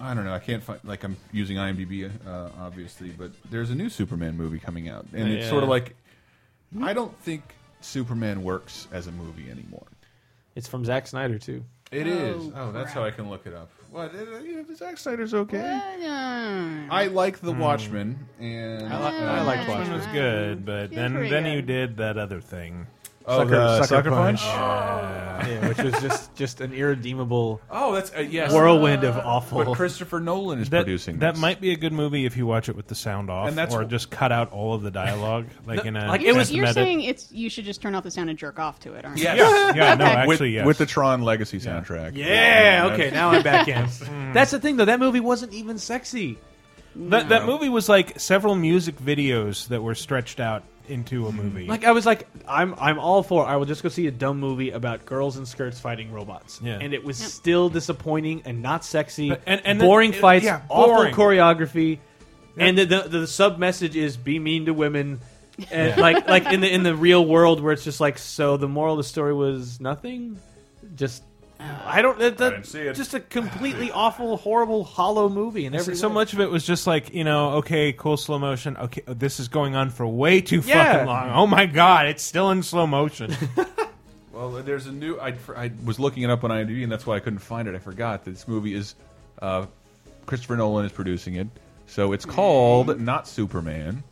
[SPEAKER 3] I don't know. I can't find like I'm using IMDb uh, obviously, but there's a new Superman movie coming out, and it's
[SPEAKER 6] Yeah.
[SPEAKER 3] sort of like I don't think Superman works as a movie anymore.
[SPEAKER 6] It's from Zack Snyder too.
[SPEAKER 3] It is. oh,
[SPEAKER 5] Oh,
[SPEAKER 3] that's
[SPEAKER 5] crap.
[SPEAKER 3] how I can look it up. What? It, it, Zack Snyder's okay.
[SPEAKER 5] Mm.
[SPEAKER 3] I like The Watchmen, and
[SPEAKER 4] I,
[SPEAKER 5] um,
[SPEAKER 4] li- I liked Watchmen. was good, but then
[SPEAKER 5] pretty
[SPEAKER 4] then
[SPEAKER 5] good.
[SPEAKER 4] you did that other thing.
[SPEAKER 3] Oh, the Sucker Punch?
[SPEAKER 4] Oh. Yeah.
[SPEAKER 6] yeah, which was just just an irredeemable
[SPEAKER 3] Oh, that's uh, yes.
[SPEAKER 6] whirlwind of awful.
[SPEAKER 3] But Christopher Nolan is
[SPEAKER 4] That,
[SPEAKER 3] producing
[SPEAKER 4] that
[SPEAKER 3] this.
[SPEAKER 4] might be a good movie if you watch it with the sound off,
[SPEAKER 3] And that's
[SPEAKER 4] or
[SPEAKER 3] wh-
[SPEAKER 4] just cut out all of the dialogue, like in a
[SPEAKER 6] like,
[SPEAKER 5] You're,
[SPEAKER 6] it was-
[SPEAKER 5] you're
[SPEAKER 4] meta-
[SPEAKER 5] saying it's you should just turn off the sound and jerk off to it, aren't you?
[SPEAKER 3] Yes.
[SPEAKER 4] yeah, yeah, no,
[SPEAKER 5] Okay.
[SPEAKER 4] actually,
[SPEAKER 3] with,
[SPEAKER 4] yes.
[SPEAKER 3] with the Tron Legacy soundtrack.
[SPEAKER 6] yeah,
[SPEAKER 3] that's-
[SPEAKER 6] okay, now I'm back in. That's the thing though. That movie wasn't even sexy.
[SPEAKER 4] That, that movie was like several music videos that were stretched out into a movie.
[SPEAKER 6] Mm. Like I was like, I'm I'm all for. I will just go see a dumb movie about girls in skirts fighting robots.
[SPEAKER 4] Yeah.
[SPEAKER 6] and it was still disappointing and not sexy.
[SPEAKER 4] But- and- and
[SPEAKER 6] boring
[SPEAKER 4] then- it-
[SPEAKER 6] fights,
[SPEAKER 4] yeah, boring.
[SPEAKER 6] awful choreography, and the, the the sub message is be mean to women. And like like in the in the real world where it's just like so the moral of the story was nothing, just. I don't. That, that,
[SPEAKER 4] didn't see it.
[SPEAKER 6] Just a completely awful, horrible, hollow movie, and every
[SPEAKER 4] so, so
[SPEAKER 6] way.
[SPEAKER 4] much of it was just like you know, okay, cool slow motion. Okay, this is going on for way too
[SPEAKER 6] Yeah.
[SPEAKER 4] fucking long. Oh my god, it's still in slow motion.
[SPEAKER 3] Well, there's a new. I, I was looking it up on IMDb, and that's why I couldn't find it. I forgot that this movie is uh, Christopher Nolan is producing it, so it's called not Superman,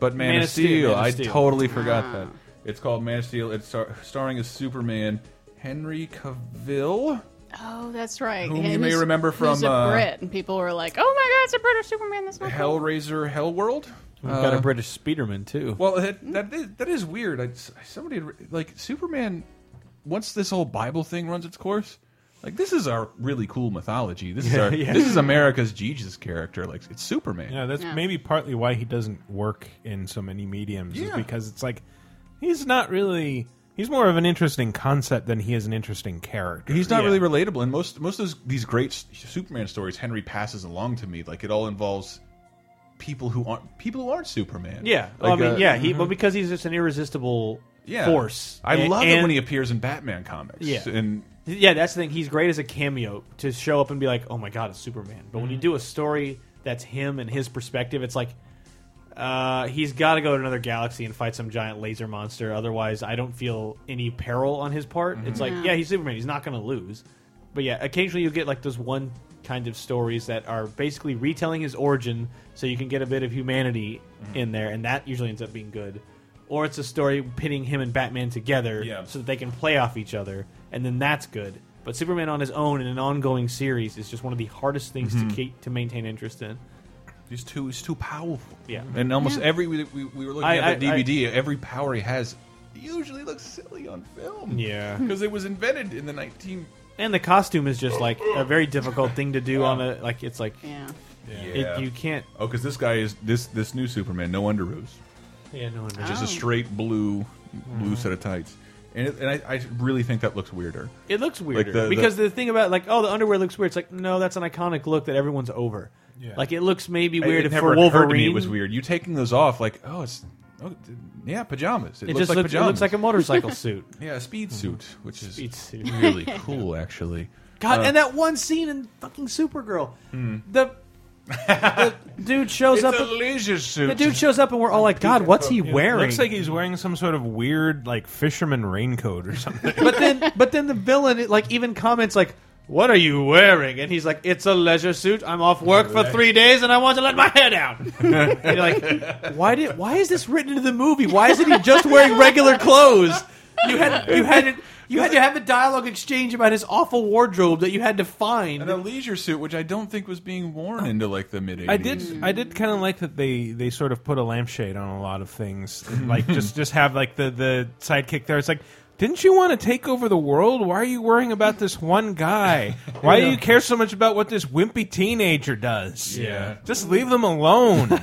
[SPEAKER 3] but Man, of Steel.
[SPEAKER 6] Man of
[SPEAKER 3] I
[SPEAKER 6] Steel.
[SPEAKER 3] totally forgot that. It's called Man of Steel. It's star starring as Superman, Henry Cavill.
[SPEAKER 5] Oh, that's right.
[SPEAKER 3] Whom
[SPEAKER 5] Yeah,
[SPEAKER 3] you may
[SPEAKER 5] who's-
[SPEAKER 3] remember
[SPEAKER 5] who's
[SPEAKER 3] from,
[SPEAKER 5] a
[SPEAKER 3] uh,
[SPEAKER 5] Brit, and people were like, "Oh my God, it's a British Superman!" That's not cool.
[SPEAKER 3] Hellraiser Hellworld.
[SPEAKER 6] We've got a
[SPEAKER 3] Uh,
[SPEAKER 6] British Speederman too.
[SPEAKER 3] Well, that, that is, that is weird. I, somebody had re- like Superman. Once this whole Bible thing runs its course, like this is our really cool mythology. This is
[SPEAKER 4] Yeah,
[SPEAKER 3] our
[SPEAKER 4] yeah.
[SPEAKER 3] this is America's Jesus character. Like it's Superman.
[SPEAKER 4] Yeah, that's maybe partly why he doesn't work in so many mediums is
[SPEAKER 3] Yeah.
[SPEAKER 4] because it's like he's not really he's more of an interesting concept than he is an interesting character.
[SPEAKER 3] He's not
[SPEAKER 4] Yeah.
[SPEAKER 3] really relatable, and most most of those, these great s- Superman stories Henry passes along to me, like it all involves people who aren't people who aren't Superman.
[SPEAKER 6] Yeah,
[SPEAKER 3] Like,
[SPEAKER 6] I mean,
[SPEAKER 3] uh,
[SPEAKER 6] yeah, he, but because he's just an irresistible
[SPEAKER 3] yeah.
[SPEAKER 6] force.
[SPEAKER 3] I
[SPEAKER 6] A-
[SPEAKER 3] love it
[SPEAKER 6] and-
[SPEAKER 3] when he appears in Batman comics.
[SPEAKER 6] Yeah,
[SPEAKER 3] and
[SPEAKER 6] yeah, that's the thing. He's great as a cameo to show up and be like, "Oh my god, it's Superman." But when you
[SPEAKER 3] Mm-hmm.
[SPEAKER 6] do a story that's him and his perspective, it's like uh, he's got to go to another galaxy and fight some giant laser monster. Otherwise, I don't feel any peril on his part. It's like,
[SPEAKER 13] Mhm.
[SPEAKER 6] yeah, he's Superman. He's not going to lose. But yeah, occasionally you get like those one kind of stories that are basically retelling his origin, so you can get a bit of humanity in there, and that usually ends up being good. Or it's a story pitting him and Batman together, so that they can play off each other, and then that's good. But Superman on his own in an ongoing series is just one of the hardest things
[SPEAKER 3] Mhm.
[SPEAKER 6] to keep, to maintain interest in.
[SPEAKER 3] He's too he's too powerful.
[SPEAKER 6] Yeah,
[SPEAKER 3] and almost every we, we, we were looking
[SPEAKER 6] I-
[SPEAKER 3] at the
[SPEAKER 6] I- I-
[SPEAKER 3] DVD, every power he has usually looks silly on film.
[SPEAKER 6] Yeah.
[SPEAKER 3] because it was invented in the nineteen.
[SPEAKER 6] And the costume is just like a very difficult thing to do on a like it's like
[SPEAKER 5] yeah,
[SPEAKER 3] Yeah.
[SPEAKER 6] It, you can't
[SPEAKER 3] Oh, because this guy is this this new Superman, no underoos.
[SPEAKER 6] Yeah, no underoos.
[SPEAKER 3] Just
[SPEAKER 6] Oh.
[SPEAKER 3] a straight blue blue
[SPEAKER 6] Mhm.
[SPEAKER 3] set of tights, and it, and I, I really think that looks weirder.
[SPEAKER 6] It looks
[SPEAKER 3] Like
[SPEAKER 6] weirder
[SPEAKER 3] the- the-
[SPEAKER 6] because the, thing about like oh the underwear looks weird. It's like no, that's an iconic look that everyone's over.
[SPEAKER 3] Yeah.
[SPEAKER 6] Like it looks maybe
[SPEAKER 3] It-
[SPEAKER 6] weird
[SPEAKER 3] it
[SPEAKER 6] for
[SPEAKER 3] never occurred
[SPEAKER 6] Wolverine.
[SPEAKER 3] to me it was weird. You taking those off, like oh, it's oh, d- yeah, pajamas. It,
[SPEAKER 6] It
[SPEAKER 3] looks
[SPEAKER 6] just
[SPEAKER 3] like
[SPEAKER 6] looks- it
[SPEAKER 3] pajamas.
[SPEAKER 6] looks like a motorcycle suit.
[SPEAKER 3] yeah, a speed suit, which is
[SPEAKER 6] Speed suit.
[SPEAKER 3] really cool, actually.
[SPEAKER 6] God,
[SPEAKER 3] Uh,
[SPEAKER 6] and that one scene in fucking Supergirl,
[SPEAKER 3] Hmm.
[SPEAKER 6] the, the dude shows
[SPEAKER 3] It's
[SPEAKER 6] up.
[SPEAKER 3] a
[SPEAKER 6] and-
[SPEAKER 3] leisure suit.
[SPEAKER 6] The dude shows up, and we're all like, "God, what's he
[SPEAKER 4] It
[SPEAKER 6] wearing?"
[SPEAKER 4] Looks like he's wearing some sort of weird like fisherman raincoat or something.
[SPEAKER 6] but then, but then the villain, it, like, even comments like, "What are you wearing?" And he's like, "It's a leisure suit. I'm off work for three days, and I want to let my hair down." And you're like, why did? Why is this written into the movie? Why isn't he just wearing regular clothes? You had you had it. You had to have a dialogue exchange about his awful wardrobe that you had to find.
[SPEAKER 3] and a leisure suit, which I don't think was being worn into like the mid 80s.
[SPEAKER 4] I did. I did kind of like that they they sort of put a lampshade on a lot of things. like just just have like the the sidekick there. It's like. Didn't you want to take over the world? Why are you worrying about this one guy? Why do
[SPEAKER 3] Yeah.
[SPEAKER 4] you care so much about what this wimpy teenager does?
[SPEAKER 3] Yeah.
[SPEAKER 4] Just leave them alone.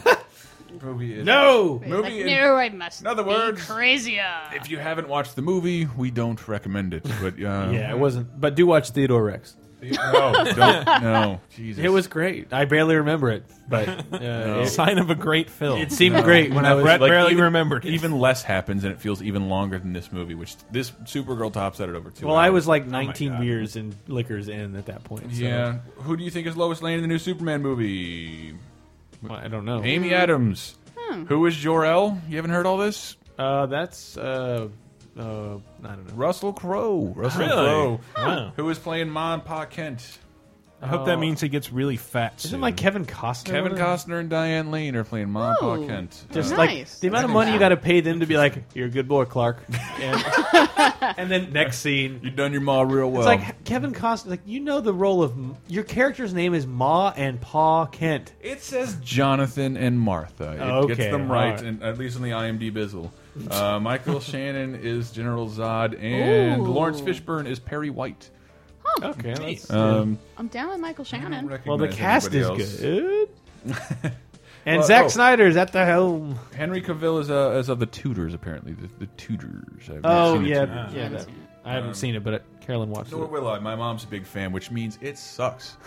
[SPEAKER 3] Movie is-
[SPEAKER 4] No!
[SPEAKER 5] Like,
[SPEAKER 3] movie. is-
[SPEAKER 5] no, I must. In
[SPEAKER 3] other words-
[SPEAKER 5] crazier.
[SPEAKER 3] if you haven't watched the movie, we don't recommend it. But uh,
[SPEAKER 6] Yeah, it wasn't. But do watch Theodore Rex.
[SPEAKER 3] No, don't. No, Jesus.
[SPEAKER 6] It was great. I barely remember it, but uh,
[SPEAKER 3] No.
[SPEAKER 6] it- It seemed
[SPEAKER 3] No.
[SPEAKER 6] great when I
[SPEAKER 3] No,
[SPEAKER 6] was
[SPEAKER 3] Brett
[SPEAKER 6] like,
[SPEAKER 3] barely
[SPEAKER 6] even-
[SPEAKER 3] remembered. Even less happens, and it feels even longer than this movie, which this Supergirl tops at it over two.
[SPEAKER 6] Well, I was like
[SPEAKER 3] Oh my
[SPEAKER 6] 19
[SPEAKER 3] God.
[SPEAKER 6] beers and liquors in at that point. so-
[SPEAKER 3] Yeah. Who do you think is Lois Lane in the new Superman movie?
[SPEAKER 6] I don't know.
[SPEAKER 3] Amy Adams.
[SPEAKER 6] Hmm.
[SPEAKER 3] Who is Jor El? You haven't heard all this?
[SPEAKER 6] Uh, that's uh, uh, I don't know.
[SPEAKER 3] Russell Crowe. Russell
[SPEAKER 4] Really?
[SPEAKER 3] Crowe.
[SPEAKER 4] Huh.
[SPEAKER 3] Who is playing Ma and Pa Kent?
[SPEAKER 4] I hope that means he gets really fat.
[SPEAKER 6] Isn't like Kevin Costner?
[SPEAKER 3] Kevin Costner and Diane Lane are playing Ma and
[SPEAKER 6] Oh.
[SPEAKER 3] Pa Kent.
[SPEAKER 6] Just
[SPEAKER 3] Uh,
[SPEAKER 6] like the amount of money you got to pay them to be like, "You're a good boy, Clark," and, and then next scene,
[SPEAKER 3] you've done your ma real well.
[SPEAKER 6] It's like Kevin Costner. Like you know the role of your character's name is Ma and Pa Kent.
[SPEAKER 3] It says Jonathan and Martha. It
[SPEAKER 6] Okay,
[SPEAKER 3] gets them right,
[SPEAKER 6] alright.
[SPEAKER 3] and at least in the IMDb bizzle. Uh, Michael Shannon is General Zod, and
[SPEAKER 5] Ooh.
[SPEAKER 3] Lawrence Fishburne is Perry White.
[SPEAKER 5] Huh.
[SPEAKER 6] Okay, that's-
[SPEAKER 3] Um,
[SPEAKER 5] I'm down with Michael Shannon.
[SPEAKER 6] Well, the
[SPEAKER 3] recognize
[SPEAKER 6] cast is
[SPEAKER 3] anybody else.
[SPEAKER 6] good, and
[SPEAKER 3] Well,
[SPEAKER 6] Zack
[SPEAKER 3] oh.
[SPEAKER 6] Snyder's at the helm.
[SPEAKER 3] Henry Cavill is, uh, is of the Tudors, apparently. The, the Tudors. I've not
[SPEAKER 6] Oh
[SPEAKER 3] seen Um, the
[SPEAKER 6] yeah,
[SPEAKER 3] Tudors.
[SPEAKER 6] yeah. that- I haven't seen it, but Carolyn watched
[SPEAKER 3] Nor
[SPEAKER 6] it.
[SPEAKER 3] will I. My mom's a big fan, which means it sucks.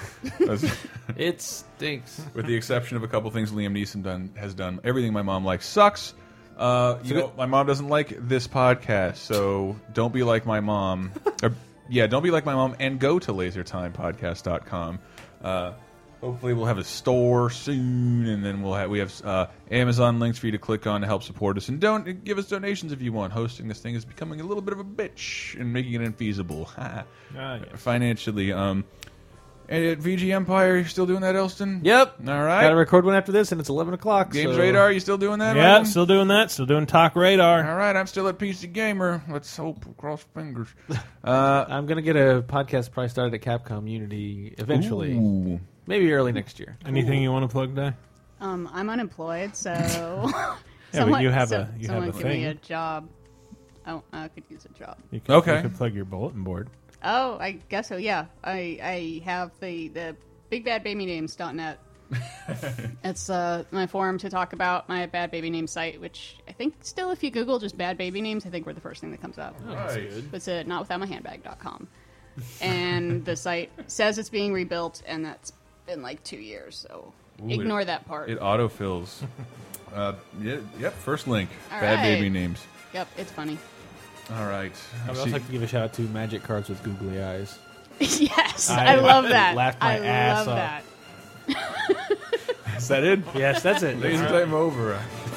[SPEAKER 6] it stinks.
[SPEAKER 3] With the exception of a couple things Liam Neeson done has done, everything my mom likes sucks. Uh, you know, my mom doesn't like this podcast, so don't be like my mom. or, yeah, don't be like my mom and go to lasertimepodcast.com. Uh, hopefully we'll have a store soon and then we'll have we have uh, Amazon links for you to click on to help support us and don't give us donations if you want. Hosting this thing is becoming a little bit of a bitch and making it infeasible.
[SPEAKER 4] Ah, yeah.
[SPEAKER 3] Financially um And at VG Empire, you're still doing that, Elston?
[SPEAKER 6] Yep.
[SPEAKER 3] All right.
[SPEAKER 6] Got to record one after this, and it's 11 o'clock.
[SPEAKER 3] Games
[SPEAKER 6] so-
[SPEAKER 3] Radar, you still doing that?
[SPEAKER 4] Yeah,
[SPEAKER 3] Ivan?
[SPEAKER 4] still doing that. Still doing Talk Radar.
[SPEAKER 3] All right, I'm still at PC Gamer. Let's hope, cross fingers.
[SPEAKER 6] Uh, I'm going to get a podcast probably started at Capcom Unity eventually.
[SPEAKER 3] Ooh.
[SPEAKER 6] Maybe early next year.
[SPEAKER 4] Anything you want to plug there?
[SPEAKER 5] Um, I'm unemployed, so
[SPEAKER 4] but
[SPEAKER 5] someone,
[SPEAKER 4] you have
[SPEAKER 5] so-
[SPEAKER 4] a- you have
[SPEAKER 5] someone
[SPEAKER 4] a
[SPEAKER 5] give
[SPEAKER 4] thing.
[SPEAKER 5] me a job. Oh, I could use a job.
[SPEAKER 4] You could,
[SPEAKER 3] Okay.
[SPEAKER 4] You could plug your bulletin board.
[SPEAKER 5] Oh, I guess so. Yeah, I I have the the bigbadbabynames.net. it's uh, my forum to talk about my bad baby name site, which I think still, if you Google just bad baby names, I think we're the first thing that comes up.
[SPEAKER 10] Oh, that's Right. good.
[SPEAKER 5] It's uh, notwithoutmyhandbag.com, and the site says it's being rebuilt, and that's been like two years, so ignore
[SPEAKER 3] it-
[SPEAKER 5] that part.
[SPEAKER 3] It autofills. uh, yeah, yep, first link.
[SPEAKER 5] All
[SPEAKER 3] Bad
[SPEAKER 5] right.
[SPEAKER 3] baby names.
[SPEAKER 5] Yep, it's funny.
[SPEAKER 3] All right.
[SPEAKER 6] I would
[SPEAKER 3] See-
[SPEAKER 6] also like to give a shout out to Magic Cards with Googly Eyes.
[SPEAKER 5] yes,
[SPEAKER 6] I
[SPEAKER 5] I, love that.
[SPEAKER 6] laughed my
[SPEAKER 5] I
[SPEAKER 6] ass
[SPEAKER 5] love
[SPEAKER 6] off.
[SPEAKER 5] that.
[SPEAKER 3] Is that it?
[SPEAKER 6] Yes, that's it.
[SPEAKER 3] Ladies and
[SPEAKER 6] That's
[SPEAKER 3] gentlemen, over.